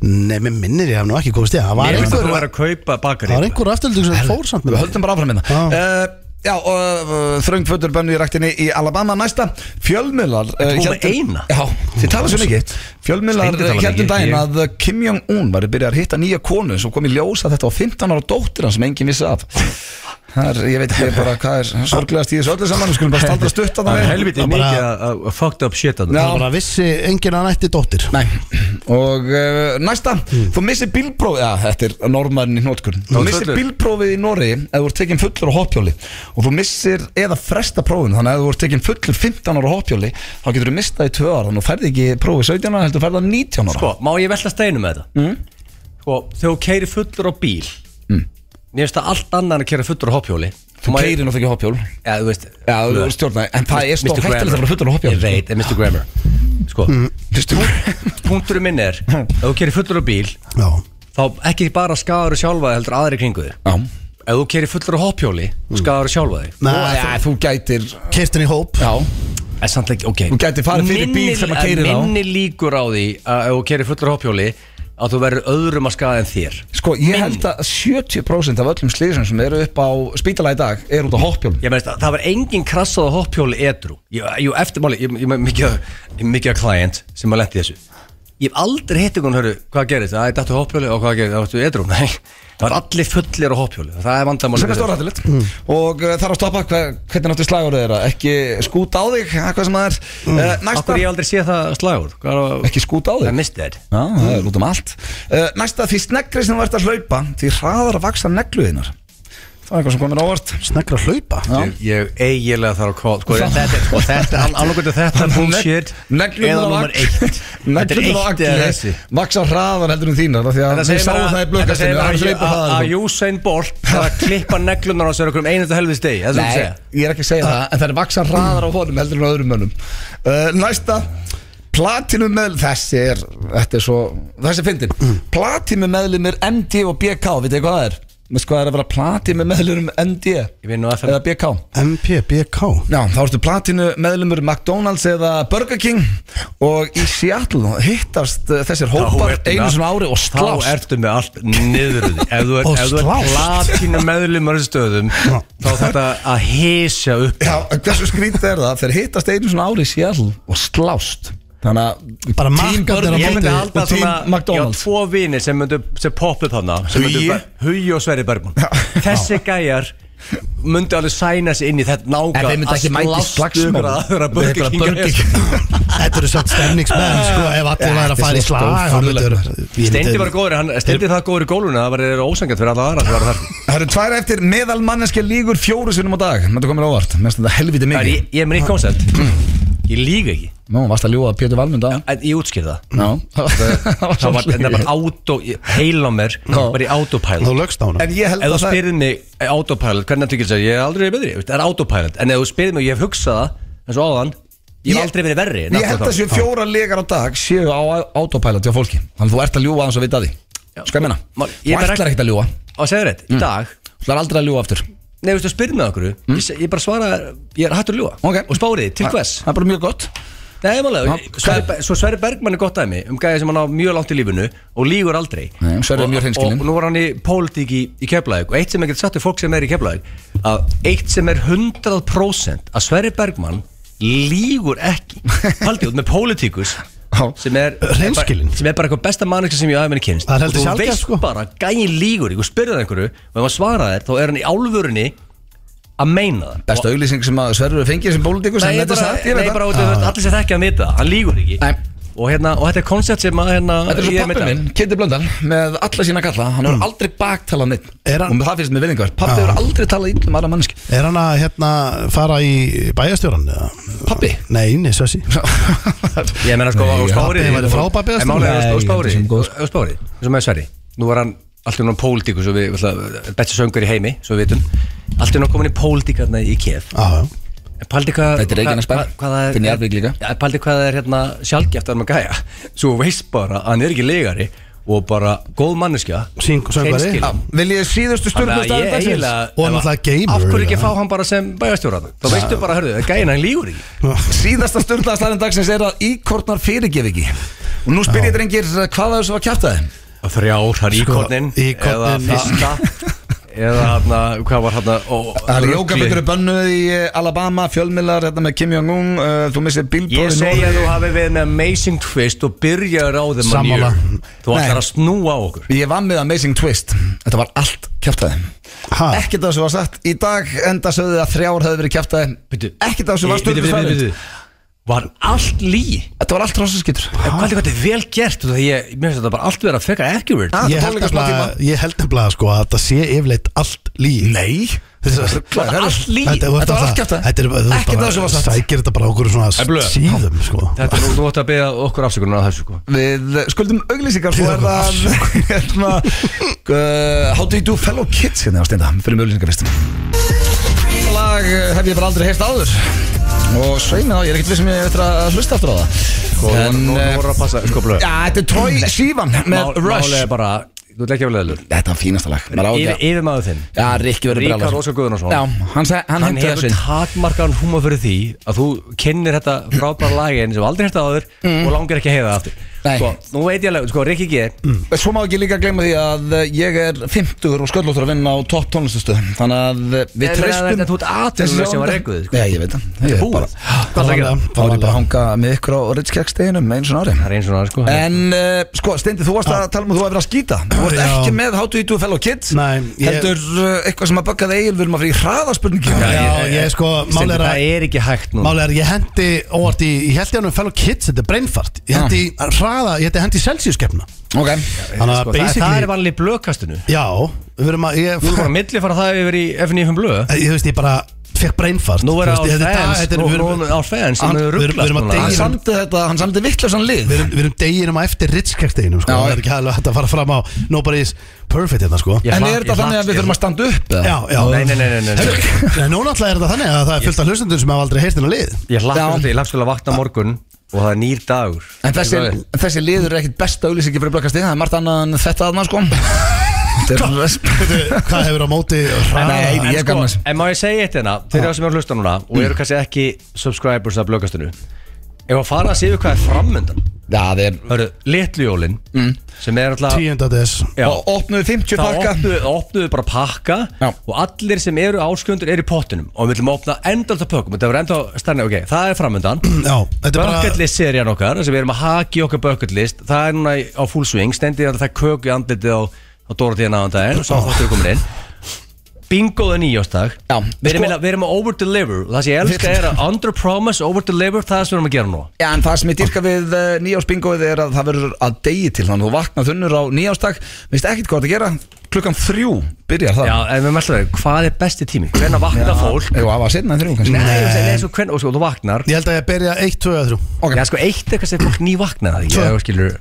Speaker 2: Nei, mér minnir ég hef nú ekki komst í það Það var
Speaker 3: Mér finnst
Speaker 2: einhver,
Speaker 3: þú er að kaupa
Speaker 2: það
Speaker 3: bakari
Speaker 2: var einhver afturlítur sem fór samt
Speaker 1: Við
Speaker 2: með
Speaker 1: höldum bara áfram hérna
Speaker 2: Já.
Speaker 1: uh, Já, og uh, þröngfötur bönnu í ræktinni í Alabama næsta Fjölmiðlar uh,
Speaker 3: Þú með eina?
Speaker 1: Já, þið tala svo mikið Fjölmiðlar
Speaker 3: Steindi talar
Speaker 1: hérna
Speaker 3: mikið,
Speaker 1: daginn
Speaker 3: ég-
Speaker 1: að Kim Jong-un var að byrja að hitta nýja konu sem kom í ljós að þetta var 15 ára dóttir hans sem enginn vissi af Það er, ég veit ekki bara hvað er sorglegast í þessu öllu saman Við skulum bara standa stutt að
Speaker 3: Það er
Speaker 1: það
Speaker 3: helviti
Speaker 2: Það bara-
Speaker 3: mikið að- að að fucked up shit að
Speaker 1: Já.
Speaker 2: Það var bara vissi enginn að nætti dóttir
Speaker 1: Nei, og uh, næsta Þú missir bílprófið, já, þetta er normarinn í nótkunn Þú
Speaker 3: Þú ert
Speaker 1: missir
Speaker 3: fullur.
Speaker 1: bílprófið í Nóri eða þú ert tekinn fullur á hoppjóli og þú missir eða fresta prófin þannig að ef þú ert tekinn fullur 15 ára á hoppjóli þá getur þú mistað í 2 ára þannig að þú færði ekki prófið 17 ára heldur þú færði það 19 ára
Speaker 3: Sko, má ég velta steinu með þetta? Sko, þegar þú keiri fullur á bíl Mér finnst það allt annað en að keira fullur á hoppjóli
Speaker 1: Þú keirir náttúrulega ekki hoppjól
Speaker 3: Já, þú veist
Speaker 1: Já, þú ert stjórnaði, en það er stór hættilegt að vera fullur á
Speaker 3: Ég
Speaker 1: hoppjóli
Speaker 3: veit, en Mr. Grammar Sko, punkturinn minn er Ef þú keiri fullur á bíl
Speaker 2: Já,
Speaker 3: Þá ekki bara skadaður sjálfaði heldur aðri í kringu þér
Speaker 1: Já,
Speaker 3: Ef þú keiri fullur á hoppjóli Skadaður sjálfaði
Speaker 2: Nei,
Speaker 1: Og, ja, þú gætir
Speaker 2: keirtin í hóp
Speaker 1: Já,
Speaker 3: En samt ekki, ok eh,
Speaker 1: Þú gætir farið fyrir bíl sem að keyrir á.
Speaker 3: Minni líkur á því að ef þú keirir fullur hoppjóli að þú verður öðrum að skaða en þér
Speaker 1: sko, ég held að 70% af öllum slýsum sem eru upp á spítala í dag eru út á hoppjólum
Speaker 3: Ég meðist að það var engin krassað á hoppjóli edru Ég, jú, eftirmáli, ég, ég, ég mikið að- ég mikið að klient sem að lenti í þessu Ég hef aldrei hitt einhvern hörðu, hvað gerist? Það er dættu hoppjóli og hvað gerist? Það varstu edru, [laughs] nei Það var allir fullir á hoppjóli, það er vandamáli
Speaker 1: sem er stórættilegt
Speaker 3: Mm.
Speaker 1: og uh, þarf að stoppa hver, hvernig náttúrulega slagur þeirra ekki skút á þig, eitthvað sem það er uh, næsta,
Speaker 3: Akkur Mm. ég hef aldrei séð það slagur Hvað er að-
Speaker 1: ekki skút á
Speaker 3: Það
Speaker 1: þig
Speaker 3: misti þér
Speaker 1: Já, það er út um allt uh, næsta, því sneggri sem þú ert að hlaupa því hraðar að vaksa negluðinar það var eitthvað sem komir ávart
Speaker 2: Snegra hlaupa
Speaker 1: Já.
Speaker 3: Ég, ég eiginlega þarf að kóla sko, þetta, sko, þetta, annarkvæmt að þetta er
Speaker 1: [laughs]
Speaker 3: bullshit eða nummer [laughs] eitt þetta er eitt eða þessi
Speaker 1: vaksa hraðar heldur en þínar af því að
Speaker 3: Þetta
Speaker 1: við
Speaker 3: segir
Speaker 1: sáum það í
Speaker 3: bara- þetta
Speaker 1: blöggastinu
Speaker 3: segir
Speaker 1: það er að
Speaker 3: bara
Speaker 1: hlaupa
Speaker 3: að- að
Speaker 1: hraðar
Speaker 3: Usain Bolt þarf að klippa neglunar á sér okkur um einu til helvið stegi það er
Speaker 1: Nei,
Speaker 3: það
Speaker 1: ég er ekki að segja það, en það er vaksa hraðar á honum heldur en á öðrum mönnum uh, Næsta, platinum meðlum, þessi er, þetta er svo, þessi er fyndin Platinum meðlum er MD og BK, veit þið hvað það er? Veistu hvað það er að vera platinum meðlum um MD
Speaker 3: vinn nú um- FM.
Speaker 1: eða BK?
Speaker 2: MP,
Speaker 1: [laughs]
Speaker 2: BK
Speaker 1: Já, þá ertu platinu meðlumur McDonalds eða Burger King og í Seattle hittast uh, þessir hópar
Speaker 3: ertu
Speaker 1: einu
Speaker 3: með-
Speaker 1: svona ári og
Speaker 3: um þá
Speaker 1: slást
Speaker 3: ertu með allt niður í því. ef þú
Speaker 2: Og
Speaker 3: ert- ef þú ert
Speaker 2: slást.
Speaker 3: platínu meðlum á þessu stöðum þá þarf þetta að hísja upp
Speaker 1: Já, en hversu skrítið er það? Þeir hittast einu svona ári í Seattle og slást Þannig að
Speaker 2: Bara
Speaker 1: Team
Speaker 2: markarnir
Speaker 1: Burger
Speaker 2: á
Speaker 3: Ég myndi
Speaker 1: og
Speaker 2: móti
Speaker 3: halda
Speaker 1: Team
Speaker 3: svona Ég á
Speaker 1: McDonald's.
Speaker 3: tvo vini sem myndu sem poppa upp þarna
Speaker 1: Hugi.
Speaker 3: Hugi og Sverri Bergman Þessi gæjar myndi alveg sæna sig inn í þetta náka
Speaker 1: En þeir myndu ekki mæta í slagsmál.
Speaker 3: aðra
Speaker 1: Við einhverja
Speaker 3: Burger King
Speaker 1: Burger
Speaker 2: Þetta eru samt stemningsmenn sko, ef allir væri að fara í slag þá myndi vera- ég
Speaker 3: Steindi
Speaker 2: myndi-
Speaker 3: var góður, hann steindi það góður í góluna Það var ósangat fyrir alla aðra sem var þar
Speaker 1: Það eru tvær eftir meðal manneski lígur fjóru sinum á dag Þetta komir óvart, mest þetta helviti
Speaker 3: Það er
Speaker 1: mikið
Speaker 3: ég- Ég er með nýtt koncept Ég líka ekki
Speaker 1: Nú, varst að ljúa Pétur Valmund á
Speaker 3: En ég útskýrði það
Speaker 1: Já, [laughs] það var
Speaker 3: Það var, en það
Speaker 1: svolítið.
Speaker 3: var auto, heila mér Var í autopilot
Speaker 2: Þú lögst á hana
Speaker 1: En ég held
Speaker 3: Ef þú
Speaker 1: að það
Speaker 3: spyrir mig eh, autopilot, hvernig þú getur að ég er aldrei verið betri, veist, það er autopilot En ef þú spyrir mig, ég hef hugsað það eins og áðan Ég hef aldrei verið verri en
Speaker 1: Ég held
Speaker 3: akkurat
Speaker 1: að
Speaker 3: þá.
Speaker 1: séu fjóra legar á dag séu á autopilot hjá fólki Þannig að þú ert að ljúa aðeins og vita að því Skal ég menna?
Speaker 3: Má- ég
Speaker 1: Þú
Speaker 3: bara-
Speaker 1: ætlar ekkert að ljúa Þú
Speaker 3: Og segðu rétt,
Speaker 1: Mm.
Speaker 3: í dag
Speaker 1: ætlar aldrei að ljúa aftur
Speaker 3: Nei, veistu, spyrir mig okkur ég, se- ég bara svara, ég er hættur að ljúa
Speaker 1: Mm. Ok.
Speaker 3: Og spáriði, til hvers
Speaker 1: Það er bara mjög gott
Speaker 3: Nei, málega,
Speaker 1: Já,
Speaker 3: Sverri, Be- svo Sverri Bergmann er gott aðeimi um gæði sem hann á mjög langt í lífinu og lígur aldrei
Speaker 1: Nei, Sverri er
Speaker 3: Og-
Speaker 1: mjög hreinskilinn.
Speaker 3: Og nú var hann í pólitík í, í Keflavík og eitt sem ég get sagt við fólk sem er í Keflavík að eitt sem er 100% að Sverri Bergmann lígur
Speaker 1: [laughs]
Speaker 3: ekki haldið út með pólitíkus
Speaker 1: Já.
Speaker 3: sem er
Speaker 2: Hreinskilinn.
Speaker 3: sem er bara eitthvað besta manneskja sem ég aðeins kynst
Speaker 2: Það er
Speaker 3: og
Speaker 2: heldur
Speaker 3: þú
Speaker 2: sjaldgæft,
Speaker 3: veist
Speaker 2: sko.
Speaker 3: bara gæin lígur og spyrðið einhverju og ef hann svarar þér þá er hann í álfurunni að meina það
Speaker 1: Besta auglýsing sem að Sverður fengið sem bólitikus
Speaker 3: Nei, ég bara, nei, bara út af þetta, allir sér þekki að vita það, hann lígur ekki
Speaker 1: Nei.
Speaker 3: og, hérna, og þetta er koncept sem að hérna,
Speaker 1: Þetta er
Speaker 3: ég Mm.
Speaker 1: svo
Speaker 3: með
Speaker 1: pappi
Speaker 3: þetta.
Speaker 1: minn, Kitty Blöndal Með alla sína kalla, hann hefur aldrei baktalað neitt
Speaker 2: Er
Speaker 1: Og
Speaker 2: hann-
Speaker 1: það finnst mér viðingar Pappi
Speaker 2: Já.
Speaker 1: hefur aldrei talað íll um aðra manneski
Speaker 2: Er hann að hérna fara í bæjastjóran?
Speaker 1: Pabbi?
Speaker 2: Nei, nei, Svessi
Speaker 3: [laughs] Ég meina sko,
Speaker 1: Nei,
Speaker 3: og spári
Speaker 2: pabbi væri frábæð beðast
Speaker 3: En sko,
Speaker 1: sko. Nei,
Speaker 3: málega, og
Speaker 1: ég held
Speaker 3: spári,
Speaker 1: að sem góð. sko.
Speaker 3: og spári eins og með Sverri, nú var hann allt um pólitíku, svo við, alltaf, besti söngur í heimi svo við vitum, allt um komin í pólitíkarna í Kef Paldi hvað
Speaker 1: Ah. Þetta er Reykjanesbær,
Speaker 3: hvað- hvað það er-
Speaker 1: Finn Jarðvík líka.
Speaker 3: Ja, Paldi hvað það er hérna sjálfgeft að maður gæja Svo þú veist bara að hann er ekki legari Og bara góð manneskja
Speaker 2: Syng- söngvari.
Speaker 3: hreinskilin.
Speaker 2: Já.
Speaker 1: Vil ég síðustu
Speaker 3: Þannig að
Speaker 1: stjórnustæðin
Speaker 3: ég
Speaker 1: dagsins?
Speaker 3: eiginlega-
Speaker 2: Og náttúrulega gamer,
Speaker 3: Af hverju ekki
Speaker 2: ja.
Speaker 3: fá hann bara sem bæjarstjóran Þá veistu bara, hörðu, það gæina hann lígur ekki
Speaker 1: Síðasta stjórnustæðin dagsins er að íkornar fyrirgef ekki Og nú spyr ég drengir hvað það er sem var kjátt að þeim
Speaker 3: Þrjár, hann íkornin Eða
Speaker 2: íkorninn,
Speaker 3: fyrsta Eða hérna, hvað var hérna
Speaker 1: Það er jókabindur bönnuð í eh, Alabama, fjölmiðlar, þetta með Kim Jong-un, uh, þú missir
Speaker 3: Ég
Speaker 1: bílprófi
Speaker 3: segi að þú hafi verið með Amazing Twist og byrjaður á þeim að
Speaker 2: Sammála.
Speaker 3: nýju. Þú
Speaker 1: Nei.
Speaker 3: ætlar að snúa á okkur
Speaker 1: Ég vann með Amazing Twist, þetta var allt kjátaði
Speaker 2: Ha?
Speaker 1: Ekkert af þessu var sagt, í dag enda sögðu þið að þrjár hefði verið kjátaði Ekkert af þessu var
Speaker 3: Bíddu,
Speaker 1: stöldu
Speaker 3: bíddu, bíddu,
Speaker 1: staðið
Speaker 3: bíddu. Var allt lí
Speaker 1: Þetta var allt rossaskýtur
Speaker 3: En Hvað er þetta er vel gert Þú veist, ég- Mér finnst þetta bara allt vera frekar accurate
Speaker 1: Ah,
Speaker 2: Ég
Speaker 1: þetta
Speaker 2: held
Speaker 1: tónleika smá
Speaker 2: nefnilega-
Speaker 1: tíma.
Speaker 2: ég held nefnilega sko að það sé yfirleitt allt líf
Speaker 1: Nei
Speaker 2: Þetta
Speaker 1: Þetta var allt líf.
Speaker 2: Þetta
Speaker 1: Þetta var
Speaker 2: var
Speaker 1: allt kjaftað.
Speaker 2: Þetta er bara- þú
Speaker 1: Ekkert af þessu
Speaker 2: bara
Speaker 1: var satt.
Speaker 2: Sækir þetta bara okkur svona
Speaker 3: er blöð.
Speaker 2: síðum sko
Speaker 3: Þetta er nú, þú ætti að beða okkur afsökunar að þessu sko.
Speaker 1: Við eh, skuldum auglýsingar Svo er það [laughs] hérna, uh, How do you do fellow kids hérna á steinda Fyrir með auglýsingar fyrst Lag eh, hef ég bara aldrei heyrt áður Og sveina þá, ég er ekkert við sem ég hef eftir að hlusta aftur á það
Speaker 3: Sko,
Speaker 1: En, eh,
Speaker 3: nú, nú, nú voru að passa sko, blöð.
Speaker 1: Já, þetta er Troy Sivan með
Speaker 3: Mál-
Speaker 1: Rush
Speaker 3: Málið er bara, þú ert ekki að velja það
Speaker 1: Þetta er fínasta lag Maður á ekki að-
Speaker 3: Yfir maður þinn
Speaker 1: Já, Rikki verður
Speaker 3: Ríkar
Speaker 1: brjálaður.
Speaker 3: Óskar Guðnarsson
Speaker 1: Já, hann, seg, hann,
Speaker 3: Hann
Speaker 1: hann
Speaker 3: hefur takmarkaðan húma fyrir því að þú kynir þetta frábæra lagin sem aldrei hérta áður
Speaker 2: Mm.
Speaker 3: og langar ekki að heyra það aftur
Speaker 1: Nei.
Speaker 3: Sko, nú veit ég alveg, sko, Rikki G
Speaker 1: Svo má ekki líka gleyma því að eh, ég er 50 og sköllóttur að vinna á topp tónlistastöð Þannig að eh,
Speaker 3: Nei,
Speaker 1: við
Speaker 3: menn,
Speaker 1: treystum
Speaker 3: þetta- þú ert atvinnulaus sem var rekuð, sko.
Speaker 1: Já, ég veit það Ég
Speaker 3: Þetta er
Speaker 1: er
Speaker 3: búið.
Speaker 1: bara-
Speaker 3: Hvað ætlarðu að gera?
Speaker 1: Þá er ég bara að hanga með ykkur á Ritz-keksteginum eins og ári
Speaker 3: Það er eins og það, sko
Speaker 1: En uh, sko, Steindi, þú varst að tala um að þú hefur verið að skýta Þú varst
Speaker 2: Já.
Speaker 1: ekki með How to Eat to a Fellow Kids
Speaker 2: Nei, ég-
Speaker 1: Heldur uh, eitthvað sem að bakkaði eigil Við erum að fyrir hraðaspurningi
Speaker 2: Já, ég sko
Speaker 3: Steindi,
Speaker 2: Málið er að
Speaker 3: Það er ekki hægt nú
Speaker 2: Málið er, ég hendi óvart í, ég held ég hann um fellow kids, þetta er breinfart Ég hendi í hraða, ég hendi hendi í Celsius-keppna
Speaker 1: Ok
Speaker 2: Þannig að
Speaker 3: Ah. sko, það, það er
Speaker 2: basically,
Speaker 3: vanlega í blöðkastinu
Speaker 2: já, við verum að, ég, Eh,
Speaker 3: Þú erum bara að milli fara það yfir í FNF blöð
Speaker 2: ég veist, ég bara fekk breinfart
Speaker 3: Nú
Speaker 2: Þú
Speaker 3: er það
Speaker 2: veist, ég- þetta
Speaker 3: á
Speaker 2: er- þetta
Speaker 3: fans
Speaker 2: er-
Speaker 3: Nú
Speaker 2: við
Speaker 3: er
Speaker 2: erum-
Speaker 3: það á
Speaker 2: Hann-
Speaker 3: fans sem
Speaker 2: við
Speaker 3: eru
Speaker 2: erum- við
Speaker 3: ruglast
Speaker 2: erum að
Speaker 3: núna.
Speaker 1: Hann
Speaker 2: deyja.
Speaker 1: samdi þetta, hann samdi vittlausan lið
Speaker 2: Við erum, við erum deginum að eftir ritskjækteginum sko.
Speaker 1: Já,
Speaker 2: Það
Speaker 1: já.
Speaker 2: er ekki hægilega hægt að fara fram á Nobody's perfect hérna sko
Speaker 3: Ég
Speaker 1: En
Speaker 3: hla-
Speaker 1: er þetta
Speaker 3: ég
Speaker 1: þannig
Speaker 3: hla-
Speaker 1: að við
Speaker 3: ég-
Speaker 1: þurfum að standa upp? eða?
Speaker 2: Já, já
Speaker 3: Nei, nei, nei, nei, nei, nei.
Speaker 2: Nei, nú náttúrulega er þetta þannig að það er fullt af hlustendur sem hafa aldrei heyrt hennar lið
Speaker 3: Ég
Speaker 1: Já.
Speaker 3: hlakka til, ég hlakka til að vakna á morgun og það er nýr dagur
Speaker 1: En þessi, en þessi liður er ekkit besta auðlýsingi fyrir blökkastig Það er margt annað en þetta aðna sko Þetta er
Speaker 2: Veitu, Hvað hefur á móti hraða?
Speaker 1: Nei,
Speaker 3: En
Speaker 1: ég er Mm.
Speaker 3: sko,
Speaker 1: gaman sem
Speaker 3: En má ég segja eitt hérna Þeir eru sem eru að hlusta núna Og eru kannski ekki subscribers af blöggastinu Ef að fara að séu hvað er framöndan
Speaker 1: Já, það er
Speaker 3: Hörru, litlu jólin
Speaker 1: Mm.
Speaker 3: Sem er alltaf
Speaker 2: 10. des
Speaker 3: Já,
Speaker 1: Og opnuðu 50
Speaker 3: Það
Speaker 1: pakka
Speaker 3: opnuðu, opnuðu bara pakka
Speaker 1: Já.
Speaker 3: Og allir sem eru áskjöndur eru í pottinum Og við viljum opna endalt að pökkum Þetta var enda stærna, ok, það er framöndan
Speaker 2: Já, þetta er bara
Speaker 3: Bökkertlist serían okkar þar sem við erum að haki okkar bökkertlist Það er núna í- á full swing Stendið að það köku í andlitið á, á Dorotíðan aðan daginn Sá þáttur er komin inn bingoða nýjóstag
Speaker 1: Já,
Speaker 3: Við erum,
Speaker 1: sko-
Speaker 3: sko, erum að over-deliver og Það sem ég elska er að under-promise, over-deliver Það sem við erum að gera nú
Speaker 1: Já, en það sem ég dýrka við uh, nýjársbingoið er að það verður að degi til þannig að þú vaknar þunnur á nýjárstak veist ekkert hvað það að gera klukkan þrjú byrjar það
Speaker 3: Já, en við meðlum það, hvað er besti tími? Hvernig vakna fólk?
Speaker 1: Jú, það var sinna en þrjú kannski
Speaker 3: Nei, ég segi, nei, svo hvernig, og sko, þú vaknar
Speaker 2: Ég held að ég byrja 1, 2 eða 3
Speaker 1: Ok.
Speaker 3: Já, sko, eitt eitthvað sem fólk ný vakna
Speaker 2: Tvö.
Speaker 3: Það skilur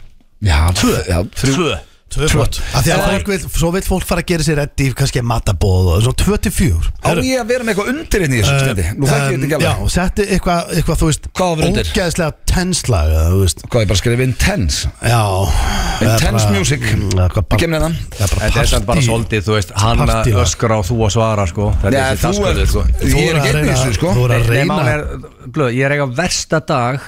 Speaker 1: Já, tvö Já, þrjú
Speaker 3: Tvö
Speaker 2: 2 flott Af því að fólk vil, svo vil fólk fara að gera sér reddi kannski matabóð og svo 2 til 4
Speaker 1: Á ég að vera með eitthvað undir inn í
Speaker 3: Eh,
Speaker 1: þessu stendi Nú þekki ég þetta ekki
Speaker 2: Já,
Speaker 1: alveg
Speaker 2: setti eitthvað, eitthvað, þú veist
Speaker 1: Hvað var undir?
Speaker 2: Ógeðslega tenslag, þú veist
Speaker 1: Hvað ég bara skrifa intense
Speaker 2: Já
Speaker 1: Intense
Speaker 2: Eða bara-
Speaker 1: music.
Speaker 2: Mm, eða eitthvað
Speaker 1: Ég kem hérna. neðan.
Speaker 2: eða bara
Speaker 3: En þetta er bara
Speaker 2: partí.
Speaker 3: svolítið, þú veist, hann
Speaker 2: Partí,
Speaker 3: að
Speaker 2: ja.
Speaker 3: öskra og þú að svara, sko Þetta
Speaker 1: Já, þú
Speaker 3: er þessi
Speaker 1: er
Speaker 3: dagsköður, sko
Speaker 2: Þú
Speaker 1: Ég er
Speaker 2: voru að
Speaker 1: ekki einn í
Speaker 2: reyna-
Speaker 1: þessu, sko
Speaker 2: Þú voru að
Speaker 3: Nei,
Speaker 2: reyna
Speaker 3: mál er, blöð, ég er eiga versta dag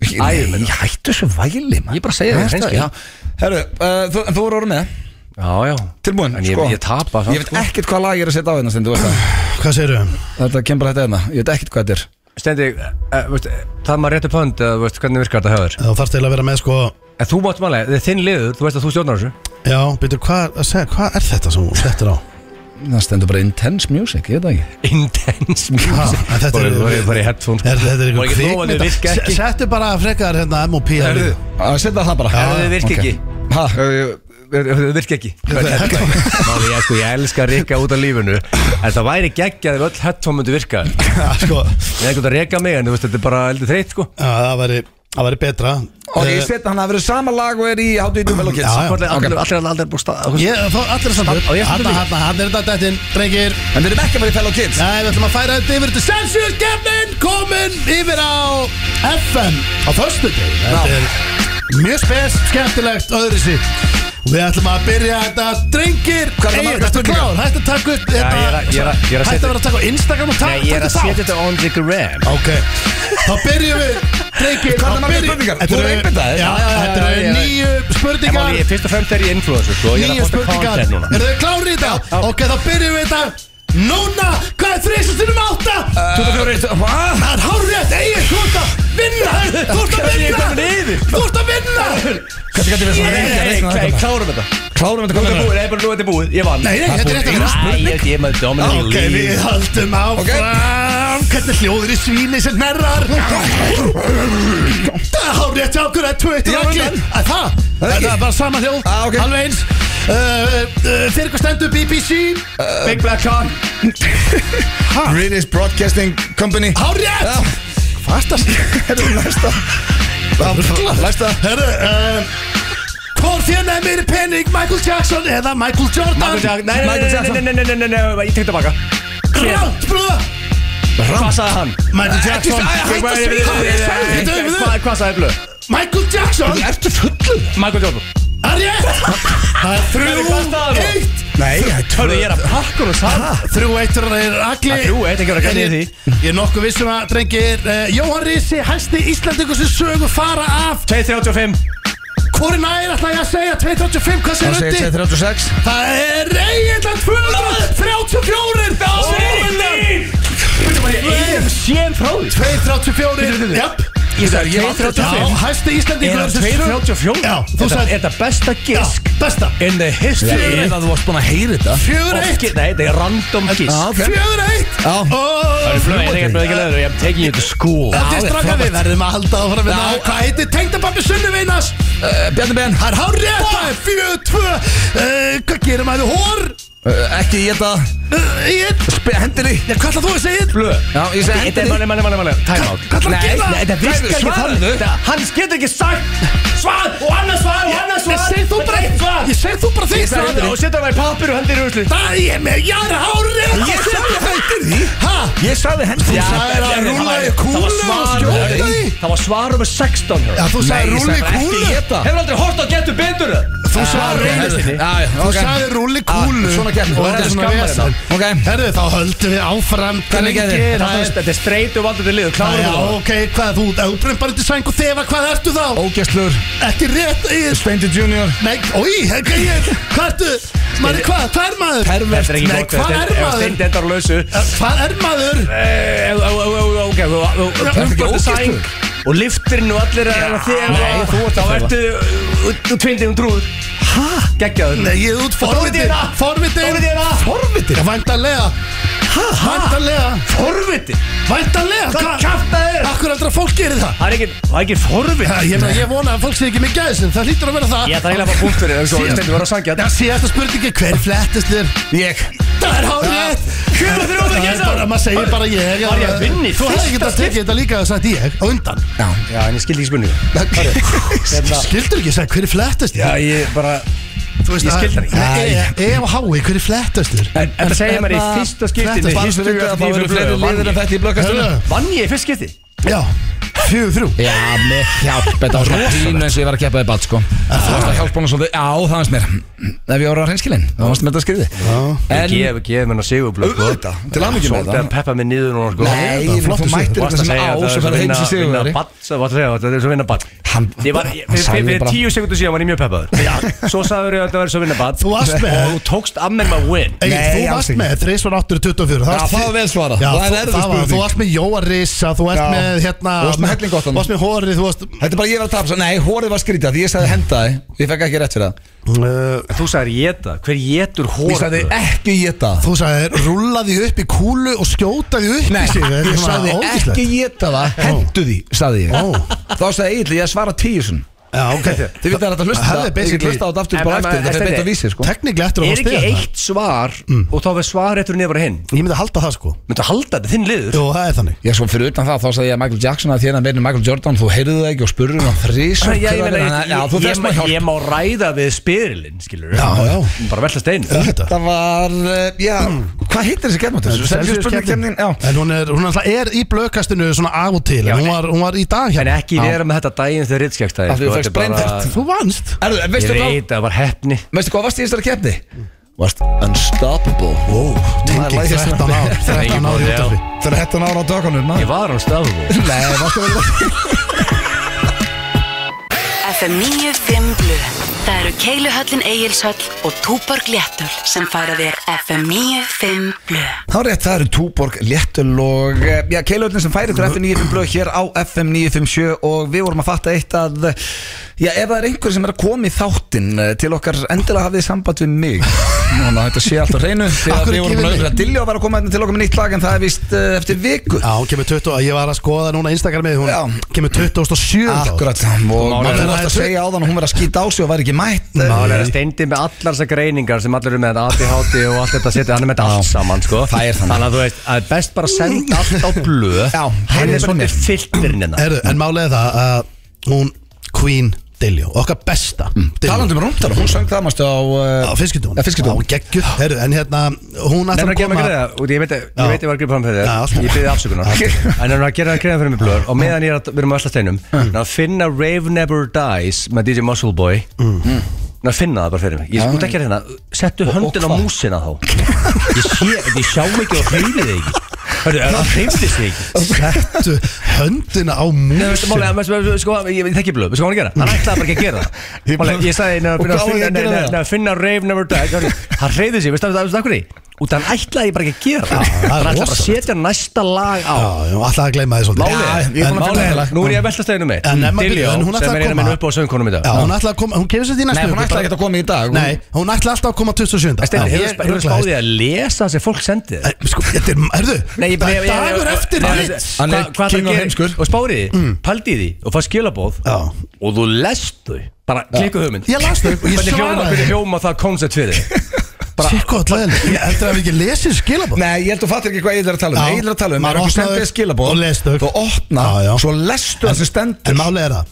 Speaker 3: Æ,
Speaker 1: Nei, hættu þessu væli maður.
Speaker 3: Ég bara segi þér,
Speaker 1: Hættu-
Speaker 3: hreinskilin.
Speaker 1: já. Herru, uh, þú- en þú voru orðin með það?
Speaker 3: Já, já
Speaker 1: Tilbúin,
Speaker 3: En ég,
Speaker 1: sko.
Speaker 3: ég tapa
Speaker 1: Ég veit ekkert hvað lag ég er að setja á hérna Stendi, þú veist það.
Speaker 2: Hvað segirðu?
Speaker 1: Þetta kemur bara þetta hérna Ég veit ekkert hvað þetta er
Speaker 3: Stendi, uh, veist, það maður réttu pönd uh, veist, Hvernig virkar þetta höfður?
Speaker 2: Þú þarfst eiginlega að vera með sko
Speaker 3: En þú mátt málega, þetta er þinn liður, þú veist að þú stjórnar þessu
Speaker 2: Já, byrju, hvað að segja, hvað er þetta sem þú settir á?
Speaker 1: Það stendur bara intense music, ég veit það ekki
Speaker 3: Intense
Speaker 2: Ha, en
Speaker 3: music
Speaker 2: þetta
Speaker 3: Bara-
Speaker 2: er-
Speaker 3: bara- Bara í headphone sko.
Speaker 2: Er þetta
Speaker 3: Má
Speaker 2: eitthvað
Speaker 3: ekki lofa að þið virka
Speaker 2: kvikmynda?
Speaker 3: ekki?
Speaker 2: Settu bara frekar hérna M.O.P.
Speaker 3: Herðu,
Speaker 1: Að setja það bara
Speaker 3: Herðu, þið virka
Speaker 1: ok.
Speaker 3: ekki.
Speaker 1: Ha,
Speaker 3: Það virka ekki Máli, ég, sko, ég elska Rikka út af lífinu En það væri geggjað ef öll headphone myndi virka
Speaker 2: [laughs]
Speaker 3: Ég
Speaker 2: Já, sko,
Speaker 3: er ekkert að reka mig en þú veist, þetta er bara eldið þreytt sko
Speaker 2: já, það væri, það væri betra
Speaker 1: Og ég
Speaker 2: Eh,
Speaker 1: setja hann að vera sama lag og er í Hátu í Dúfell og Kids
Speaker 2: Já, já.
Speaker 3: Allir allir- allir allir búið stað
Speaker 2: Ég, þá allir saman
Speaker 3: Á, ég
Speaker 2: Hanna,
Speaker 3: stendur
Speaker 2: hanna, hann er þetta dættin, drengir
Speaker 1: En við erum ekki að vera í Fell og Kids
Speaker 2: Nei, við ætlum að færa þetta yfir til Sensjörgefnin komin yfir á FM á föstudegi Þetta
Speaker 1: Já.
Speaker 2: er mjög spes, skemmtilegt, öðru sér Við ætlum að byrja þetta Drengir,
Speaker 1: Hvað er það
Speaker 2: Egill,
Speaker 1: margar
Speaker 2: ertu
Speaker 1: spurningar?
Speaker 2: klár? Hætt að taka upp
Speaker 3: Já, ég er að- ég er að- ég er að
Speaker 2: Hætt
Speaker 3: setja-
Speaker 2: að vera að taka á Instagram og taka
Speaker 3: Nei, ég er að
Speaker 2: taka
Speaker 3: setja þetta on the gram
Speaker 2: Ok, þá byrjum við
Speaker 1: Hvað
Speaker 2: Drengir,
Speaker 1: er það
Speaker 2: þá
Speaker 1: margar
Speaker 2: byrjum-
Speaker 1: spurningar?
Speaker 2: Þetta
Speaker 1: Þú eru einbeitaðir?
Speaker 2: Já, já, já, þetta
Speaker 3: já,
Speaker 2: eru
Speaker 3: já, já.
Speaker 2: nýju
Speaker 3: En
Speaker 2: spurningar
Speaker 3: máli, fyrst og fremst er ég influencer sko Ég
Speaker 2: Nýju
Speaker 3: er að posta
Speaker 2: spurningar
Speaker 3: content núna
Speaker 2: Eru þið klári í þetta? Ok, þá byrjum við þetta Núna, hvað er þriðsastunum átta?
Speaker 3: Uh.
Speaker 1: 24 eitt Hvað?
Speaker 2: Það er hárrétt, eigin, þú ert að vinna Þú ert að
Speaker 3: Hvernig ég
Speaker 2: vinna
Speaker 3: komin yfir?
Speaker 2: Þú ert að vinna
Speaker 1: Hvernig gæti við svona
Speaker 3: Nei,
Speaker 1: reyngi að
Speaker 3: nei,
Speaker 1: reikna
Speaker 3: nei,
Speaker 1: þetta?
Speaker 3: klárum þetta
Speaker 1: Klárum þetta
Speaker 3: Þetta er
Speaker 1: komið
Speaker 3: búið, nei, bara nú þetta er búið Ég vann
Speaker 2: Nei, nei, þetta er rétt að
Speaker 3: Einu
Speaker 2: vera
Speaker 3: spurning. Æ, ég- Ég er með dominating
Speaker 2: Ok,
Speaker 3: lead.
Speaker 2: við höldum
Speaker 1: Ok.
Speaker 2: áfram Hvernig hljóður í svíni sem nerrar Það er hárrétt hjá okkur að Twitter
Speaker 1: Já,
Speaker 2: regli.
Speaker 1: en-
Speaker 2: Að Það,
Speaker 1: er
Speaker 2: það
Speaker 1: ekki.
Speaker 2: er bara sama hljóð
Speaker 1: Ah, ok.
Speaker 2: Alveg eins Uh, uh, Fyrir hvað stendur BBC
Speaker 3: Uh.
Speaker 2: Big Black Con
Speaker 1: British Broadcasting Company
Speaker 2: Hárrétt Fasta
Speaker 1: Herru, næsta Næsta
Speaker 2: Herru um, Hvor þjónaði meiri pening Michael Jackson eða Michael Jordan
Speaker 3: Michael Jackson- Nei, nei,
Speaker 1: Michael
Speaker 3: nei,
Speaker 1: Jackson.
Speaker 3: nei, nei, nei, nei, nei, nei, nei, ég tek tilbaka
Speaker 2: Rátt brúða
Speaker 3: Hvað sagði hann?
Speaker 2: Michael Jackson
Speaker 1: Ekki-
Speaker 3: Hvað-
Speaker 1: að segja
Speaker 2: hvað ég sagði. Þetta er við þau.
Speaker 3: Hvað hvað sagði blöð?
Speaker 2: Michael Jackson
Speaker 1: Ertu fullur?
Speaker 3: Michael Jordan
Speaker 2: Það er rétt Það er
Speaker 3: Herru, hvað staðar
Speaker 2: þrjú
Speaker 3: þú?
Speaker 2: eitt
Speaker 1: Nei, það er
Speaker 3: Hörðu, ég er að pakka hún og sagði
Speaker 2: Þrjú eittur er agli
Speaker 3: Það er þrjú eitt, ekki verið að græna í því.
Speaker 2: Ég er nokkuð vissum að drengir uh, Jóhann Rísi, hæsti Íslandingur sem sögu fara af
Speaker 3: 2.35
Speaker 2: Hvor nær ætla ég að segja 235,
Speaker 1: Það
Speaker 2: hvað segir
Speaker 1: segir
Speaker 2: öndi?
Speaker 1: 36
Speaker 2: Það er eiginlega 234 Það
Speaker 3: Ég er sén frá því
Speaker 2: 234
Speaker 3: Bíddu,
Speaker 2: Japp
Speaker 3: Ég sagði, ég er 2.35
Speaker 2: Já, hæsti
Speaker 3: Er
Speaker 2: Íslandingur
Speaker 3: það
Speaker 2: sem sögu-
Speaker 3: 234?
Speaker 2: Já, þú
Speaker 3: Er það-
Speaker 2: sagði-
Speaker 3: Er það besta
Speaker 2: Já,
Speaker 3: gisk
Speaker 2: besta
Speaker 3: in the history
Speaker 1: að þú varst búin að heyri þetta
Speaker 2: Fjögur
Speaker 3: of
Speaker 2: eitt
Speaker 3: gi- Nei, það er random gisk
Speaker 1: ok.
Speaker 2: Fjögur eitt
Speaker 1: Já.
Speaker 3: Það er
Speaker 2: Og
Speaker 3: flöð, ég er ekki leður Ég am taking you to school
Speaker 2: Þetta er
Speaker 1: Já,
Speaker 2: straka
Speaker 1: frábært.
Speaker 2: við verðum að halda áfram með
Speaker 1: Já.
Speaker 2: það Hvað heitir tengdapappi Sunnuvinas?
Speaker 1: Eh, Bjarni Ben
Speaker 2: Það er hárrétt, það er fjögur tvö Eh, Hvað gerir maður hór?
Speaker 1: Uh, Ekki ég þetta
Speaker 2: Ítt
Speaker 1: Hendir í
Speaker 2: Já, hvað ætlað þú að segja?
Speaker 3: Blöð
Speaker 1: Já, ég segi
Speaker 3: Þetta er
Speaker 1: hendur
Speaker 3: manni, manni, manni, manni Time out
Speaker 2: Hvað ætlarðu að
Speaker 3: Nei,
Speaker 2: gera?
Speaker 3: nei, þetta virkar ekki
Speaker 1: Svaraðu.
Speaker 3: þannig Þetta- Hann getur ekki sagt Svar og annars svar og annars svar
Speaker 2: Ég segi þú bara
Speaker 3: Þetta er eitt svar
Speaker 2: Ég segi þú bara þitt
Speaker 3: Þetta er- Og setja hann í pappir og hendir í rusli
Speaker 2: Það er með jara hárrétt
Speaker 1: Ég sagði hendur því
Speaker 2: Hæ?
Speaker 1: Ég sagði hendur
Speaker 2: Já. sagðir að rúlla í kúlu og skjóta í.
Speaker 3: Það var svar um 16
Speaker 2: Já, þú sagði
Speaker 1: Nei, ég sagði
Speaker 2: rúli
Speaker 1: ekki
Speaker 2: kúlu
Speaker 1: ég það.
Speaker 3: Hefur aldrei hort á getur betur
Speaker 2: Þú sagði
Speaker 1: Herðu,
Speaker 2: rúli
Speaker 1: já, já,
Speaker 2: Þú
Speaker 1: ok.
Speaker 2: sagði rúli kúlu
Speaker 1: Ah, Svona kemur
Speaker 2: Og þetta er svona vesen
Speaker 1: Ok
Speaker 2: Herðu þá höldum við áfram
Speaker 1: Hvernig gerði?
Speaker 2: drengir,
Speaker 1: Þetta
Speaker 2: það er-
Speaker 3: Þetta er streytu vandandi lið
Speaker 2: Já,
Speaker 3: Klárum þú
Speaker 2: ok, hvað þú, ef þú brennir bara undir sæng og þefa, hvað ertu þá?
Speaker 1: Ógæstlur
Speaker 2: Ekki rétt, ég,
Speaker 1: Steindi Junior
Speaker 2: nei, ói, ekki ég, hvað ertu, maður, hvað, hvað er maður?
Speaker 1: Pervert
Speaker 3: Þetta er ekki
Speaker 2: Nei,
Speaker 3: gott
Speaker 2: hvað er
Speaker 3: Ef
Speaker 2: maður?
Speaker 3: steindi endar á lausu
Speaker 2: Eh, Hvað er maður?
Speaker 3: Eh, ó, ó, ó, ó, ó, Ok, þú- þú- þú
Speaker 1: ekki
Speaker 3: pumpar
Speaker 1: ógeðslegur?
Speaker 3: þetta sæng Og liftirinn og allir er að þið
Speaker 1: nei, þú ert að
Speaker 3: Þá
Speaker 1: fela.
Speaker 3: ertu Þú tvindir um trúður
Speaker 2: Hæ?
Speaker 3: Geggjaður hérna?
Speaker 2: Nei, ég er út
Speaker 3: Forvitið.
Speaker 2: forvitið Forvitið Forvitið Væntalega Hæ? Væntalega
Speaker 3: Forvitið
Speaker 2: Væntalega
Speaker 3: Hvað kjaftaðu þér?
Speaker 2: Akkur aldrei að fólk gerir það
Speaker 3: Það er ekki, það er ekki forvitið
Speaker 2: Ja, Ég, meina, ég vona að fólk sé ekki með gæðisinn Það hlýtur að vera það
Speaker 3: Ég ætla eiginlega að fá punkt fyrir það, sko,
Speaker 2: Síðan-
Speaker 3: Steindi var að sækja
Speaker 2: Já, síðasta spurningi Hver flettist þér?
Speaker 1: Ég
Speaker 2: Það er hárið
Speaker 3: Hver var þrjú að
Speaker 2: Það er
Speaker 3: gera
Speaker 2: bara, maður segir bara ég
Speaker 3: Var ég að vinna í
Speaker 2: Þú hefði
Speaker 3: fyrsta
Speaker 2: ekki að tekið þetta líka að sagt ég á undan
Speaker 3: Já, en ég skildi ekki spurningu Hérna-
Speaker 2: Skildur ekki að segja hverju flettast
Speaker 3: Já,
Speaker 2: þér?
Speaker 3: ég bara
Speaker 2: Þú veist
Speaker 3: ég
Speaker 2: að-
Speaker 3: skildi það ekki.
Speaker 2: Nei, E og H-i, hverju flettast þér?
Speaker 3: En þetta segir mér í
Speaker 2: hérna,
Speaker 3: fyrsta skipti
Speaker 2: flettast-
Speaker 3: Nei,
Speaker 1: Fannst
Speaker 3: fyrstu
Speaker 1: þú að
Speaker 3: að
Speaker 1: það
Speaker 3: því fyrir
Speaker 1: voru fleiri
Speaker 3: blöð, vann
Speaker 1: liðir en
Speaker 3: ég.
Speaker 1: þetta í blökkastunum?
Speaker 2: Hörðu,
Speaker 3: Vann ég í fyrst skipti?
Speaker 2: Já, fjögur þrjú
Speaker 1: Já, með hjálp, þetta var svona pínu eins og ég var að keppa í bát, sko Það varst að hjálpa hún svolítið, já, það varst mér Ef ég voru á reynskilin, það varst með þetta skriði En,
Speaker 3: Gef, gef mér hann að sigurblöð sko.
Speaker 1: Auðvitað, til hamingju með
Speaker 3: Svolítið
Speaker 1: það.
Speaker 3: hann peppa mig niður núna sko
Speaker 1: nei,
Speaker 2: þetta var
Speaker 1: þú
Speaker 2: flottur sigur.
Speaker 1: mættir
Speaker 3: Þú varst
Speaker 1: þetta
Speaker 3: að
Speaker 1: sem
Speaker 3: segja
Speaker 1: á
Speaker 3: að það
Speaker 1: sem
Speaker 3: er
Speaker 1: verður heim sem
Speaker 3: vinna, vinna
Speaker 1: sigurveri
Speaker 3: ball Það var að segja að þetta er svo vinna ball
Speaker 1: Hann-
Speaker 3: Ég var, ég-
Speaker 1: hann
Speaker 3: fyrir-
Speaker 1: sagði
Speaker 3: fyrir fyrir
Speaker 1: bara-
Speaker 3: tíu sekundu síðan var ég mjög peppaður Svo sagður ég að þetta var svo vinna ball
Speaker 2: Þú varst með-
Speaker 3: Og þú tókst af mér maður win
Speaker 2: Egil,
Speaker 1: Nei,
Speaker 2: þú
Speaker 1: alls
Speaker 2: varst
Speaker 1: ekki.
Speaker 2: með 3 svona 8 24
Speaker 1: Já, það var vel svarað.
Speaker 2: Já,
Speaker 1: Það er
Speaker 2: þú-
Speaker 1: erfið
Speaker 2: það var-
Speaker 1: spurning.
Speaker 2: Þú varst með Jóa Risa, þú varst
Speaker 1: Já.
Speaker 2: með hérna
Speaker 1: Þú varst með helling gott þarna.
Speaker 2: Þú varst með Hórið, þú varst uh,
Speaker 1: Þetta er bara ég var að tapa, nei, hórið var skrítið Því ég sagði hendaði, ég fekk ekki rétt fyrir það
Speaker 2: Eh,
Speaker 3: Þú sagður jeta, hver jetur hóra
Speaker 1: Ég sagði ekki geta
Speaker 2: Þú sagðir, rúllaði upp í kúlu og skjótaði upp
Speaker 1: Nei,
Speaker 2: í sig Þetta er
Speaker 1: ég
Speaker 2: svona
Speaker 1: sagði
Speaker 2: ógeðslegt.
Speaker 1: ekki geta það, hendu því, sagði ég
Speaker 2: Ó.
Speaker 1: Þá sagði Egil, ég svara tíu sunn
Speaker 2: Já, ok
Speaker 1: Þið veit að þetta hlusta,
Speaker 2: Hefði
Speaker 1: ég get
Speaker 2: basically-
Speaker 1: hlusta á þetta aftur
Speaker 3: En-
Speaker 1: bara
Speaker 3: en-
Speaker 1: eftir,
Speaker 3: en-
Speaker 1: þetta er
Speaker 3: en-
Speaker 1: beint að vísi, sko
Speaker 2: Teknikli eftir að hún
Speaker 3: Er ekki
Speaker 2: stiga það
Speaker 3: eitt svar
Speaker 1: Mm.
Speaker 3: og þá verð svar eftir nefra hinn
Speaker 2: Ég myndi halda það sko
Speaker 3: Myndu að halda þetta þinn liður
Speaker 2: Jú, það er þannig
Speaker 1: Já, sko, fyrir utan það, þá sagði ég að Michael Jackson að þér að meina Michael Jordan, þú heyrðu það ekki og um spurður hann þrís
Speaker 3: Já, ég, meina, ég,
Speaker 1: Já, þú
Speaker 3: ég,
Speaker 1: fyrst
Speaker 3: ég,
Speaker 1: maður hjálp
Speaker 3: ég má ræða við spyrilinn, skilur
Speaker 2: Já, já.
Speaker 3: Bara velta stein
Speaker 2: Þetta
Speaker 1: Þetta var, eh, já, hvað heitir þessi kemmatur? Selfjörnsspurningkemning, já
Speaker 2: En hún er, hún alltaf er í blöðkastinu svona af og til
Speaker 3: Já,
Speaker 2: En hún
Speaker 3: en-
Speaker 2: var, hún var í dag
Speaker 3: En
Speaker 2: hérna
Speaker 3: ekki vera með þetta daginn þegar sko, ritskjækstæði
Speaker 1: Af því þú fékkst breinþekkt.
Speaker 2: Þú vannst
Speaker 1: Erðu, en
Speaker 3: Ég
Speaker 1: veistu hvað,
Speaker 3: veit, það var hefni
Speaker 1: veistu hvað varst í þessari kemni? Varst unstoppable
Speaker 2: Ó,
Speaker 1: Maður
Speaker 2: tenging
Speaker 1: læsist
Speaker 2: 13 ár 13 ár í
Speaker 3: Já.
Speaker 2: útafi
Speaker 1: Þegar hættan ára á dökunum,
Speaker 3: Ég var hann stafnum
Speaker 1: Nei, varstu vel
Speaker 4: FM 95 Blu Það eru Keiluhöllin Egilshöll og Túborg Léttul sem færa þér FM 95 Blu
Speaker 1: Þá er rétt, það eru Túborg, Léttul og eh, já, Keilöldin sem færi ykkur FM 95 blöð hér á FM 957 og við vorum að fatta eitt að eh, já, ef það er einhver sem er að koma í þáttin til okkar endilega hafið samband við mig Núna, þetta sé alltaf hreinu því
Speaker 2: Af
Speaker 1: að
Speaker 2: hverju
Speaker 1: við vorum
Speaker 2: gefið
Speaker 1: lögur að Dilljó var að koma hérna til okkar með nýtt lag en það er vist uh, eftir viku
Speaker 2: Já, hún kemur 20 Ég var að skoða núna Instagramið Hún
Speaker 1: Já.
Speaker 2: kemur 27 þá.
Speaker 1: Akkurat, og
Speaker 3: Málið er
Speaker 1: maður
Speaker 2: að-
Speaker 1: varst að segja á þann að hún verið að skýta á sig og væri ekki mætt
Speaker 2: Mm.
Speaker 1: eh,
Speaker 3: Það er steindi með allar þessar greiningar sem allir eru með ADHD og allt þetta setja hann er með þetta allt saman sko.
Speaker 1: Það er þannig.
Speaker 3: Þannig að þú veist, að er best bara að senda allt á blöð
Speaker 1: Já, hann
Speaker 3: hann
Speaker 1: er
Speaker 3: er
Speaker 1: svona.
Speaker 3: svolítið filterinn hérna
Speaker 2: Herru, en málið er það að Hún Queen Dilljó Okkar besta
Speaker 3: Mm.
Speaker 1: Talandi um rúndar, hún söng það mástu á eh,
Speaker 2: Á fiskidón
Speaker 1: Já, fiskidón.
Speaker 2: Á geggju Herru, en hérna Hún ætlar
Speaker 3: Nefnir
Speaker 2: að
Speaker 3: að gera mig
Speaker 2: koma
Speaker 3: greiða, og ég veit að ég, veit að ég var að greiða fram fyrir
Speaker 2: Já, allt
Speaker 3: þér
Speaker 2: í
Speaker 3: Ég byrði
Speaker 2: [laughs]
Speaker 3: afsökunar En nefnir að gera greiða fyrir mig blöður Og meðan ég er að, við erum að öll að steinum
Speaker 2: Hmm.
Speaker 3: Nefnir að finna Rave Never Dies með DJ Muscleboy
Speaker 2: Hmm.
Speaker 3: Nefnir að finna það bara fyrir mig Ég skúti ekki að hérna, settu höndin á
Speaker 1: hvað?
Speaker 3: músina
Speaker 2: [laughs]
Speaker 3: þá Ég sé, ég sjá mig ekki og hreyfi þig ekki Hörru,
Speaker 2: [laughs]
Speaker 3: það hreyfði þig ekki
Speaker 2: Settu höndina á
Speaker 3: Nei, veistu,
Speaker 2: músin
Speaker 3: máli, að, veistu, sko, ég veit ekki blöð, veistu hvað hann er að gera? Hann ætlaði bara ekki að gera það Máli, Ég sagði,
Speaker 1: Og
Speaker 3: nefnir
Speaker 1: hvað
Speaker 3: að
Speaker 1: á ég að
Speaker 3: finna, nei,
Speaker 1: gera
Speaker 3: nei,
Speaker 1: það?
Speaker 3: nei, finna Rave Never Dies Hörru, Hann hreyfði sig, veistu það hvernig? Út að hann ætlaði bara ekki að gera það
Speaker 2: það er
Speaker 3: Hann ætlaði bara að
Speaker 2: rosalegt.
Speaker 3: setja næsta lag á
Speaker 2: Já, já, alltaf að gleyma þið svolítið
Speaker 1: Já,
Speaker 3: Málið er,
Speaker 1: ég er búin að
Speaker 3: málið
Speaker 1: finna
Speaker 3: er,
Speaker 1: þetta.
Speaker 3: nú er ég að velta steginu mig
Speaker 2: En Emma
Speaker 3: Dilljó,
Speaker 2: Byrjó, en hún ætlar
Speaker 3: sem
Speaker 2: að
Speaker 3: er einu
Speaker 2: koma.
Speaker 3: minn upp á söngkonum í dag
Speaker 2: Já, hún ætlar að koma Hún kemur sér því næstu
Speaker 1: Nei, hún
Speaker 2: viku,
Speaker 1: ætlaði
Speaker 2: bara-
Speaker 1: ekki að koma í dag
Speaker 2: Nei, hún ætlar alltaf að koma 27.
Speaker 3: Steini,
Speaker 2: Já,
Speaker 3: hefur
Speaker 2: ég-
Speaker 3: þú
Speaker 2: örugglega
Speaker 3: spáðið að lesa það sem fólk sendi þér?
Speaker 2: Eh, Sko, þetta er, herðu,
Speaker 3: Nei,
Speaker 2: það
Speaker 3: ég- ég-
Speaker 2: er
Speaker 3: ég- ég-
Speaker 2: dagur
Speaker 3: ég-
Speaker 2: eftir
Speaker 3: Nei,
Speaker 2: ritt
Speaker 3: þessi-
Speaker 1: Hann er
Speaker 3: hvað- hvað
Speaker 1: king
Speaker 3: það
Speaker 1: og
Speaker 3: gerir-
Speaker 1: heimskur.
Speaker 3: Og spárið því, pældi því og fá skilabóð
Speaker 2: Já.
Speaker 3: Og þú lest þau, bara klikku hugmynd
Speaker 2: Ég las þau og ég
Speaker 3: Hvernig hljóma,
Speaker 2: svaraði.
Speaker 3: hvernig hljóma það koncept fyrir þig?
Speaker 2: Sikko allan, ég heldur að við ekki lesið skilabóð
Speaker 1: Nei, ég held að fattir ekki hvað Egil er að tala um
Speaker 2: Já.
Speaker 1: Egil er að tala um,
Speaker 2: Maður
Speaker 1: maður okkur
Speaker 2: opnaði
Speaker 1: sendið skilabóð
Speaker 2: og les þau.
Speaker 1: Þú opna,
Speaker 2: Já, já.
Speaker 1: svo lestu það sem stendur
Speaker 2: En málega er það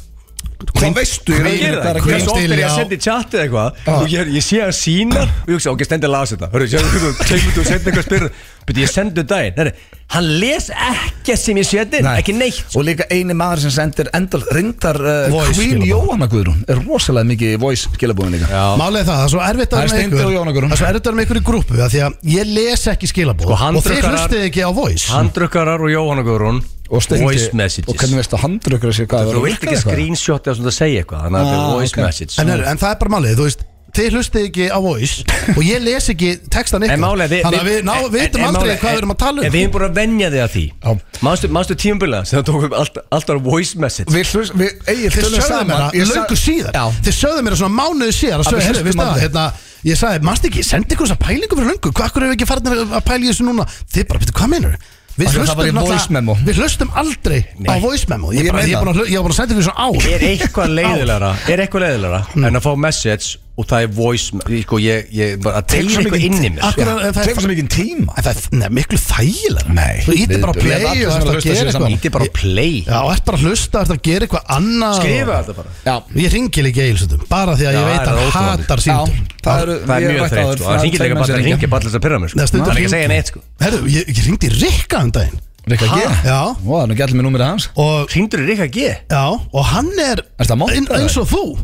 Speaker 1: Hvað veistu í
Speaker 3: Ég
Speaker 1: rauninni hvað er
Speaker 3: gerir það,
Speaker 1: að
Speaker 3: hversu
Speaker 1: gerast?
Speaker 3: oft er ég
Speaker 2: Dilljá.
Speaker 3: að senda í chat eða eitthvað Og ég, ég sé að sína Og ég hugsa, ok, stendur að lasa þetta Hörru, sjáðu hvernig þú tegur þú og sendir eitthvað spyrur Beti, ég sendu daginn, Nei, nei, hann les ekkert sem ég sendi
Speaker 1: Nei.
Speaker 3: Ekki neitt
Speaker 1: Og líka eini maður sem sendir endal reyndar uh,
Speaker 2: Voice
Speaker 1: Queen
Speaker 2: skilaboð.
Speaker 1: Jóhanna Guðrún er rosalega mikið voice skilabóðin líka
Speaker 3: Já.
Speaker 2: Málega er það, það er svo erfitt að
Speaker 1: Það er
Speaker 2: vera með
Speaker 1: Steindi og Jón okkur.
Speaker 2: ykkur Það er svo erfitt að vera með ykkur í grúpu af Því að ég les ekki skilabóð
Speaker 3: Sko, hann
Speaker 2: Og þið
Speaker 3: drukkar-
Speaker 2: hlustið ekki á voice
Speaker 3: Handrukkarar og Jóhanna Guðrún
Speaker 1: Og stendi Og
Speaker 3: Voice
Speaker 1: hvernig
Speaker 3: messages
Speaker 1: veistu að handrökkur að sé hvað
Speaker 3: Þú vilt ekki screenshot eða svona að segja eitthvað Þannig
Speaker 1: Ah,
Speaker 3: að þetta er voice
Speaker 1: ok.
Speaker 3: message
Speaker 2: En, er, en það er bara málið, þú veist Þið hlustið ekki á
Speaker 3: [laughs]
Speaker 2: voice Og ég les ekki textan
Speaker 3: En
Speaker 2: ykkur
Speaker 3: málega
Speaker 2: Þannig að við ná, vitum aldrei hvað við erum að tala
Speaker 3: En
Speaker 2: um
Speaker 3: við erum búin að venja þig að því
Speaker 2: Já.
Speaker 3: Manstu, manstu tímabila sem það tókum allt, allt var voice message
Speaker 1: Við hlust, við, eigið
Speaker 2: Þið sögðu mér það löngu síðar
Speaker 1: Já.
Speaker 2: Þið sögðu mér það svona mánuði síðar að
Speaker 1: Að
Speaker 2: sögðu,
Speaker 1: við hlustum
Speaker 2: heyrðu, veistu það,
Speaker 1: aldrei.
Speaker 2: hérna, Ég sagði, mannst ekki, sendi ykkur þessa pælingu fyrir löngu Hvað akkur eru ekki farin að pæla í þessu núna Þið bara, betur, hvað meinar Við
Speaker 1: Af því að það var í
Speaker 2: náttúrulega-
Speaker 1: voice memo.
Speaker 2: við hlustum aldrei á voice memo Ég
Speaker 1: Ég
Speaker 2: bara-
Speaker 1: meina
Speaker 2: ég er
Speaker 1: það.
Speaker 2: búin að hlu- ég er búin að senda ykkur svona á Mm.
Speaker 3: er eitthvað leiðilegra er eitthvað leiðilegra en að fá message og það er voice sko, ég, ég bara að
Speaker 1: Tekur
Speaker 3: tegja
Speaker 1: svo
Speaker 3: eitthvað
Speaker 1: mikinn-
Speaker 3: inn í mér
Speaker 2: Akkur er- en það er-
Speaker 1: Tekur svo mikið tíma
Speaker 2: En það er nei, miklu þægilega
Speaker 1: Nei.
Speaker 2: Þú ítir bara að
Speaker 1: Við- við
Speaker 2: play
Speaker 1: allir
Speaker 2: og
Speaker 1: sem eru
Speaker 2: ert
Speaker 1: að
Speaker 2: að
Speaker 1: hlusta
Speaker 2: gera
Speaker 1: séu
Speaker 2: eitthvað
Speaker 1: saman.
Speaker 3: Ítti bara að play
Speaker 2: Já, ert bara að hlusta, ert að gera eitthvað annað
Speaker 3: Skrifa
Speaker 2: og-
Speaker 3: þetta bara
Speaker 1: Já
Speaker 2: Ég ringi líka í eilsöndum Bara því að
Speaker 3: Já,
Speaker 2: ég veit
Speaker 3: það
Speaker 2: að
Speaker 3: er
Speaker 2: hann
Speaker 3: óþolandi.
Speaker 2: hatar síndum
Speaker 1: Það eru-
Speaker 3: Það er
Speaker 1: ég hef
Speaker 3: mjög
Speaker 1: rætt
Speaker 3: þreytt
Speaker 1: áður,
Speaker 3: sko Það
Speaker 1: það
Speaker 3: ringir
Speaker 1: tveir
Speaker 3: líka
Speaker 1: menn
Speaker 3: bara
Speaker 1: sem
Speaker 3: að
Speaker 1: hringja.
Speaker 3: ringja bara til þess að pyrra mér sko
Speaker 2: Nei, stundum
Speaker 3: Það er ekki að segja
Speaker 2: hringir-
Speaker 3: neitt sko
Speaker 2: Herru, ég, ég ringdi í Rikka um daginn
Speaker 1: Rikka G
Speaker 2: Ha? Já.
Speaker 1: Ó, það er ekki allir með númerið hans
Speaker 2: og,
Speaker 3: Hringdur er ekki að ge
Speaker 2: já, og hann er
Speaker 1: Ertu að monta
Speaker 2: ein-
Speaker 1: það?
Speaker 2: eins og þú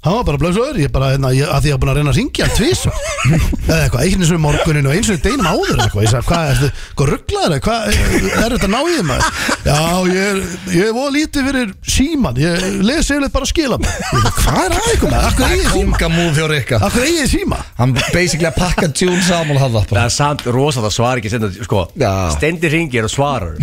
Speaker 2: Hann var bara blöðsöður Ég bara, hérna, ég, að því ég var búin að reyna að ringja hann tvís
Speaker 3: [laughs]
Speaker 2: Eða eitthvað, einu sinni morgunin og einu sinni deginum áður eða eitthvað Ég sagði, hvað, ertu, hvað rugglaður Hvað, er þetta að ná í þeim að Já, ég er, ég er voða lítið fyrir síman Ég les yfirleitt bara að skila mig Ég bara, Hvað er að ykkur með, akkur eigið síma
Speaker 1: Kongamúð hjá Rikka
Speaker 2: Akkur eigið síma
Speaker 1: Hann basically að pakka June Samuel hafða
Speaker 3: Það er samt rosalega svar ekki senda, sko,
Speaker 1: Já.
Speaker 3: Stendi ringir
Speaker 2: [laughs]
Speaker 3: og svarar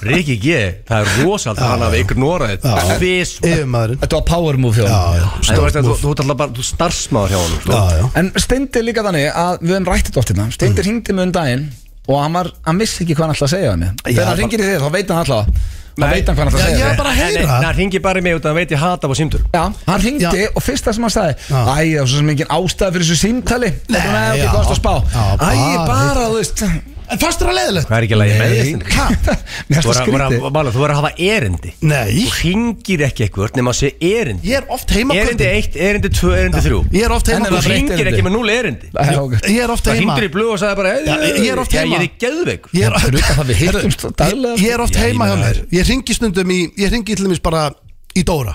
Speaker 3: Rikki G, það er rosalega að hann hafi ignorað þetta Fis
Speaker 2: Yfirmaðurinn
Speaker 1: Þetta var power move hjá
Speaker 2: Já,
Speaker 1: honum.
Speaker 2: já,
Speaker 3: En þú veist að þú þú ert alltaf bara, þú starfsmáður hjá honum sko.
Speaker 2: já, já
Speaker 1: En Steindi er líka þannig að við höfum rættið dótt hérna Steindi hringdi mig um daginn og hann, var, hann vissi ekki hvað hann ætlaði að segja henni Þegar hann hringir í þig þá veit hann alltaf Þá
Speaker 3: Nei.
Speaker 1: veit hann hvað hann ætlaði að
Speaker 2: Já,
Speaker 1: segja
Speaker 2: ég
Speaker 1: þér.
Speaker 2: er bara að
Speaker 3: Nei, nei,
Speaker 2: heyra.
Speaker 3: nei, hann ringir bara í mig út af að hann veit ég hata á símtur
Speaker 1: Já, hann hringdi og fyrsta sem hann sagði
Speaker 2: Já.
Speaker 1: Æ, það var svo sem engin ástæð fyrir þessu símtali Nei,
Speaker 2: já.
Speaker 1: ekki hvað varstu að spá
Speaker 2: Já,
Speaker 1: Æ,
Speaker 2: bara-
Speaker 1: bara, þú veist [laughs]
Speaker 2: En fannst þér það leiðilegt?
Speaker 3: Hvað er ekki að lægi með þessinu?
Speaker 1: Mér finnst
Speaker 3: Þú
Speaker 1: það
Speaker 3: er að- þú er
Speaker 1: skrítið
Speaker 3: að- Vala, þú er að hafa erindi
Speaker 2: Nei,
Speaker 3: Þú hringir ekki eitthvað nema að sé erindi
Speaker 2: ég er oft heima á
Speaker 3: Erindi
Speaker 2: kvöldin.
Speaker 3: 1, erindi 2, erindi 3
Speaker 2: Ég er oft heima
Speaker 1: En
Speaker 2: á
Speaker 3: Þú
Speaker 1: ef
Speaker 2: kvöldin.
Speaker 1: það-
Speaker 3: hringir
Speaker 1: erindi.
Speaker 3: ekki með 0 erindi
Speaker 1: Æ, ok.
Speaker 2: Ég er oft
Speaker 3: Það
Speaker 2: heima
Speaker 3: hringdir í blöð og sagði bara
Speaker 2: Já, ég- ég er oft heima.
Speaker 3: Ég er geðveik
Speaker 2: Ég er,
Speaker 1: Fyrir utan það við hittumst daglega,
Speaker 2: ég, ég er oft
Speaker 3: sko.
Speaker 2: heima
Speaker 3: Já,
Speaker 2: hjá
Speaker 3: ég meina
Speaker 2: mér
Speaker 3: það.
Speaker 2: Ég ringi stundum í Ég ringi til dæmis bara í Dóra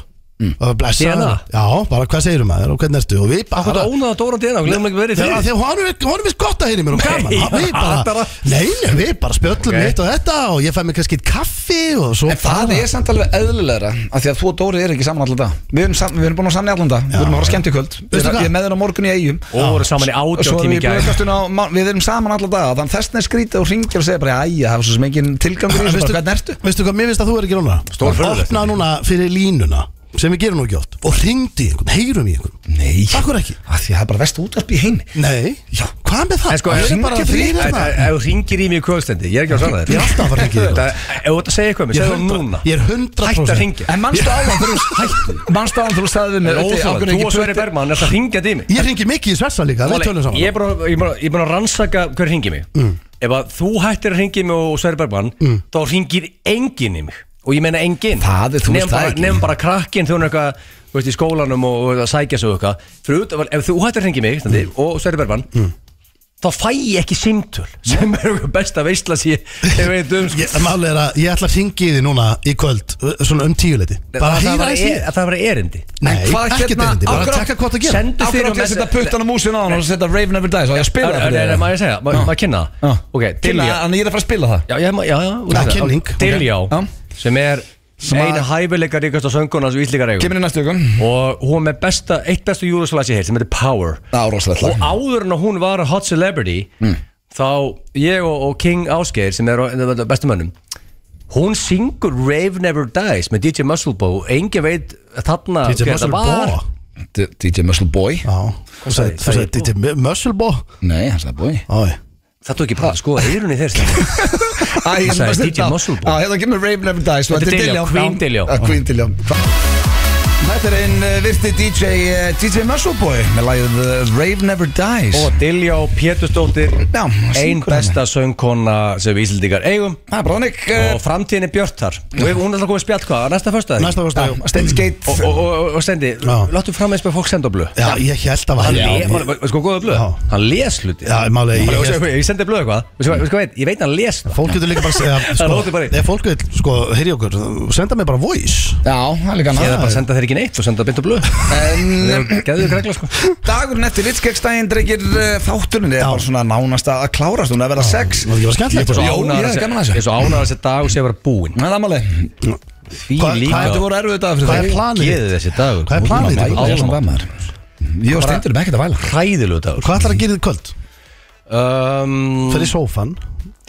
Speaker 2: Og blessa
Speaker 3: Díana?
Speaker 2: hana. Já, bara hvað segir maður og hvernig ertu Og við bara
Speaker 3: Hvað er ónaða Dóra Dina? Hún glemur ekki verið
Speaker 2: Þegar
Speaker 3: fyrir
Speaker 2: þegar hún er- hún er vist gott að heyra í mér og gaman
Speaker 3: Nei,
Speaker 2: Við
Speaker 3: hatar
Speaker 2: bara,
Speaker 3: það.
Speaker 2: nei, nei, við bara spjöllum
Speaker 3: Ok.
Speaker 2: okay. og þetta Og ég fæ mér kannski eitt kaffi og svo
Speaker 1: En það
Speaker 2: bara-
Speaker 1: er samt alveg eðlilegra af því að þú og Dóri er ekki saman allan dag Við erum, sam, við erum búin að samna allan dag Við erum að fara skemmt í kvöld Við
Speaker 2: Veistu
Speaker 1: erum-
Speaker 2: hvað?
Speaker 1: Ég er með þeirra morgun í eigum
Speaker 3: Og voru saman í
Speaker 1: Og
Speaker 3: átjón
Speaker 1: svo erum
Speaker 3: tími
Speaker 1: við,
Speaker 3: í gær
Speaker 1: blöðkastinu á, má- við erum saman alla daga Þannig þessna er skrítið og ringir og segir bara Æja, það var svo sem engin tilgangur í þessu bara, Hvernig ertu?
Speaker 2: Veistu hvað, mér finnst að þú er ekki róna
Speaker 3: Stórfurðulegt.
Speaker 2: Opna núna fyrir línuna sem við gerum nú ekki oft Og ringdi í einhvern, heyrum í einhvern
Speaker 1: Nei
Speaker 2: Akkur ekki?
Speaker 1: Af Því að það er bara vest útvarp í heim
Speaker 2: Nei, já, hvað með það?
Speaker 3: En sko,
Speaker 2: Við
Speaker 3: ef
Speaker 2: erum bara
Speaker 3: þú
Speaker 2: þrír hérna.
Speaker 3: ringir í mig í kvöldstendi Ég er ekki að svara þér
Speaker 2: Ég er alltaf að fara að hringja í þig.
Speaker 3: Það- Ef þú ert að segja eitthvað mér,
Speaker 2: Ég er
Speaker 3: segðu það
Speaker 2: hundra-
Speaker 3: núna
Speaker 2: Ég er 100%
Speaker 3: Hætt að hringja
Speaker 1: En mannstu álan þú hættu Mannstu álan þú sagði við
Speaker 3: Það
Speaker 1: mig
Speaker 3: er
Speaker 1: "Öddi, af
Speaker 3: óþolandi.
Speaker 1: hverju
Speaker 3: Þú og
Speaker 1: ekki
Speaker 3: Sverri
Speaker 1: putti?"
Speaker 3: Bergman er að ringja í mig
Speaker 2: Ég ringi mikið í Sversa líka, við tölum
Speaker 3: Ég
Speaker 2: saman
Speaker 3: er bara ég er bara- ég er bara að rannsaka hver ringi mig
Speaker 1: Mm.
Speaker 3: Ef að þú hættir að ringi mig og Sverri Bergman Þá ringir enginn í mig Og ég meina enginn
Speaker 1: Það er- þú veist
Speaker 3: Nefn
Speaker 1: það
Speaker 3: bara-
Speaker 1: ekki.
Speaker 3: Nefn bara krakkinn þegar hún er eitthvað Þú veist, í skólanum og, og að sækja svo eitthvað Fyrir út, ef þú hættir að ringi mig standi,
Speaker 1: Mm.
Speaker 3: Og Sverri Bergman Þá fæ ég ekki simtöl Sem er eitthvað besta veistla sér Ég veit um sko.
Speaker 2: Ég- Málið er að ég ætla að ringi í því núna í kvöld uh, Svona um tíuleiti Bara
Speaker 3: það,
Speaker 2: heyra
Speaker 3: var,
Speaker 2: þess ég
Speaker 3: að það var erindi
Speaker 2: Nei,
Speaker 1: En hvað
Speaker 2: ekkert
Speaker 1: hérna-
Speaker 2: erindi, bara
Speaker 1: akkur-
Speaker 2: að taka hvað það gera
Speaker 3: Send-
Speaker 1: Af hverju átti ég að setja puttan á músinu á hann og setja Raven Every Day Svo ég að spila það
Speaker 3: Nei, nei, maður ég segja, ma- maður kynna
Speaker 1: Já.
Speaker 3: það Ok,
Speaker 1: Kynna,
Speaker 3: Dilja
Speaker 1: en ég er að fara að spila það
Speaker 3: Já, já, ma- já, já út
Speaker 2: Ja,
Speaker 3: af það.
Speaker 2: kynning.
Speaker 3: Diljá,
Speaker 1: Ok. Já.
Speaker 3: sem er
Speaker 1: Sem að-
Speaker 3: eina hæfileika ríkast á sönguna sem íslíkar eigum
Speaker 1: Kemur í næstu ykkur
Speaker 3: Og hún er með besta, eitt bestu júðuslagi hér sem heitir Power
Speaker 1: Áráslega
Speaker 3: Og áður en að hún var að hot celebrity
Speaker 1: Mm.
Speaker 3: Þá ég og, og King Ásgeir sem er á- einn af bestu mönnum Hún syngur Rave Never Dies með DJ Musclebow og engin veit þarna
Speaker 2: DJ
Speaker 3: hver þetta var.
Speaker 2: Musclebo
Speaker 1: D- DJ Muscle Boy
Speaker 2: Já, þú sagði- þú sagði DJ Mu- Musclebo
Speaker 1: Ah, Nei, hann sagði Boy
Speaker 2: Já,
Speaker 3: Það tók ég bara að skoða eirunni þér
Speaker 1: Æ,
Speaker 3: sagði DJ Muscle Boy.
Speaker 1: Já, hérna kemur Raven Every Day
Speaker 3: Þetta er Diljá, Queen Diljá.
Speaker 1: Ah, Queen Diljá Þetta er einn uh, virti DJ uh, DJ Muscle Boy með lagið uh, Raven Never Dies
Speaker 3: Og Diljá Pétursdóttir
Speaker 1: Já,
Speaker 3: Einn
Speaker 1: syngur
Speaker 3: besta söngkona sem við Íslandíkar eigum
Speaker 1: Það er eh, brónik
Speaker 3: Og framtíðin er björt þar Og ef hún er alltaf komið spjall hvað, á næsta föstudag
Speaker 2: Næsta föstudag, já.
Speaker 1: Steins Gate
Speaker 3: Og, og, og, og sendi,
Speaker 2: Já.
Speaker 3: láttu fram eins með fólk senda á blöð
Speaker 2: Já, ég held að
Speaker 3: Hann
Speaker 2: var
Speaker 3: les, man- sko góða blöð,
Speaker 2: Já.
Speaker 3: hann les hluti
Speaker 2: Já, málið er,
Speaker 3: ég,
Speaker 2: ég-
Speaker 3: ég, ég, ég sendi blöð eitthvað, veistu hvað- veistu hvað veit, ég veit að hann les það
Speaker 2: Fólk getur líka bara að
Speaker 3: [laughs]
Speaker 2: segja
Speaker 3: Það
Speaker 2: sko,
Speaker 3: lóti bara í.
Speaker 2: Ef fólk getur, sko, heyri okkur Senda mér bara voice
Speaker 1: Já, það er líka
Speaker 3: Eða
Speaker 1: hann
Speaker 2: Ah.
Speaker 3: bara senda þeir ekki neitt og senda beint á blöð
Speaker 1: En
Speaker 3: Gæðu þér kregla sko
Speaker 1: dagurinn eftir Ritskegstægin dreykir uh, þátturinn er bara svona nánast að að klárast hún er að vera sex
Speaker 2: Það er ekki bara
Speaker 3: Ég er
Speaker 2: skemmtilegt
Speaker 3: bara
Speaker 2: sko.
Speaker 3: svo
Speaker 1: Jó,
Speaker 3: ánægður
Speaker 1: ég er
Speaker 3: að
Speaker 1: gaman að
Speaker 3: sé-
Speaker 1: þessu.
Speaker 3: ég er svo ánar að þessi dag sé að vera búinn
Speaker 1: Það er máli
Speaker 2: Hvað-
Speaker 3: Því
Speaker 2: hvað
Speaker 3: líka
Speaker 1: Þetta voru erfið dagar fyrir
Speaker 2: Hvað er
Speaker 1: þig
Speaker 2: planið?
Speaker 3: Geðið þessi dagur
Speaker 2: Hvað er planið?
Speaker 1: Æ, það er svona
Speaker 3: Áramót.
Speaker 1: gaman. Ég og
Speaker 3: um
Speaker 1: Steindur erum ekkert að væla
Speaker 3: Hræðilegu dagur
Speaker 2: Hvað ætlar að gera í kvöld?
Speaker 3: um,
Speaker 2: Fyrir sófan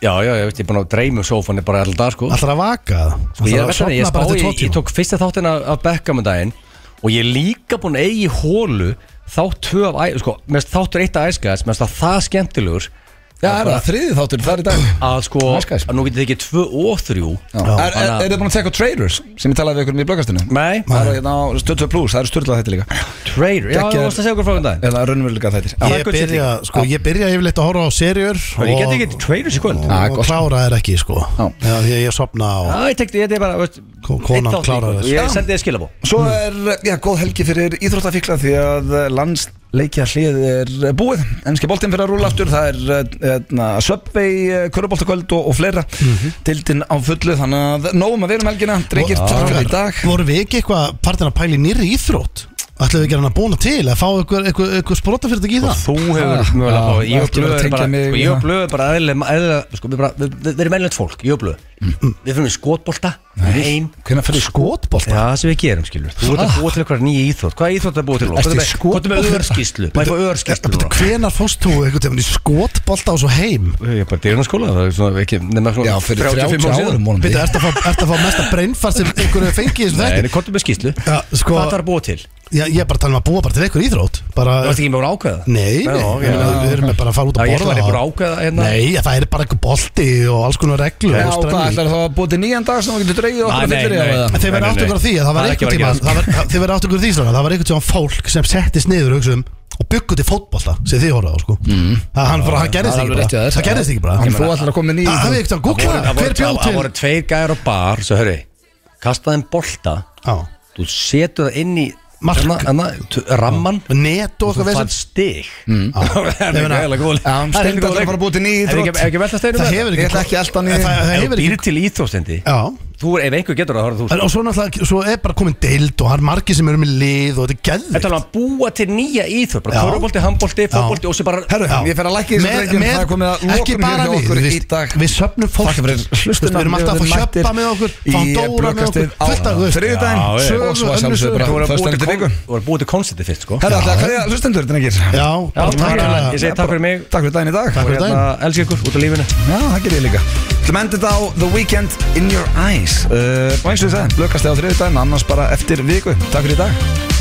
Speaker 3: Já, já, ég veist, ég er búin að dreyma um sófann bara alltaf dag, sko
Speaker 2: Ætlar að vaka það?
Speaker 3: Sko,
Speaker 2: Ætlarðu
Speaker 3: ég, er
Speaker 2: að
Speaker 3: verið að ég,
Speaker 2: sofna bara
Speaker 3: spá,
Speaker 2: eftir tvo
Speaker 3: ég, ég
Speaker 2: tíma?
Speaker 3: tók fyrsta þáttin af, af Beckham um daginn og ég er líka búinn að eigi hólu þátt tvö af æ- sko, mér finnst þáttur eitt af æskæðs, mér finnst það það skemmtilegur
Speaker 1: Já, er það þriði þáttur, það er í dag
Speaker 3: að sko,
Speaker 1: Ice Guys.
Speaker 3: að nú getið þið ekki tvö og þrjú
Speaker 1: Já. Er, er, er þið búin að tekja á Traders sem ég talaði við ykkur um í blöggastinu?
Speaker 3: Nei,
Speaker 1: Það er hérna á Stöðtöð Plus, það eru styrlað þetta líka
Speaker 3: Trader, já,
Speaker 1: Geggjaður.
Speaker 3: þú varst að segja okkur frá um daginn
Speaker 1: Eða raunveruleika þættir Já,
Speaker 3: það er
Speaker 2: Ég
Speaker 3: gull
Speaker 2: byrja,
Speaker 3: stilling.
Speaker 2: sko, ég byrja yfirleitt að horfa á seriur
Speaker 3: Og ég geti ekki Traders í kvöld
Speaker 1: Já,
Speaker 2: Og
Speaker 1: gott.
Speaker 2: klára þær ekki, sko
Speaker 1: Já.
Speaker 2: Já, því að ég sofna á
Speaker 3: Já, ég tekti, þetta er bara, veist
Speaker 2: Ko- konan
Speaker 3: einn þátt í
Speaker 2: klárar
Speaker 3: kvöld.
Speaker 2: þessu.
Speaker 3: Ég sendi þið skilabó
Speaker 1: Svo er, já, góð helgi fyrir íþróttafíkla því að landsleikja hlið er eh, búið Ennski boltinn fyrir að rúla aftur, það er eh, hérna, Subway, Köruboltakvöld og, og fleira
Speaker 3: Mhm.
Speaker 1: Tildin á fullu, þannig að nógum að vera um helgina, drengir tökkar í dag
Speaker 2: Vorum við ekki eitthvað partin að pæli nýri íþrótt? Ætlum við ekki hann að búna til að fá eitthvað, eitthvað, eitthvað sprotafyrirtæki í það?
Speaker 3: Þú hefur
Speaker 1: Já,
Speaker 3: mögulega fáið, ég og
Speaker 1: allt verið
Speaker 3: blöð
Speaker 1: að
Speaker 3: er
Speaker 1: tengja
Speaker 3: bara
Speaker 1: mig
Speaker 3: sko,
Speaker 1: við
Speaker 3: Ég
Speaker 1: það.
Speaker 3: og blöð er bara eðlilega eðlilega- sko, við bara- Við við- við erum eðlilegt fólk, ég og blöð Við fyrir með skotbolta, heim
Speaker 1: Hvernig fyrir skotbolt?
Speaker 3: Já, það sem við gerum, skilur Þú ert að búa til eitthvað nýja íþrótt Hvað er íþrótt að búa til?
Speaker 1: Ertu
Speaker 3: Hvað
Speaker 1: í skotbolta?
Speaker 3: er með örskíslu? Hvað er með örskíslu? núna?
Speaker 2: Hvenar fórst þú einhvern tímann í skotbolta og svo heim?
Speaker 3: Ég er bara dyrun að skóla Það er svona ekki nema svona
Speaker 1: Já, fyrir
Speaker 3: 35
Speaker 1: 30 árum vonandi.
Speaker 2: Býttu, ertu að fá- ertu að fá mesta breinfart sem einhverju hefur fengið í þessum
Speaker 3: Nei,
Speaker 2: þætti?
Speaker 3: en hvað er með skíslu?
Speaker 2: Já, sko-
Speaker 3: Hvað þarf að búa til? Þú
Speaker 2: Já, ég er bara að tala um að búa bara til eitthvað íþrótt bara,
Speaker 3: ert ekki með að ákveða?
Speaker 2: Nei, nei,
Speaker 3: Já,
Speaker 2: ég meina, við erum bara að fara út
Speaker 3: Já,
Speaker 2: að
Speaker 3: ég ætla
Speaker 2: borða
Speaker 3: að vera að ákveða hérna
Speaker 2: Nei, ég- það er bara eitthvað bolti og alls konar reglur
Speaker 1: Já,
Speaker 2: og
Speaker 1: hvað
Speaker 2: stremming.
Speaker 1: ætlar þá að búið til nýjan dag sem þú getur dreigið okkur að
Speaker 3: Nei, nei,
Speaker 1: fyllir í
Speaker 3: nei.
Speaker 1: eða?
Speaker 2: En Þeir verða
Speaker 3: Nei, nei,
Speaker 2: átt okkur á
Speaker 3: nei.
Speaker 2: því að það var
Speaker 3: Það er
Speaker 2: einhvern
Speaker 3: ekki að
Speaker 2: tímann
Speaker 3: gera.
Speaker 2: það var- Þeir verða átt okkur á því svona, það var einhvern tímann fólk sem settist niður hugsa um, og byggur til fótbolta sem þið horfað á sko Það hann bara, hann gerðist
Speaker 1: Það er
Speaker 2: ekki
Speaker 1: alveg rétt hjá
Speaker 2: bara
Speaker 1: þér.
Speaker 2: Það gerðist ekki
Speaker 1: En
Speaker 2: bara
Speaker 1: þú ætlar að koma með nýjan
Speaker 2: Það hefði ekkert að
Speaker 3: Það voru-
Speaker 2: googla,
Speaker 3: það
Speaker 2: hver
Speaker 3: voru-
Speaker 2: bjóð
Speaker 3: það- það voru
Speaker 2: til
Speaker 3: tveir gæjar á bar Svo hörru, kastaði þeim bolta
Speaker 2: Já.
Speaker 3: Þú setur það inn í
Speaker 2: Mark.
Speaker 3: þarna- þarna, t- Ramman
Speaker 2: Net og
Speaker 3: Þú
Speaker 2: eitthvað
Speaker 3: fann
Speaker 2: veist
Speaker 3: stig [laughs] Það er
Speaker 2: Mm. Ég meina-
Speaker 3: ekki góð
Speaker 1: Já, hann
Speaker 3: Það er ekki
Speaker 1: steindar
Speaker 3: góð
Speaker 1: að fara að búið til nýjan
Speaker 3: Er ekki-
Speaker 1: íþrótt
Speaker 3: er ekki velta steinu
Speaker 2: Það hefur
Speaker 1: Ég ætla ekki
Speaker 2: ekki
Speaker 1: að elta hann í-
Speaker 2: En það- það
Speaker 3: Ef
Speaker 2: hefur
Speaker 3: þú
Speaker 2: ekki
Speaker 3: býr til íþróstendi
Speaker 2: Já
Speaker 3: Þú er, ef einhver getur það, þá er það þú
Speaker 2: En- Og svo náttúrulega, svo er bara komin deild og það er margir sem eru með lið og þetta er geðvikt
Speaker 3: Þetta er alveg að búa til nýja íþjóð bara
Speaker 2: Já.
Speaker 3: Körubolti, handbolti, fótbolti og sér bara
Speaker 1: Herru,
Speaker 2: Já.
Speaker 1: ég fer að lækka í þessu
Speaker 2: Með-
Speaker 1: drengjum
Speaker 2: með-
Speaker 1: Það er komið að lokum
Speaker 2: Ekki
Speaker 1: hér
Speaker 2: bara
Speaker 1: hjá
Speaker 2: við,
Speaker 1: okkur
Speaker 2: við,
Speaker 1: í dag
Speaker 2: við söpnum fólk
Speaker 1: Takk fyrir hlustuna
Speaker 2: Við erum alltaf að fá
Speaker 1: mættir
Speaker 2: hjöppa með okkur
Speaker 1: Í
Speaker 2: Fá dóra með
Speaker 1: blökkastið
Speaker 2: okkur
Speaker 1: á
Speaker 2: Fullt af guð
Speaker 1: þriðjudaginn,
Speaker 3: Já, já.
Speaker 1: sögu,
Speaker 2: Og svo að
Speaker 1: önnur
Speaker 2: sjálfsögðu
Speaker 1: sögu.
Speaker 2: bara
Speaker 1: Þú
Speaker 3: Þú
Speaker 1: voru að
Speaker 3: er að
Speaker 1: búa til viku
Speaker 3: búa til konceptið fyrst, sko
Speaker 1: Herra, alltaf, hverja hlustendur, drengir
Speaker 2: Já,
Speaker 3: Já,
Speaker 2: bara
Speaker 3: takk
Speaker 2: takk
Speaker 3: fyrir- Ég
Speaker 2: fyrir
Speaker 3: segi takk fyrir mig
Speaker 1: Takk fyrir daginn í dag
Speaker 2: Takk fyrir
Speaker 1: Og hérna,
Speaker 3: Elskir ykkur út á lífinu
Speaker 1: Já, það gerir ég líka Þú endur þetta á The Weekend in Your Eyes uh, Og eins og ég sagði, blökast þið á þriðið annars bara eftir viku Takk fyrir í dag